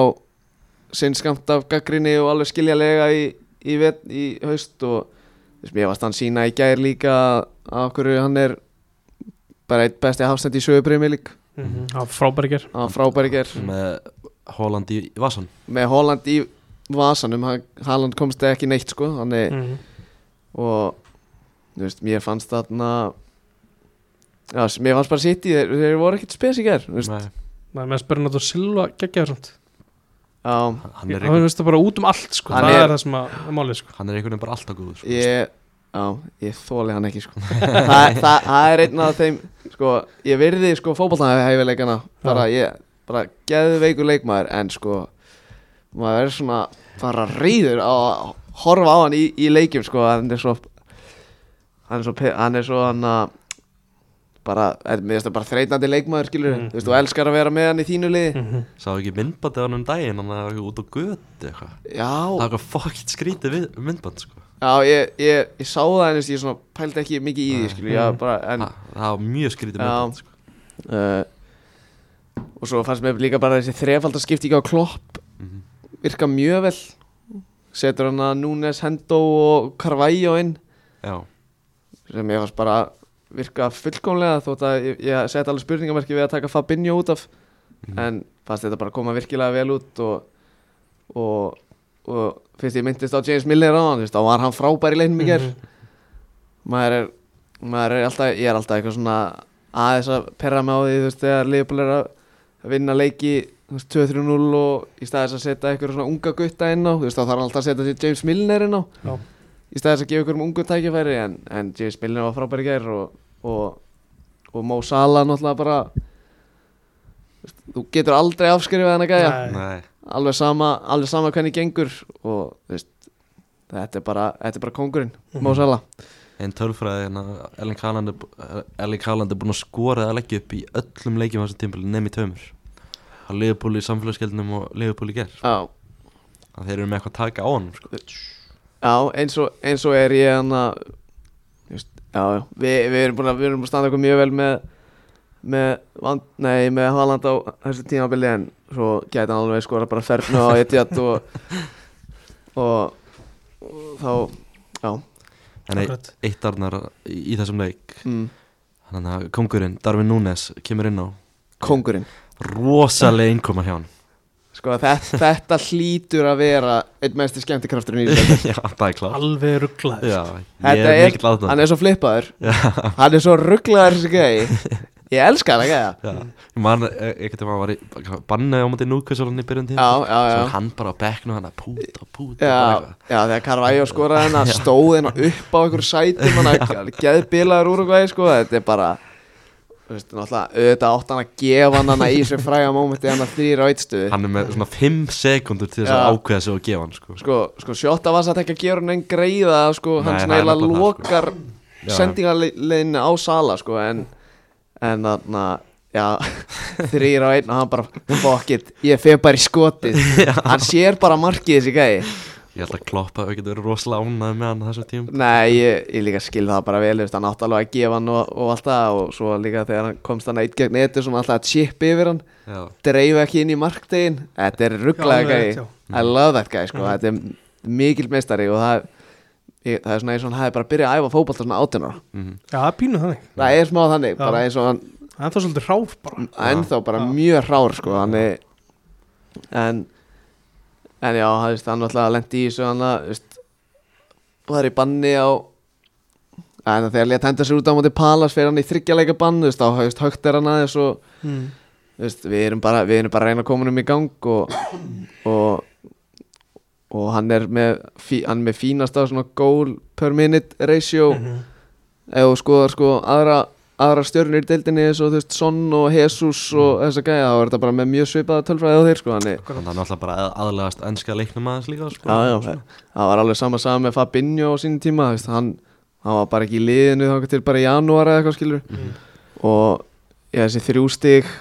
[SPEAKER 3] sinn skamt af gaggrinni og alveg skiljalega í, í, vet, í haust og þú veist, mér fannst hann sína í gær líka að okkur hann er bara eitt besti hafsend í sögubrimi lík
[SPEAKER 2] Mhm. Það var frábæri ger
[SPEAKER 3] hann var frábæri gær
[SPEAKER 1] með Holland í í Vasson
[SPEAKER 3] með Holland í vasanum hann, Holland komst ekki neitt sko þannig
[SPEAKER 2] mm.
[SPEAKER 3] og þú veist, mér fannst þarna já, s- mér fannst bara sitt í þeir, þeir voru ekkert spes í gær þú veist.
[SPEAKER 1] Nei,
[SPEAKER 2] Það er með að spyrja náttúrulega Silva geggjaður samt
[SPEAKER 3] já,
[SPEAKER 1] hann er
[SPEAKER 2] Það
[SPEAKER 1] einhvern
[SPEAKER 2] finnst það bara út um allt sko
[SPEAKER 3] Hann
[SPEAKER 2] Það
[SPEAKER 3] er-
[SPEAKER 2] er það sem að er málið
[SPEAKER 1] hann
[SPEAKER 2] sko
[SPEAKER 1] er einhvern veginn bara alltaf góður sko.
[SPEAKER 3] ég, á, ég þóli hann ekki sko. <laughs> Þa, það, það er einn af þeim sko, ég virði sko fótballtæðahæfileikana bara, ég, bara geðveikur leikmaður en sko maður er svona bara reyður á að horfa á hann í, í leikjum sko, hann er svo hann er svo, pe- hann er svo hann að bara, en mér finnst það bara þreitnandi leikmaður skilur,
[SPEAKER 2] Mm.
[SPEAKER 3] þú veist, þú elskar að vera með hann í þínu liði
[SPEAKER 2] Mhm.
[SPEAKER 1] sá ekki myndbandi á hann um daginn hann er út á götu eitthvað það
[SPEAKER 3] já,
[SPEAKER 1] er eitthvað fokkitt skrítið við myndband sko.
[SPEAKER 3] já, ég, ég, ég sá það en þú veist, ég svona pældi ekki mikið í því skilur, já,
[SPEAKER 2] Mm.
[SPEAKER 3] bara, en
[SPEAKER 1] það, það var mjög skrítið
[SPEAKER 3] Já.
[SPEAKER 1] myndband sko.
[SPEAKER 3] uh, og svo fannst mér líka bara þessi þrefaldarskipting á klopp
[SPEAKER 1] Mhm.
[SPEAKER 3] virka mjög vel setur hann að Núnes, Hendo og Carvalho inn
[SPEAKER 1] já,
[SPEAKER 3] sem ég fannst bara virka fullkomlega þótt að ég, ég seti alveg spurningamerki við að taka Fabinho út af en fannst þetta bara koma virkilega vel út og, og, og fyrst ég myndist á James Miller á hann, þá var hann frábær í
[SPEAKER 2] Mhm.
[SPEAKER 3] leiknum í ger maður er, maður er alltaf, ég er alltaf eitthvað svona aðeins að perra mig á því þú veist, þegar Leopold er að að vinna leiki þú veist, 2-3-0 og í staðis að setja eitthvað svona unga gutta inn á þú veist, þá þarf hann alltaf að setja sér James Milner inn á
[SPEAKER 2] Já.
[SPEAKER 3] í staðis að gefa ykkur um ungu tækifæri en, en James Milner var frábæri gær og, og, og Mo Salah náttúrulega bara þú veist, þú getur aldrei afskrifað hann að gæja
[SPEAKER 2] Nei.
[SPEAKER 1] nei,
[SPEAKER 3] alveg sama, alveg sama hvernig gengur og þú veist, þetta er bara, þetta er bara kongurinn, Mo
[SPEAKER 2] Mhm.
[SPEAKER 3] Salah
[SPEAKER 1] einn tölfræði hérna, Ellen Haaland er bú- eh, Erling Haaland er búin að skora eða leggja upp í öllum leikjum á þessu tímpil nefn í taumur hann liðbúl í samfélagsgeldnum og liðbúl í ger
[SPEAKER 3] Já,
[SPEAKER 1] að þeir eru með eitthvað að taka á hann sko.
[SPEAKER 3] Já, eins og, eins og er ég hann að já, já, við, við erum búin að, við erum búin að standa okkur mjög vel með með, vand, nei, með Haaland á þessu tímabili
[SPEAKER 1] <laughs>
[SPEAKER 3] en svo gæti hann alveg skora bara fernu á Etihad og og þá, já
[SPEAKER 1] En eitt,
[SPEAKER 2] Akkurat.
[SPEAKER 1] eitt arnar í í þessum leik
[SPEAKER 3] mm,
[SPEAKER 1] Þannig að kongurinn, Darvin Núnes, kemur inn á
[SPEAKER 3] Kongurinn
[SPEAKER 1] Rosalega innkoma hjá hann
[SPEAKER 3] Sko þetta, þetta hlýtur að vera einn mesti skemmtikrafturinn í
[SPEAKER 1] <laughs>
[SPEAKER 3] þessu
[SPEAKER 1] Já, það er klart
[SPEAKER 2] Alveg rugglaður
[SPEAKER 1] Já, <laughs> ég
[SPEAKER 3] Þetta
[SPEAKER 1] er
[SPEAKER 3] er-
[SPEAKER 1] mikill aðdáð
[SPEAKER 3] Hann er svo flippaður
[SPEAKER 1] Já,
[SPEAKER 3] Hann er svo rugglaður þessi
[SPEAKER 1] <laughs>
[SPEAKER 3] gæði Ég elska hann að gæða
[SPEAKER 1] já Ég man, eh, einhvern veginn var í bannaði á móti núkvæsarunni í byrjun tíma
[SPEAKER 3] Já, já, já
[SPEAKER 1] Svo er hann bara á bekknu hann að púta, púta
[SPEAKER 3] Já,
[SPEAKER 1] bara eitthvað.
[SPEAKER 3] já, þegar Carvajó skoraði hennar stóð hennar upp á einhverju sætum hann geði bilaður úr og hvað sko, þetta er bara þú veist, náttúrulega, auðvitað átt hann að gefa hann hana í þessu fræga mómenti hann að þrýra eitstuði
[SPEAKER 1] Hann er með svona 5 sekundur til þess
[SPEAKER 3] Já.
[SPEAKER 1] að ákveða sig og gefa hann sko.
[SPEAKER 3] sko, sko sjóta var satt ekki að gera hann einn greiða sko,
[SPEAKER 1] Nei,
[SPEAKER 3] hann
[SPEAKER 1] það er
[SPEAKER 3] snæla
[SPEAKER 1] nefnilega það, sko.
[SPEAKER 3] lokar
[SPEAKER 1] Já.
[SPEAKER 3] sendingarleinu á sala sko, en en þarna já, <laughs> þrýr á einn og hann bara fuck it, ég fer bara í skotið hann sér bara markið þessi gæði
[SPEAKER 1] Ég held að kloppa að auðvitað eru rosalega ánæði með hann á þessum tíma
[SPEAKER 3] nei, ég, ég líka skil það bara vel þú veist, hann átti alveg að gefa hann og, og allt það og svo líka þegar hann komst hann eitt gegn eitt og alltaf að chip yfir hann
[SPEAKER 1] Já,
[SPEAKER 3] dreif ekki inn í marktegin þetta er
[SPEAKER 2] Já, Mhm.
[SPEAKER 3] rugglega
[SPEAKER 2] alveg rétt,
[SPEAKER 3] gæði I love that guy sko. þetta er mikil meistari og það, ég, það er svona eins og hann hafi bara byrjað að æfa fótbolta svona átján ára
[SPEAKER 1] mhm.
[SPEAKER 2] Já, pínu þannig
[SPEAKER 3] það er smá þannig, bara eins og hann
[SPEAKER 2] Það er það svolítið ráf bara
[SPEAKER 3] ennþá bara mjög hrár sko, hann er en, en já, hann, veist, hann alltaf lendi í þessu hann að, veist, var í banni á en þegar létt henda sér út á móti Palas fyrir hann í þryggjaleika bann, þú veist, þá veist, högt er hann aðeins og
[SPEAKER 2] mm.
[SPEAKER 3] Þú veist, við, erum bara, við erum bara að reyna að koma um í gang og, og, og hann er með, fí, hann er með fínasta svona goal per minute ratio ef þú skoðar sko aðra, aðra stjörnir í deildinni eins og þú veist Son og Jesus og þess að gæja þá er þetta bara með mjög svipaða tölfræði á þeir sko þannig
[SPEAKER 1] þannig að hann alltaf bara að- aðlagast ennska leiknum aðeins líka sko.
[SPEAKER 3] já, já, það var alveg sama sama með Fabinho á sínum tíma þú veist, hann, hann var bara ekki í liðinu þá til bara í janúar eða eitthvað skilur
[SPEAKER 2] Mhm.
[SPEAKER 3] og ég, þessi þrjú stig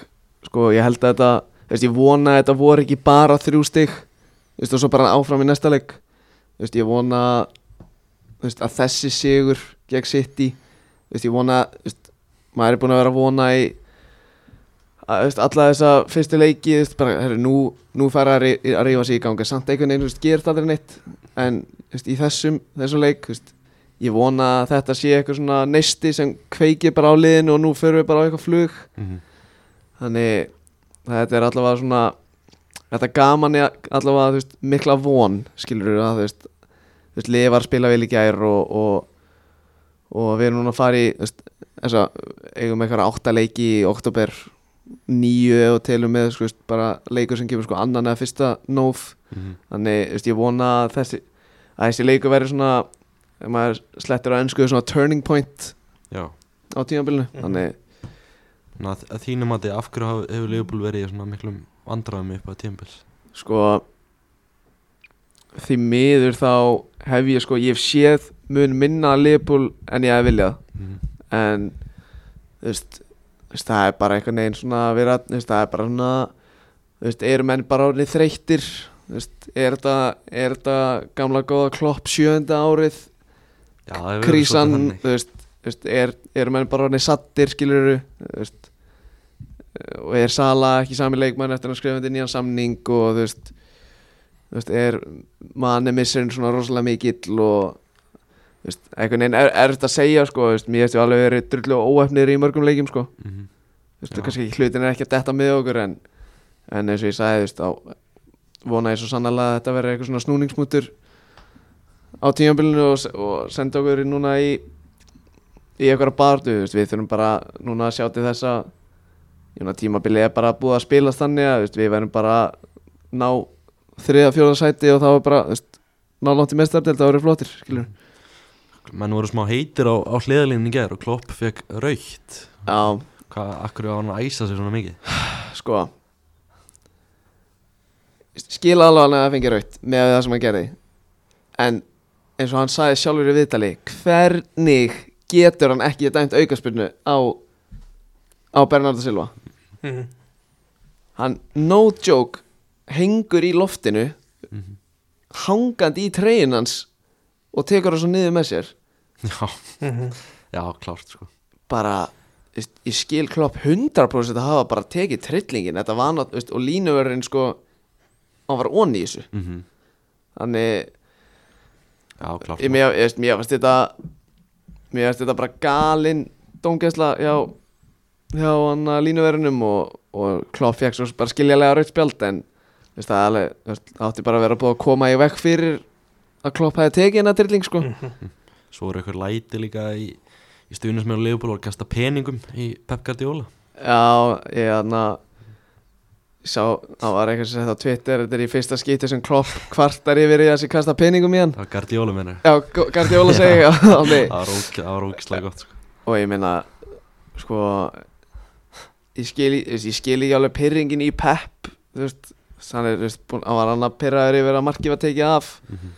[SPEAKER 3] sko ég held að þetta þú veist, ég vona að þetta voru ekki bara þrjú stig þú veist, og svo bara áfram í næsta leik Þú veist, ég vona þú veist, að þessi sigur gegn City þú veist, ég vona þú veist, maður er búin að vera að vona í að, þú veist, alla þessa fyrstu leiki þú veist, bara, herri, nú, nú fara að, rí- að rífa sig í ganga samt einhvern veginn, þú veist, gerist aldrei neitt en þú veist, í þessum, þessum leik þú veist, ég vona að þetta sé eitthvað svona neisti sem kveikir bara á liðinu og nú förum við bara á eitthvað flug
[SPEAKER 1] Mhm.
[SPEAKER 3] þannig þetta er allavega svona þetta gaman er allavega þú veist, mikla von skilur við að þú veist, þú veist liðið var að spila vel í gær og, og, og við erum núna að fara í þú veist, þessa, eigum eitthvað átta leiki í oktober nýju og telum með sko, þú veist, bara leikur sem kemur sko annan eða fyrsta nóf
[SPEAKER 1] Mhm.
[SPEAKER 3] þannig þú veist, ég vona að þessi, að þessi leikur verður svona ef maður slettur á ennsku svona turning point
[SPEAKER 1] Já,
[SPEAKER 3] á tímabilinu
[SPEAKER 2] Mhm.
[SPEAKER 3] þannig
[SPEAKER 1] þannig að- að þínum að af hverju hafa- hefur Leopold verið í svona miklum vandræðum upp að tímpils
[SPEAKER 3] sko því miður þá hef ég sko, ég hef séð mun minna að Liverpool en ég hef viljað
[SPEAKER 1] mm.
[SPEAKER 3] en þú veist, þú veist, það er bara einhvern veginn svona að vera, þú veist, það er bara svona þú veist, eru menn bara orðið þreyttir þú veist, er þetta er þetta gamla góða klopp sjönda árið
[SPEAKER 1] Já, það hefur verið
[SPEAKER 3] krísan,
[SPEAKER 1] svolítið þannig.
[SPEAKER 3] þú veist, þú veist er, er menn bara orðin sattir, skilur þú veist og er Sala ekki sami leikmann eftir að skrifa undir nýjan samning og þú veist, þú veist er manni missirinn svona rosalega mikill og þú veist, einhvern veginn er, er þetta að segja sko, þú veist, mér hefstu alveg verið drullu og óefnir í mörgum leikjum sko,
[SPEAKER 1] Mhm.
[SPEAKER 3] þú veist,
[SPEAKER 1] Já.
[SPEAKER 3] kannski hlutin er ekki að detta með okkur en, en eins og ég sagði, þú veist, á vona ég svo sannlega að þetta verður eitthvað svona snúningsmútur á tímabilinu og, og senda okkur í núna í í eitthvað barðu, þú veist, við þurfum bara núna að sjá til þess að ég meina, tímabilið er bara búið að spilast þannig að þú veist, við verðum bara að ná þriða, fjóða sæti og þá er bara þú veist, ná langt í mestardelt, það verður flottir skilur
[SPEAKER 1] Menn voru smá heitir á, á hliðalínu í gær og Klopp fekk raukt
[SPEAKER 3] Já,
[SPEAKER 1] Hvað, akkur var hann að æsa sig svona mikið? <laughs>
[SPEAKER 3] sko skila alveg alveg að það fengi raut með það sem hann gerði en eins og hann sagði sjálfur í viðtali hvernig getur hann ekki dæmt aukaspyrnu á á Bernardo Silva
[SPEAKER 2] Mm.
[SPEAKER 3] hann no joke hengur í loftinu hangandi í treyin hans og tekur það svo niður með sér
[SPEAKER 1] Já,
[SPEAKER 2] Mhm.
[SPEAKER 1] já, klárt sko
[SPEAKER 3] bara veist, ég skil klopp 100% að hafa bara tekið trillingin þetta var nátt, veist, og línuverðin sko hann var onni í þessu
[SPEAKER 1] mm -hmm.
[SPEAKER 3] þannig
[SPEAKER 1] Mhm. Já, klart
[SPEAKER 3] Ég- Mér ég veist, mér finnst þetta Mér finnst þetta bara galinn Dómgæsla hjá Hjá hann að línuverunum og, og Klopp fekk svo bara skiljalega raut spjald En þú veist, það er alveg, þú veist, átti bara að vera búið að koma í vekk fyrir Að Klopp hefði tekið hennar drilling sko
[SPEAKER 1] Svo eru eitthvað læti líka í, í stuðnismennu Leopold og að kasta peningum í Pep Guardiola
[SPEAKER 3] Já, ég hann að Sá, það var eitthvað sem þetta á Twitter Þetta er í fyrsta skipti sem Klopp kvartar yfir í þessi kasta peningum í hann
[SPEAKER 1] Það var Guardiola mennur
[SPEAKER 3] Já, Gardjóla segi já, <laughs>
[SPEAKER 1] Það
[SPEAKER 3] alveg.
[SPEAKER 1] var óg- það var ógislega gott sko.
[SPEAKER 3] og ég meina sko ég skil, ég, ég skil ekki alveg pyrringin í Pep þú veist, hann, er, þú veist, búin, hann var hann að pyrraður yfir að markið var tekið af
[SPEAKER 1] Mhm.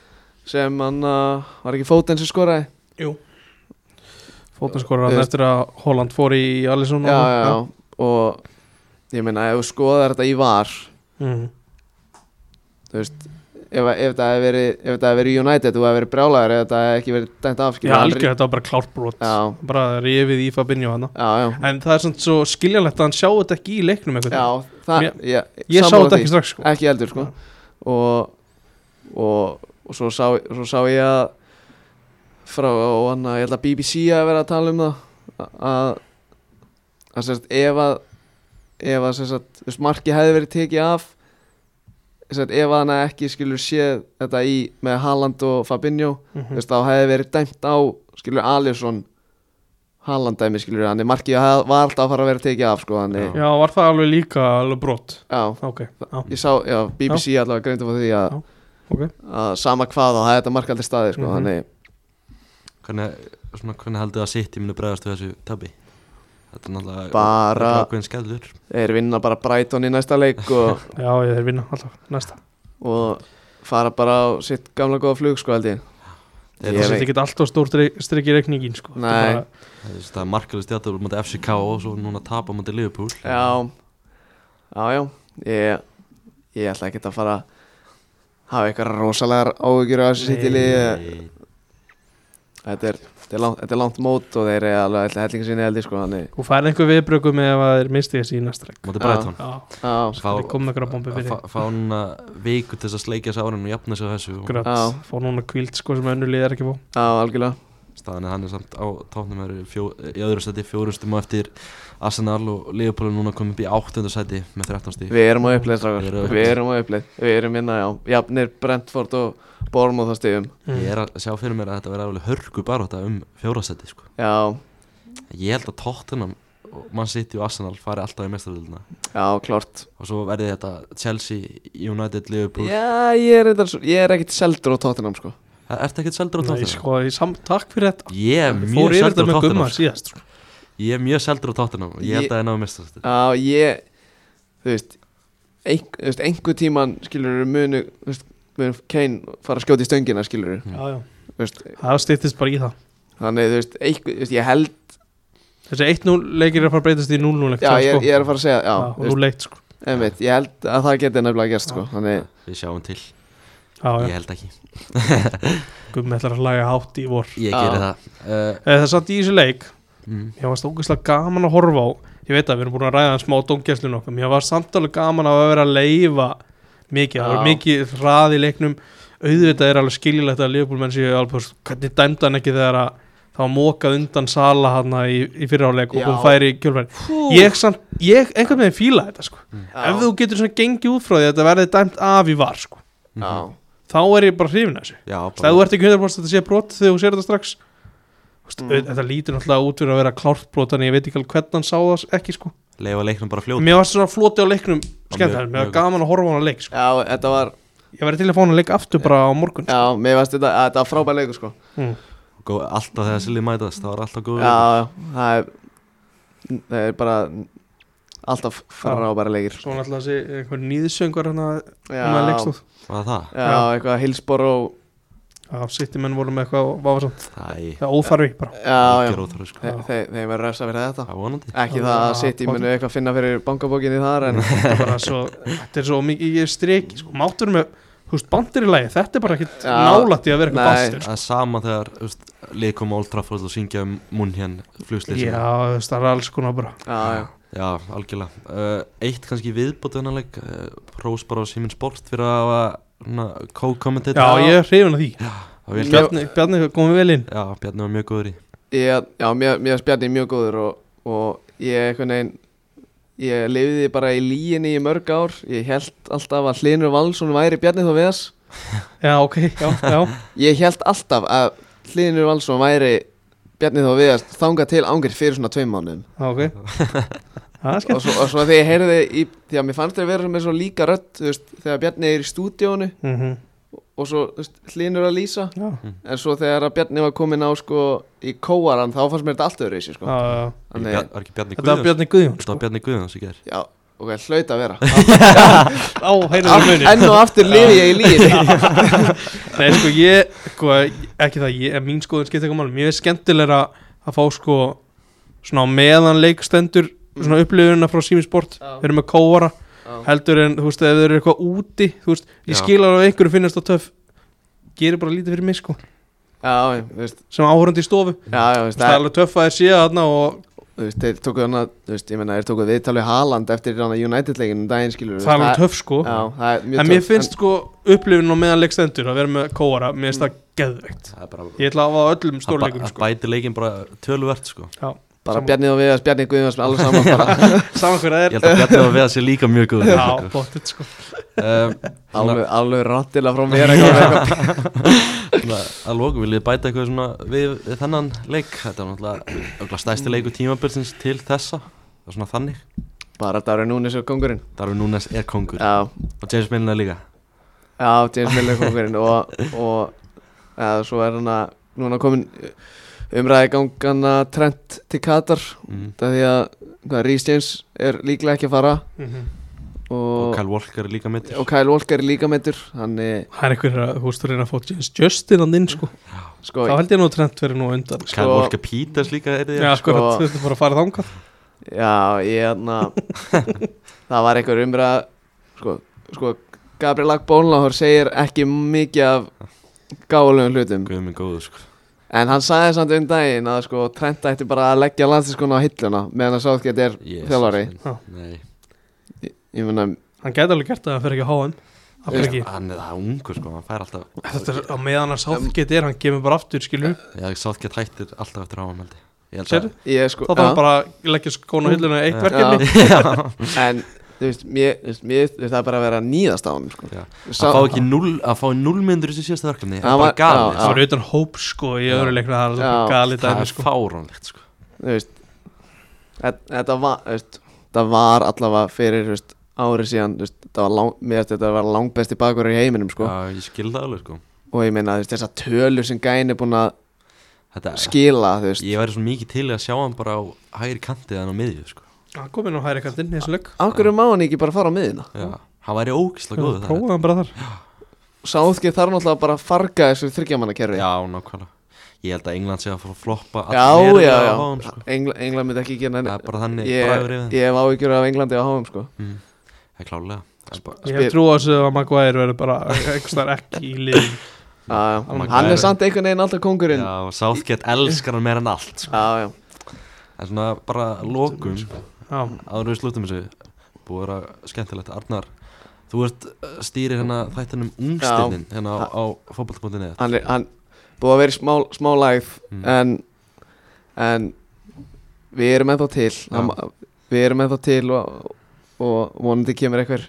[SPEAKER 3] sem hann uh, var ekki fótinn sem skoraði
[SPEAKER 2] Jú Fóttan skorar hann
[SPEAKER 3] Þú veist-
[SPEAKER 2] eftir að Holland fór í Alisson
[SPEAKER 3] já, já, já, og ég meina ef þú skoðar þetta í var
[SPEAKER 2] Mhm.
[SPEAKER 3] þú veist ef, ef það hefði verið, ef þetta hefði verið United þú hefði verið brjálæður ef það hefði ekki verið dæmt af
[SPEAKER 2] Já,
[SPEAKER 3] skilur, hann-
[SPEAKER 2] algjör, þetta var bara klárbrot
[SPEAKER 3] Já.
[SPEAKER 2] Bara rifið í Fabinho hana
[SPEAKER 3] já, já,
[SPEAKER 2] En það er svona svo skiljanlegt að hann sjá þetta ekki í leiknum einhvern
[SPEAKER 3] já
[SPEAKER 2] veginn.
[SPEAKER 3] það,
[SPEAKER 2] Mér-
[SPEAKER 3] ég,
[SPEAKER 2] Ég sá
[SPEAKER 3] sammála
[SPEAKER 2] þetta
[SPEAKER 3] því.
[SPEAKER 2] ekki strax sko
[SPEAKER 3] ekki heldur sko. og, og, og svo, sá, svo sá ég að frá og hann að ég held að BBC að vera að tala um það að- að að sérst ef að ef að sérst þú veist marki hefði verið tekið af sérst ef að hann hefði ekki skilur séð þetta í með Haaland og Fabinho þú
[SPEAKER 2] Mhm.
[SPEAKER 3] veist þá hefði verið dæmt á skilur Alisson Haaland dæmi skilur hann er markið haf- var alltaf að fara að vera tekið af sko hann er
[SPEAKER 2] Já, var það alveg líka alveg brot
[SPEAKER 3] já
[SPEAKER 2] Ok, já,
[SPEAKER 3] ég sá, já, BBC allavega greindi frá því að,
[SPEAKER 2] ok
[SPEAKER 3] að sama hvað og það er þetta markaldir staði sko,
[SPEAKER 2] Mhm.
[SPEAKER 3] þannig,
[SPEAKER 1] Hvernig, svona, hvernig heldur það að sitt ég muni bregðast við þessu tabbi? Þetta er náttúrulega
[SPEAKER 3] Bara-
[SPEAKER 1] ákveðin skellur
[SPEAKER 3] þeir vinna bara Brighton í næsta leik <laughs> og,
[SPEAKER 2] Já, ég þeir vinna alltaf næsta
[SPEAKER 3] og fara bara á sitt gamla góða flug sko held
[SPEAKER 1] Þeir-
[SPEAKER 3] ég
[SPEAKER 2] Það
[SPEAKER 3] Ég
[SPEAKER 2] setja
[SPEAKER 3] veit-
[SPEAKER 2] ekki alltaf stór strikki í reikningin sko. Þetta
[SPEAKER 3] Nei.
[SPEAKER 2] bara-
[SPEAKER 1] Það er- Það er markalist jættur mútið FCK og svo núna tapa mútið Liverpool
[SPEAKER 3] já, já, já ég, ég ætla ekki að fara að hafa eitthvað rosalegar áhugjur á þessu sitt í liði
[SPEAKER 1] Nei,
[SPEAKER 3] þetta er, þetta, er langt, þetta er langt mót og þeir eru alveg ætla hellingu sinni held ég sko þannig,
[SPEAKER 2] Þú færði einhver viðbröku með ef að þeir misti þessi í næsta leik
[SPEAKER 1] Mútið
[SPEAKER 3] Já.
[SPEAKER 1] Brighton
[SPEAKER 2] Já,
[SPEAKER 3] já,
[SPEAKER 1] Fá-
[SPEAKER 2] þeir komið eitthvað bombi fyrir
[SPEAKER 1] fá- Fá núna viku til þess að sleikja þessu árinu og jafna sig á þessu og
[SPEAKER 2] Akkurat,
[SPEAKER 3] Já.
[SPEAKER 2] fá núna kvíld sko sem önnu liðar ekki fá
[SPEAKER 3] já, algjörlega
[SPEAKER 1] staðan er hann er samt á tóknum er fjó, í öðru seti fjórustum og eftir Arsenal og Liverpool er núna komið upp í áttundu seti með 13 stík
[SPEAKER 3] Við erum á uppleið, strákar.
[SPEAKER 1] Við erum á
[SPEAKER 3] Við erum á uppleið. Við erum hérna, já. Jafnir, Brentford og Bournemouth á stíðum.
[SPEAKER 2] Mm.
[SPEAKER 1] Ég er að sjá fyrir mér að þetta verður alveg hörku baróta um fjórasæti sko.
[SPEAKER 3] Já,
[SPEAKER 1] Ég held að Tottenham og Man City og Arsenal fari alltaf í mestaröldina
[SPEAKER 3] já, klart.
[SPEAKER 1] og svo verði þetta Chelsea, United, Liverpool yeah.
[SPEAKER 3] Já, ég er, reyndar svo- ég er ekkit seldur á Tottenham, sko.
[SPEAKER 1] Ertu ekkert seldur á
[SPEAKER 2] Nei,
[SPEAKER 1] Tottenham?
[SPEAKER 2] sko, ég sam, takk fyrir þetta
[SPEAKER 1] Ég er
[SPEAKER 2] Ég
[SPEAKER 1] mjög
[SPEAKER 2] Fór yfir
[SPEAKER 1] seldur
[SPEAKER 2] þetta
[SPEAKER 1] á
[SPEAKER 2] með
[SPEAKER 1] Tottenham
[SPEAKER 2] gumma síðast sko.
[SPEAKER 1] Ég er mjög seldur á Tottenham Ég held að það er náðu mestaröldi
[SPEAKER 3] Já, ég, þú veist, ein, þú veist einhver tíman, skilur, munu, þú veist, munu Kane fara að skjóta í stöngina, skilur.
[SPEAKER 1] Mm.
[SPEAKER 2] Já, já,
[SPEAKER 3] Þú veist,
[SPEAKER 2] það stýttist bara í það
[SPEAKER 3] þannig, þú veist, einhver, þú veist, ég held,
[SPEAKER 2] Þessi 1-0 leikir er að fara að breytast í 0-0 leik
[SPEAKER 3] já,
[SPEAKER 2] sagði,
[SPEAKER 3] ég,
[SPEAKER 2] sko.
[SPEAKER 3] ég er að fara að segja,
[SPEAKER 2] Já,
[SPEAKER 3] já, þú
[SPEAKER 2] og nú
[SPEAKER 3] veist,
[SPEAKER 2] leikt sko
[SPEAKER 3] einmitt, ég held að það geti nefnilega gerst, sko. Þannig,
[SPEAKER 1] Við sjáum til,
[SPEAKER 2] Já,
[SPEAKER 1] ég
[SPEAKER 2] já,
[SPEAKER 1] held ekki
[SPEAKER 2] gummi ætlar að laga hátt í vor
[SPEAKER 1] Ég
[SPEAKER 3] Já.
[SPEAKER 1] gerir það uh,
[SPEAKER 2] Eh, Það er samt í þessu leik
[SPEAKER 1] mm,
[SPEAKER 2] Mér varst ógeðslega gaman að horfa á Ég veit að við erum búin að ræða hann smá dómgæslun okkar Mér var samt alveg gaman að vera að leifa Mikið, það var
[SPEAKER 3] Já.
[SPEAKER 2] mikið hrað í leiknum Auðvitað er alveg skiljulegt að Leopold menn séu alveg Hvernig dæmdi hann ekki þegar að Það var mokað undan sala hann í, í fyrirháleik
[SPEAKER 3] Já.
[SPEAKER 2] Og hún færi í kjölfæri Ég samt, ég einhvern veginn fíla þetta sko
[SPEAKER 3] já,
[SPEAKER 2] Ef þú getur svona gengið út frá því að þetta verði dæmt af í var sko
[SPEAKER 3] já,
[SPEAKER 2] Þá er ég bara hrifin að þessu
[SPEAKER 1] Já,
[SPEAKER 2] Þegar þú
[SPEAKER 1] bara
[SPEAKER 2] ert ekki 100% að sé brot þegar þú sér þetta strax Vist, mm. Þetta lítur náttúrulega út fyrir að vera klárt brot en ég veit ekki alveg hvernig hann sá það ekki sko
[SPEAKER 1] leifa leiknum bara fljóta
[SPEAKER 2] Mér varst svona floti á leiknum skemmt
[SPEAKER 1] mjög-
[SPEAKER 2] það, mér var
[SPEAKER 1] mjög
[SPEAKER 2] gaman að horfa á hann að leik sko.
[SPEAKER 3] já, þetta var,
[SPEAKER 2] Ég væri til að fá hann að leik aftur bara á morgun sko.
[SPEAKER 3] já, mér varst þetta, að þetta var frábæð leikur, sko.
[SPEAKER 2] mm.
[SPEAKER 1] Gó- Alltaf þegar Silli mætast, það var alltaf góður leikur.
[SPEAKER 3] Já, það er, það er bara alltaf frábæra leikir.
[SPEAKER 2] Svo náttúrulega þessi einhver hérna, nýðsöngur hann að
[SPEAKER 3] Já.
[SPEAKER 2] leikstóð
[SPEAKER 1] Var það?
[SPEAKER 3] Já, eitthvað hilsbor og
[SPEAKER 2] Já, sittir menn voru með eitthvað og var svona
[SPEAKER 1] Það er
[SPEAKER 2] Það er óþarfi bara
[SPEAKER 3] Já, já,
[SPEAKER 1] ekki rótur sko.
[SPEAKER 3] Þe- þe- þeim verður refsa fyrir þetta
[SPEAKER 1] Það er vonandi
[SPEAKER 3] Ekki
[SPEAKER 2] Já,
[SPEAKER 3] það að
[SPEAKER 2] já,
[SPEAKER 3] sitt í
[SPEAKER 2] fólk-
[SPEAKER 3] munu eitthvað finna fyrir bankabókinni
[SPEAKER 2] <laughs>
[SPEAKER 3] þar en
[SPEAKER 2] Þetta er bara svo, þetta er svo mikið strik sko. Máttur með, þú veist, bandir í lagi Þetta er bara ekkit
[SPEAKER 3] Já.
[SPEAKER 2] nálætt í að vera eitthvað
[SPEAKER 3] Nei.
[SPEAKER 2] bastur
[SPEAKER 1] Það er sama þegar þú veist, lið koma á Old Trafford og syngja um munn hér flugslýsing
[SPEAKER 2] Já, þú veist, það er alls konar bara
[SPEAKER 3] Já, já,
[SPEAKER 1] Já, algjörlega uh, Eitt kannski viðbót viðbótunarleik eh, uh, Rós bara á Simin Sport fyrir að hafa, svona, co-commentate
[SPEAKER 2] Já, ég er hrifin að því
[SPEAKER 1] Það Það var vel gert.
[SPEAKER 2] Bjarni, Bjarni komið vel inn
[SPEAKER 1] Já, Bjarni var mjög góður í
[SPEAKER 3] Ég, já, mér, mér varst Bjarni mjög góður og, og ég einhvern veginn ég lifiði bara í líginni í mörg ár ég held alltaf að Hlinur Valsson væri Bjarni þá við þess
[SPEAKER 2] Já, ok, já, já
[SPEAKER 3] ég held alltaf að Hlinur Valsson væri Bjarni þá við þess þangað til ángur fyrir svona tveim mánuðum
[SPEAKER 2] Já, ok Það er
[SPEAKER 3] og
[SPEAKER 2] skemmt
[SPEAKER 3] svo, og svo þegar ég heyrði í, því að mér fannst þeir vera með svo líka rödd þú veist, þegar Bjarni er í stúdíónu
[SPEAKER 2] mm
[SPEAKER 3] og svo þú veist, Hlinur að lýsa
[SPEAKER 2] Já,
[SPEAKER 3] en svo þegar að Bjarni var komin á sko í kóaran þá fannst mér þetta alltaf öðru í
[SPEAKER 2] já,
[SPEAKER 3] sko.
[SPEAKER 2] já
[SPEAKER 1] Bjarni,
[SPEAKER 3] Þannig-
[SPEAKER 1] Var ekki Bjarni
[SPEAKER 2] Þetta var
[SPEAKER 1] Guðjóns?
[SPEAKER 2] Bjarni sko. Guðjón
[SPEAKER 1] Þetta var Bjarni Guðjóns í ger
[SPEAKER 3] já, ok, hlaut
[SPEAKER 2] <laughs>
[SPEAKER 3] að vera
[SPEAKER 2] Á, heyrðu það muni
[SPEAKER 3] Ah, enn og aftur lifi ég í
[SPEAKER 2] <laughs>
[SPEAKER 3] lífi
[SPEAKER 2] Nei, sko, ég, sko, ekki það, ég, en mín skoðun skiptir eitthvað málum Mér er skemmtilega að fá, sko, svona á meðan leikstendur Svona upplifuna frá Sýmisport
[SPEAKER 3] Já.
[SPEAKER 2] Við erum með kóara Heldur en, þú veist, ef þau eru eitthvað úti Þú veist, ég
[SPEAKER 1] Já.
[SPEAKER 2] skil alveg að einhverju finnast það töff Gerir bara lítið fyrir mig, sko
[SPEAKER 3] já, já, þú veist,
[SPEAKER 2] Sem áhorandi í stofu Þú
[SPEAKER 3] já, já, þú
[SPEAKER 2] veist,
[SPEAKER 3] veist,
[SPEAKER 2] Það er
[SPEAKER 3] það,
[SPEAKER 2] alveg töff að þér séu þarna og
[SPEAKER 3] þú veist þeir tókuð hana, þú veist, ég menna, þeir tókuð viðtalið Haaland eftir hana United-leikinu um daginn, skilur
[SPEAKER 2] það er alveg töff, sko
[SPEAKER 3] já, það er mjög
[SPEAKER 2] En mér
[SPEAKER 3] töff,
[SPEAKER 2] finnst, sko, upplifun á meðan leikstendur Að vera með kóara, mér finnst það
[SPEAKER 3] Mm.
[SPEAKER 2] geðveikt
[SPEAKER 1] Það er bara
[SPEAKER 2] Ég ætla að hafa á
[SPEAKER 1] Það
[SPEAKER 2] öllum
[SPEAKER 1] ba-
[SPEAKER 2] stórleikum,
[SPEAKER 1] það
[SPEAKER 2] sko
[SPEAKER 1] bætir leikin bara töluvert sko
[SPEAKER 2] Já,
[SPEAKER 3] bara
[SPEAKER 2] saman-
[SPEAKER 3] Bjarni og Viðars, Bjarni Guðjóns, með alveg saman bara,
[SPEAKER 2] saman hver það
[SPEAKER 1] Ég
[SPEAKER 2] er
[SPEAKER 1] held
[SPEAKER 3] <laughs>
[SPEAKER 1] að Bjarni var við að sé líka mjög góður
[SPEAKER 2] Já,
[SPEAKER 1] sko.
[SPEAKER 2] bóttið, sko
[SPEAKER 1] um,
[SPEAKER 3] alveg, alveg ráttilega frá mér eitthvað, eitthvað.
[SPEAKER 1] svona, Að lóku vil ég bæta eitthvað svona við, við þennan leik Þetta var náttúrulega örugglega stærsti leiku tímabilsins til þessa Það er svona þannig
[SPEAKER 3] bara Darri Núnes og kongurinn
[SPEAKER 1] Darfi Núnes er kongur
[SPEAKER 3] já,
[SPEAKER 1] Og James Milner líka
[SPEAKER 3] já, James Miller er kongurinn og, og já, svo er hana núna komin uh, umræði gangana Trent til Katar
[SPEAKER 1] mm.
[SPEAKER 3] það því að, hvað, Rhys James er líklega ekki að fara
[SPEAKER 1] Og
[SPEAKER 3] og,
[SPEAKER 1] Kyle Walker er líka mittur
[SPEAKER 3] og Kyle Walker er líka meittur þannig
[SPEAKER 2] Það er einhver að hústu reyna að fá James Justin hann inn sko
[SPEAKER 3] sko,
[SPEAKER 2] Þá held ég nú að Trent verið nú á undan sko.
[SPEAKER 1] Kyle
[SPEAKER 3] sko-
[SPEAKER 1] Walker Peters líka er því
[SPEAKER 2] Já,
[SPEAKER 3] sko.
[SPEAKER 2] sko, þú ertu bara að fara þangað
[SPEAKER 3] já, ég hérna
[SPEAKER 1] <laughs>
[SPEAKER 3] það var einhver umræða sko, sko Gabriel Agbónláhor segir ekki mikið af gáðulegum hlutum
[SPEAKER 1] Guð minn góður sko
[SPEAKER 3] en hann sagði samt um daginn að sko Trent ætti bara að leggja landsinskona á hilluna meðan að Southgate er
[SPEAKER 1] Jesus,
[SPEAKER 3] þjálfari
[SPEAKER 1] minn.
[SPEAKER 2] Já.
[SPEAKER 1] Nei
[SPEAKER 3] ég meina,
[SPEAKER 2] Hann gæti alveg gert það að hann fer ekki á HM Af hverju ekki
[SPEAKER 1] Hann er það er ungur sko, hann fær alltaf
[SPEAKER 2] Þetta er á meðan að Southgate er, hann kemur bara aftur skilju
[SPEAKER 1] Já, Southgate hættir alltaf eftir áham held ég. ég held <laughs>
[SPEAKER 2] Sérðu?
[SPEAKER 3] ég sko
[SPEAKER 2] Þá þarf hann bara að leggja skóna hilluna í eitt
[SPEAKER 1] Já.
[SPEAKER 2] verkefni
[SPEAKER 1] að
[SPEAKER 3] en þú veist, mér, þú veist, mér þú veist, það er bara að vera nýðast á hann sko.
[SPEAKER 1] Já.
[SPEAKER 3] Sá,
[SPEAKER 1] fá ekki núl að fá núl myndur í þessu síðasta verkefni það
[SPEAKER 3] Já,
[SPEAKER 1] er bara
[SPEAKER 3] var-
[SPEAKER 1] galið
[SPEAKER 3] já,
[SPEAKER 2] Það
[SPEAKER 1] sko.
[SPEAKER 2] var utan hóp sko í öðru leikna Það er alveg
[SPEAKER 3] Já.
[SPEAKER 2] bara galið
[SPEAKER 1] það
[SPEAKER 2] dæmi
[SPEAKER 1] er
[SPEAKER 2] sko
[SPEAKER 1] fáránlegt sko.
[SPEAKER 3] þú veist þet- þetta var, þú veist, þetta var allavega fyrir þú veist, ári síðan þú veist, þetta var lang, mér veist þetta var langbesti bakur í heiminum sko.
[SPEAKER 1] já, ég skil það alveg sko.
[SPEAKER 3] og ég meina þú veist, þessa tölur sem gæn er búin að
[SPEAKER 1] Þetta,
[SPEAKER 3] skila þú veist,
[SPEAKER 1] ég væri svo mikið til í að sjá hann bara á hægri kantið en á miðju sko.
[SPEAKER 2] Hann kom inn á hæri kantinn í þessu leik
[SPEAKER 3] af hverju má hann ekki bara fara á miðina
[SPEAKER 1] Já, hann væri ógislega góð
[SPEAKER 2] Prófaði hann bara þar
[SPEAKER 3] sáðkið þarf náttúrulega bara að farga þessu þryggjamannakerfi
[SPEAKER 1] já, nákvæmlega ég held að England sé að fara að floppa
[SPEAKER 3] já,
[SPEAKER 1] allverulega
[SPEAKER 3] já,
[SPEAKER 1] á
[SPEAKER 3] já.
[SPEAKER 1] hann, sko.
[SPEAKER 3] Engla, England myndi ekki gera
[SPEAKER 1] það
[SPEAKER 3] henni
[SPEAKER 1] er bara þannig bræður
[SPEAKER 3] ég,
[SPEAKER 1] yfir
[SPEAKER 3] ég hef áhyggjur af Englandi á háum sko.
[SPEAKER 1] þeim. Mm. það er klálega Það er bara-
[SPEAKER 2] Ég hef trú á þessu að Maguire verður bara einhvers staðar ekki í liðin
[SPEAKER 3] já,
[SPEAKER 1] Hann
[SPEAKER 3] já. hann
[SPEAKER 1] væri-
[SPEAKER 3] er samt einhvern veginn alltaf kongurinn já,
[SPEAKER 1] Já, og Southgate elskar hann meira en allt sko.
[SPEAKER 3] já,
[SPEAKER 1] en svona bara lokum
[SPEAKER 2] Já,
[SPEAKER 1] áður við slúttum þessu búið að vera skemmtilegt Arnar, þú ert uh, stýrir hérna þættinum ungstinnin hérna á, á fótball.net
[SPEAKER 3] hann er hann, búið að vera í smá, smá live
[SPEAKER 1] Mm.
[SPEAKER 3] en, en við erum ennþá til Hann- við erum ennþá til og, og vonandi kemur einhver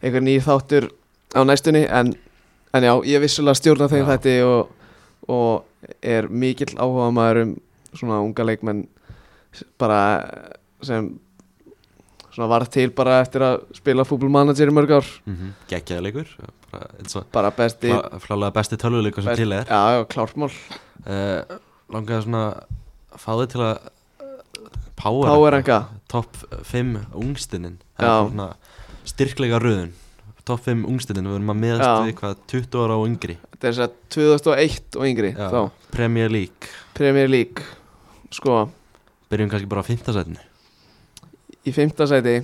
[SPEAKER 3] einhver nýr þáttur á næstunni en, en já, ég er vissulega stjórna þeim
[SPEAKER 1] Já.
[SPEAKER 3] þetta og, og er mikill áhuga maður um svona unga leikmenn s- bara sem svona varð til bara eftir að spila fútbolmanager í mörg ár
[SPEAKER 1] mm -hmm. geggjaðleikur bara eins og
[SPEAKER 3] bara besti
[SPEAKER 1] flá- flálega besti tölvuleikur sem
[SPEAKER 3] best-
[SPEAKER 1] til er
[SPEAKER 3] já, já, klártmál
[SPEAKER 1] uh, langaði svona að fá þig til að eh, power,
[SPEAKER 3] Powerranka.
[SPEAKER 1] top 5 ungstinnin
[SPEAKER 3] Já.
[SPEAKER 1] svona styrkleika röðun top 5 ungstinnin, við erum að meðast
[SPEAKER 3] Já.
[SPEAKER 1] við hvað 20 ára og yngri
[SPEAKER 3] þess að 2001 og yngri
[SPEAKER 1] Já.
[SPEAKER 3] þá
[SPEAKER 1] Premier League,
[SPEAKER 3] Premier League sko
[SPEAKER 1] byrjum kannski bara á 15 setinu
[SPEAKER 3] í fymta sæti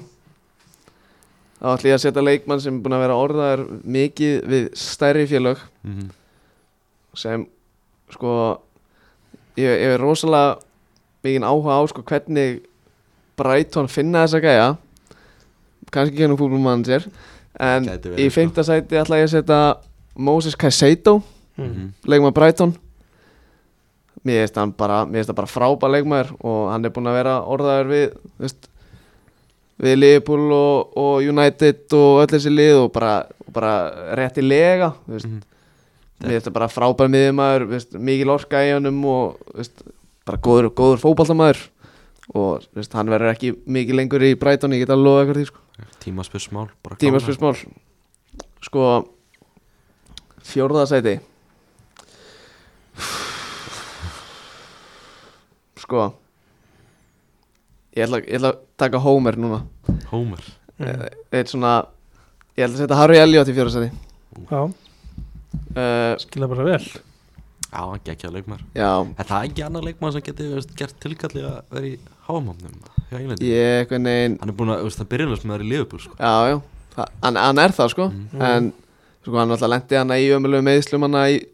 [SPEAKER 3] þá ætlum ég að setja leikmann sem er búin að vera orðaðar mikið við stærri félög
[SPEAKER 1] mm -hmm.
[SPEAKER 3] sem sko ég, ég er rosalega mikið áhuga á sko hvernig Brighton finna þessa gæja kannski genum fútbolmann sér en
[SPEAKER 1] Gæti verið,
[SPEAKER 3] í
[SPEAKER 1] sko.
[SPEAKER 3] fymta sæti ætla ég að setja Moses Caicedo
[SPEAKER 1] Mhm.
[SPEAKER 2] mm.
[SPEAKER 3] leikmaður Brighton mér finnst hann bara mér finnst það bara frábær leikmaður og hann er búinn að vera orðaður við þú veist, við Liverpool og, og United og öll þessi lið og bara, og bara rétti lega þú veist,
[SPEAKER 1] Mhm.
[SPEAKER 3] mér finnst það bara frábær miðjumæður veist, mikil orka í honum og þú veist, bara góður, góður fótballtamaður og þú veist, hann verður ekki mikið lengur í Brighton, ég get að lofa ykkur því sko
[SPEAKER 1] Tímaspursmál bara klára.
[SPEAKER 3] tímaspörsmál sko fjórðasæti sko ég ætla, ég ætla að taka Homer núna Eh,
[SPEAKER 1] Homer
[SPEAKER 2] Mm.
[SPEAKER 3] eitt svona ég ætla að setja Harry Elliot í fjórðasæti
[SPEAKER 2] Mhm. Já,
[SPEAKER 3] uh,
[SPEAKER 2] skilja bara vel
[SPEAKER 1] Já, hann gekkja leikmar
[SPEAKER 3] já
[SPEAKER 1] Er það ekki annar leikmar sem geti veist, gert tilkalli að vera í háamannum hjá Englandi?
[SPEAKER 3] ég eitthvað negin
[SPEAKER 1] Hann er búin að, veist, það byrjulegs með það í liðbúr sko.
[SPEAKER 3] já já Þa- hann, hann er það sko
[SPEAKER 1] Mhm.
[SPEAKER 3] en sko hann alltaf lendi hana í ömulegu meðslum hana í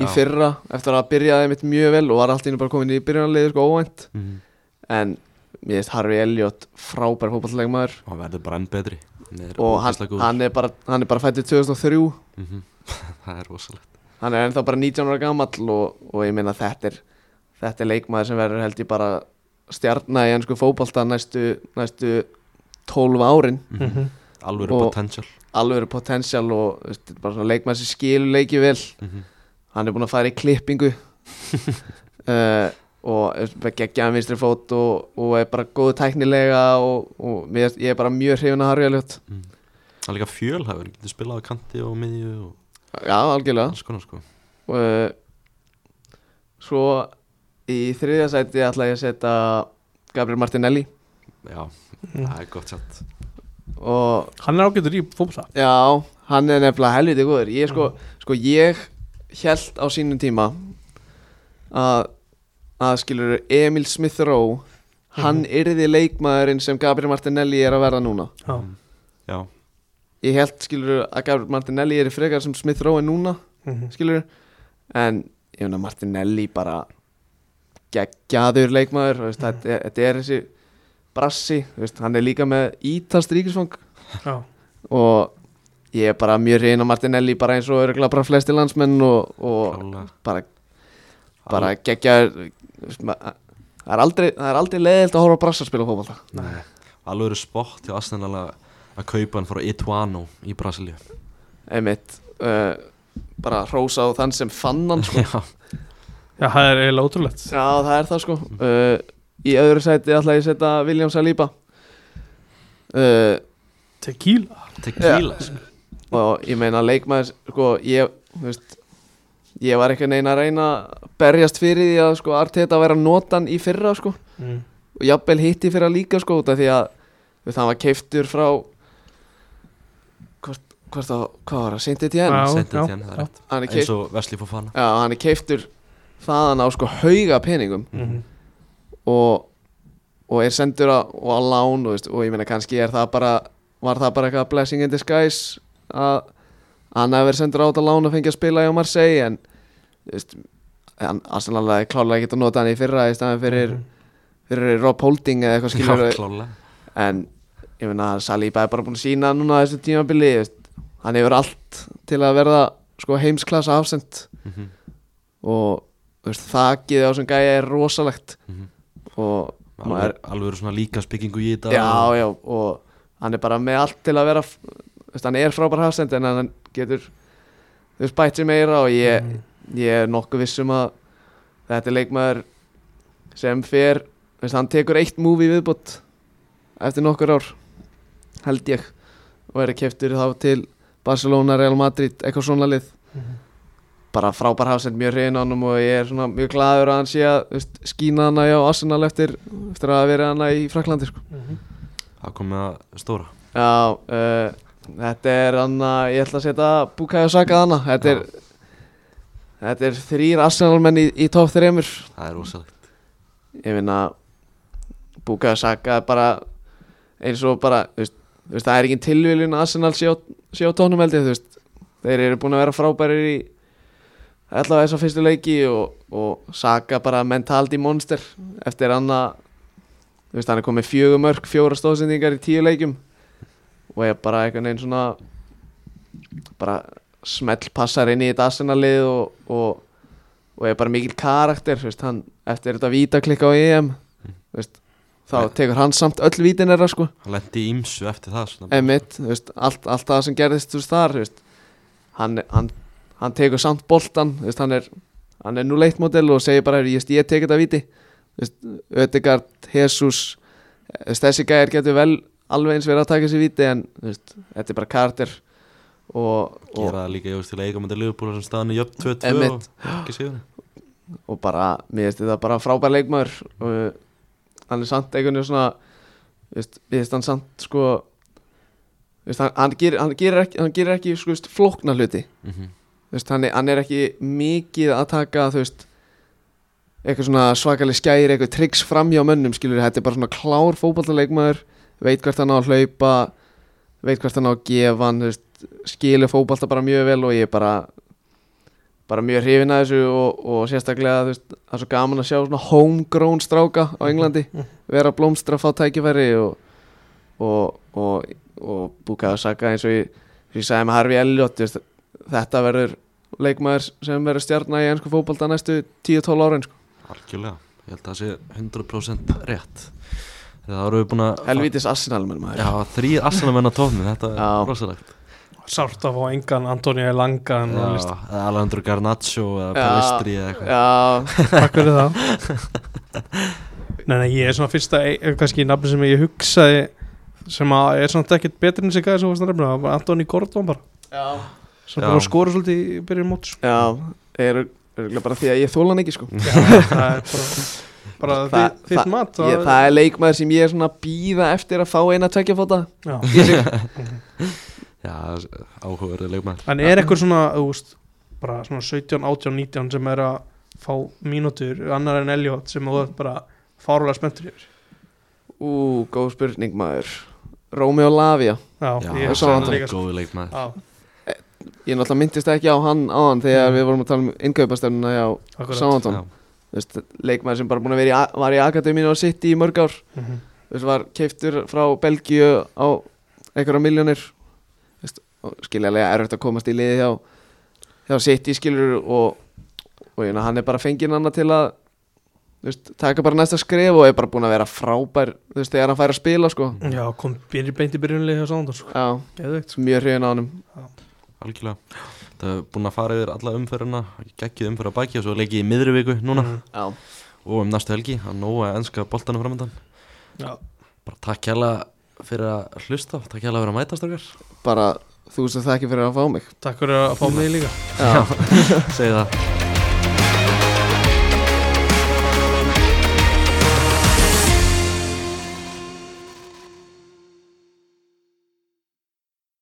[SPEAKER 3] í
[SPEAKER 1] Já.
[SPEAKER 3] fyrra eftir að byrjaði mitt mjög vel og var allt í einu bara komin í byrjunarlið sko óvænt
[SPEAKER 1] mm.
[SPEAKER 3] en mér finnst Harry Elliot frábær fótballlegmaður
[SPEAKER 1] Hann verður brann betri
[SPEAKER 3] og hann, hann, er bara, hann er bara fættið 2003
[SPEAKER 1] mm <laughs> Það er rosalegt
[SPEAKER 3] hann er ennþá bara 19 ára gamall og, og ég meina þetta er þetta er leikmaður sem verður held ég bara stjarnar í ennsku fótballta næstu, næstu 12 árin
[SPEAKER 1] mm
[SPEAKER 2] Mhm.
[SPEAKER 1] Alvöru
[SPEAKER 3] Og-
[SPEAKER 1] potential
[SPEAKER 3] alveg eru potensial og þú veist, þetta er bara svona leikmaður sem skilur leikið vel
[SPEAKER 1] mm
[SPEAKER 3] hann er búinn að fara í klippingu uh, og geggja hann vinstri fót og, og er bara góð tæknilega og, og mér, finnst- ég er bara mjög hrifin að Harry Elliot
[SPEAKER 1] Hann er líka fjölhæfur, hann getur spilað á kanti og miðju og
[SPEAKER 3] já algjörlega
[SPEAKER 1] alls konar sko
[SPEAKER 3] og uh, svo í þriðja sæti ætla ég að setja Gabriel Martinelli
[SPEAKER 1] Já,
[SPEAKER 2] Mm.
[SPEAKER 1] það er gott satt
[SPEAKER 3] og
[SPEAKER 2] Hann er ágættur í fókla
[SPEAKER 3] já, hann er nefnilega helviti góður ég sko, sko ég held á sínum tíma að, að skilur Emil Smith Rowe hann yrði leikmaðurinn sem Gabriel Martinelli er að verða núna
[SPEAKER 2] Já,
[SPEAKER 1] Já,
[SPEAKER 3] ég held skilur að Gabriel Martinelli er frekar sem Smith Rowe er núna
[SPEAKER 2] Mhm.
[SPEAKER 3] skilur en ég finna Martinelli bara geggjaður leikmaður þú veist, þetta, er- þetta er þessi brassi, þú veist, hann er líka með ítast ríkisfang
[SPEAKER 2] já
[SPEAKER 3] og ég er bara mjög reyna Martinelli bara eins og örgulega bara flesti landsmenn og, og
[SPEAKER 1] klálega
[SPEAKER 3] bara, bara geggjaður þú veist, ma- það er aldrei, það er aldrei leðilt að horfa á brassa að spila fótbolta
[SPEAKER 1] Nei, alveg eru spott hjá Arsenal að að kaupa hann frá Ituano í
[SPEAKER 3] <laughs>
[SPEAKER 1] Brasilíu
[SPEAKER 3] einmitt uh, bara hrósa á þann sem fann hann sko.
[SPEAKER 1] Já,
[SPEAKER 2] Já, það er eiginlega ótrúlegt
[SPEAKER 3] já það er það sko uh, í öðru sæti ætla ég að setja William Saliba uh,
[SPEAKER 2] Tequila
[SPEAKER 1] tequila sko.
[SPEAKER 3] og ég meina leikmaður sko ég þú veist, ég var einhvern veginn að reyna að berjast fyrir því að sko Arteta væri að nota hann í fyrra sko
[SPEAKER 2] mm.
[SPEAKER 3] og jafnvel hitti fyrra líka sko út af því að þú veist, hann var keiftur frá hvort, hvort að, hvað var það, Sinti Tien
[SPEAKER 2] Já,
[SPEAKER 1] Sendið
[SPEAKER 2] já,
[SPEAKER 1] til hann, það er
[SPEAKER 2] já.
[SPEAKER 1] rétt
[SPEAKER 3] hann er
[SPEAKER 1] Eins
[SPEAKER 3] keiftur,
[SPEAKER 1] og Vesli Fofana
[SPEAKER 3] já hann er keiftur þaðan á sko hauga peningum
[SPEAKER 2] Mm.
[SPEAKER 3] og, og er sendur á, og á lán og, veist, og ég meina kannski er það bara var það bara eitthvað blessing in disguise að hann hafi verið sendur át á lán og fengi að spila hjá Marseille en þú veist, hann aðstæðanlega klálega ekki að nota hann í fyrra í staðan fyrir,
[SPEAKER 2] Mhm.
[SPEAKER 3] fyrir Rob Holding eða eitthvað skilur
[SPEAKER 1] Já, klálega
[SPEAKER 3] en ég meina Saliba er bara búin að sína núna þessu tímabili þú veist, hann hefur allt til að verða sko, heimsklassa afsend
[SPEAKER 1] Mhm.
[SPEAKER 3] og þú veist, þakið á sem gæja er rosalegt
[SPEAKER 1] Mhm.
[SPEAKER 3] og maður
[SPEAKER 1] Alveg, alveg eru svona líka spikkingu í þetta
[SPEAKER 3] já, já, og hann er bara með allt til að vera þú veist, hann er frábær hafsend en hann getur þú veist, bætt sér meira og ég, ég er nokkuð viss um að þetta er leikmaður sem fer þú veist, hann tekur eitt múvi viðbútt eftir nokkur ár held ég og er keftur þá til Barcelona, Real Madrid, eitthvað svona lið
[SPEAKER 2] Mhm.
[SPEAKER 3] bara frábær hafsend mjög hrein á hann og ég er svona mjög glaður að hann sé að þú veist, skína hana hjá Arsenal eftir, eftir að vera hana í Fraklandi sko.
[SPEAKER 2] Mhm.
[SPEAKER 1] Það kom með að stóra
[SPEAKER 3] Já, uh, þetta er hann að ég ætla að setja Bukayo Saka hana þetta er, þetta er þrýr Arsenalmenn í, í top 3
[SPEAKER 1] Það er rosalegt
[SPEAKER 3] ég finna Bukayo Saka er bara eins og bara þú veist, þú veist, það er ekki tilvílun að Arsenal sé á, sé á tónum held ég þú veist þeir eru búin að vera frábærir í allavega þess að fyrstu leiki og, og Saka bara mentalt í monster eftir hann að þú veist hann er komið fjögur mörg fjóra stóðsendingar í tíu leikum og ég bara einhvern veginn svona bara smell passar inn í þetta Arsenalið og, og, og er bara mikil karakter þú veist, hann, eftir þetta vítaklikka á EM þú veist, þá
[SPEAKER 1] Nei.
[SPEAKER 3] tekur hann samt öll vítin er sko
[SPEAKER 1] Hann lendi í ímsu eftir það svona.
[SPEAKER 3] Emitt, þú veist, allt, allt það sem gerðist þú veist, þar, þú veist, hann, hann, hann tekur samt boltan, þú veist, hann er hann er nú leitt módel og segir bara ég, ég tek þetta viti, þú veist, Ödegard, Jesus, þú veist, þessi gæjar getur vel alveg eins verið að taka þessi viti en, þú veist, þetta er bara kartir og, og,
[SPEAKER 1] Gera það líka, ég veist, til að eiga með þetta liðbúla sem staðan er jöfn 2-2
[SPEAKER 3] Einmitt.
[SPEAKER 1] og ekki sigur
[SPEAKER 3] og bara, mér finnst þetta bara frábær leikmaður og eh, hann er samt einhvern veginn svona þú veist, mér finnst hann samt sko þú veist, hann, hann, gerir, hann gerir ekki, hann gerir ekki sko, þú veist, flókna hluti
[SPEAKER 1] mm -hmm.
[SPEAKER 3] Þú veist, hann, er, hann er ekki mikið að taka þú veist eitthvað svona svakaleg skæri, eitthvað triks fram hjá mönnum skilur, þetta er bara svona klár fótballtaleikmaður veit hvert hann á að hlaupa veit hvert hann á að gefa hann þú veist, skilur fótballta bara mjög vel og ég er bara bara mjög hrifin að þessu og, og sérstaklega þú veist, það er svo gaman að sjá svona homegrown stráka á Englandi vera að blómstra að fá tækifæri og og, og, og búkaðu saka eins og ég, eins og ég sagði með Harfi Elliot þú veist, þetta verður leikmaður sem verður stjarnar í ennsku fótbalta næstu 10-12 árin sko.
[SPEAKER 1] Algjörlega, ég held að það sé 100% rétt Það eru við búin að
[SPEAKER 3] helvítis Arsenal menn maður
[SPEAKER 1] Já, þrý assanamenn á tófni, þetta
[SPEAKER 3] Já.
[SPEAKER 1] er rosalegt
[SPEAKER 2] Sárt að fá engan Antonija Langan og
[SPEAKER 1] Já,
[SPEAKER 2] list
[SPEAKER 1] eða Alejandro Garnaccio eða
[SPEAKER 3] Já.
[SPEAKER 1] Palestri eða eitthvað
[SPEAKER 3] já,
[SPEAKER 2] Takk fyrir það Nei, nei, ég er svona fyrsta eh, kannski nafni sem ég hugsaði sem að er svona ekkert betri en sig gæði sem varst að nefna, það var Antoni Gordon bara
[SPEAKER 3] já.
[SPEAKER 2] sem
[SPEAKER 1] Já.
[SPEAKER 2] bara skora svolítið í byrjun móts
[SPEAKER 3] já er, er bara því að ég þóla hann ekki sko.
[SPEAKER 2] Mm. það er bara, bara
[SPEAKER 3] Þa-
[SPEAKER 2] þi- þitt mat
[SPEAKER 3] ég,
[SPEAKER 2] það-
[SPEAKER 3] það er leikmaður sem ég er svona að býða eftir að fá eina tvekja fóta
[SPEAKER 2] Já.
[SPEAKER 1] <laughs> Já, áhugaverðið leikmæður
[SPEAKER 2] En er eitthvað svona, þú veist, bara svona 17, 18, 19 sem er að fá mínútur, annar en Elliot sem þú ert bara fárulega spenntur yfir
[SPEAKER 3] ú, góð spurning maður Rómi og Lavia
[SPEAKER 2] Já,
[SPEAKER 1] Já,
[SPEAKER 2] ég hugsaði
[SPEAKER 3] svona
[SPEAKER 1] það
[SPEAKER 2] það
[SPEAKER 1] er
[SPEAKER 2] líka sko.
[SPEAKER 1] góðu leikmæður
[SPEAKER 2] Já,
[SPEAKER 3] ég náttúrulega myndist ekki á hann á hann þegar við vorum að tala um innkaupastöfnuna hjá
[SPEAKER 2] akkurat
[SPEAKER 3] Sántón leikmaður sem bara búin að vera í, a- var í Akademínu og sitt í mörg ár
[SPEAKER 2] Mhm.
[SPEAKER 3] þú veist, var keiftur frá Belgíu á einhverja miljónir þú veist, og skiljalega erfitt að komast í liði hjá, hjá City skilur og, og ég, meina, hann er bara fengið hann til að þú veist, taka bara næsta skref og er bara búin að vera frábær þú veist, þegar hann fær að spila sko.
[SPEAKER 2] Já, kom byrjun beint í byrjunlega hjá Sándor sko.
[SPEAKER 3] Já,
[SPEAKER 2] Geðveikt sko.
[SPEAKER 3] mjög hrifin á hann
[SPEAKER 1] Algjörlega Það er búin að fara yfir alla umferðina Gekkið umferð að baki og svo leikið í miðri viku núna
[SPEAKER 2] Mhm.
[SPEAKER 3] Já,
[SPEAKER 1] Og um næstu helgi, að nóa enska boltanum framöndan
[SPEAKER 2] Já,
[SPEAKER 1] Bara takk hérlega fyrir að hlusta Takk hérlega fyrir að mætast okkar
[SPEAKER 3] bara þú veist að það ekki fyrir að fá mig
[SPEAKER 2] takk fyrir að fá mig líka
[SPEAKER 3] Já
[SPEAKER 1] Segðu það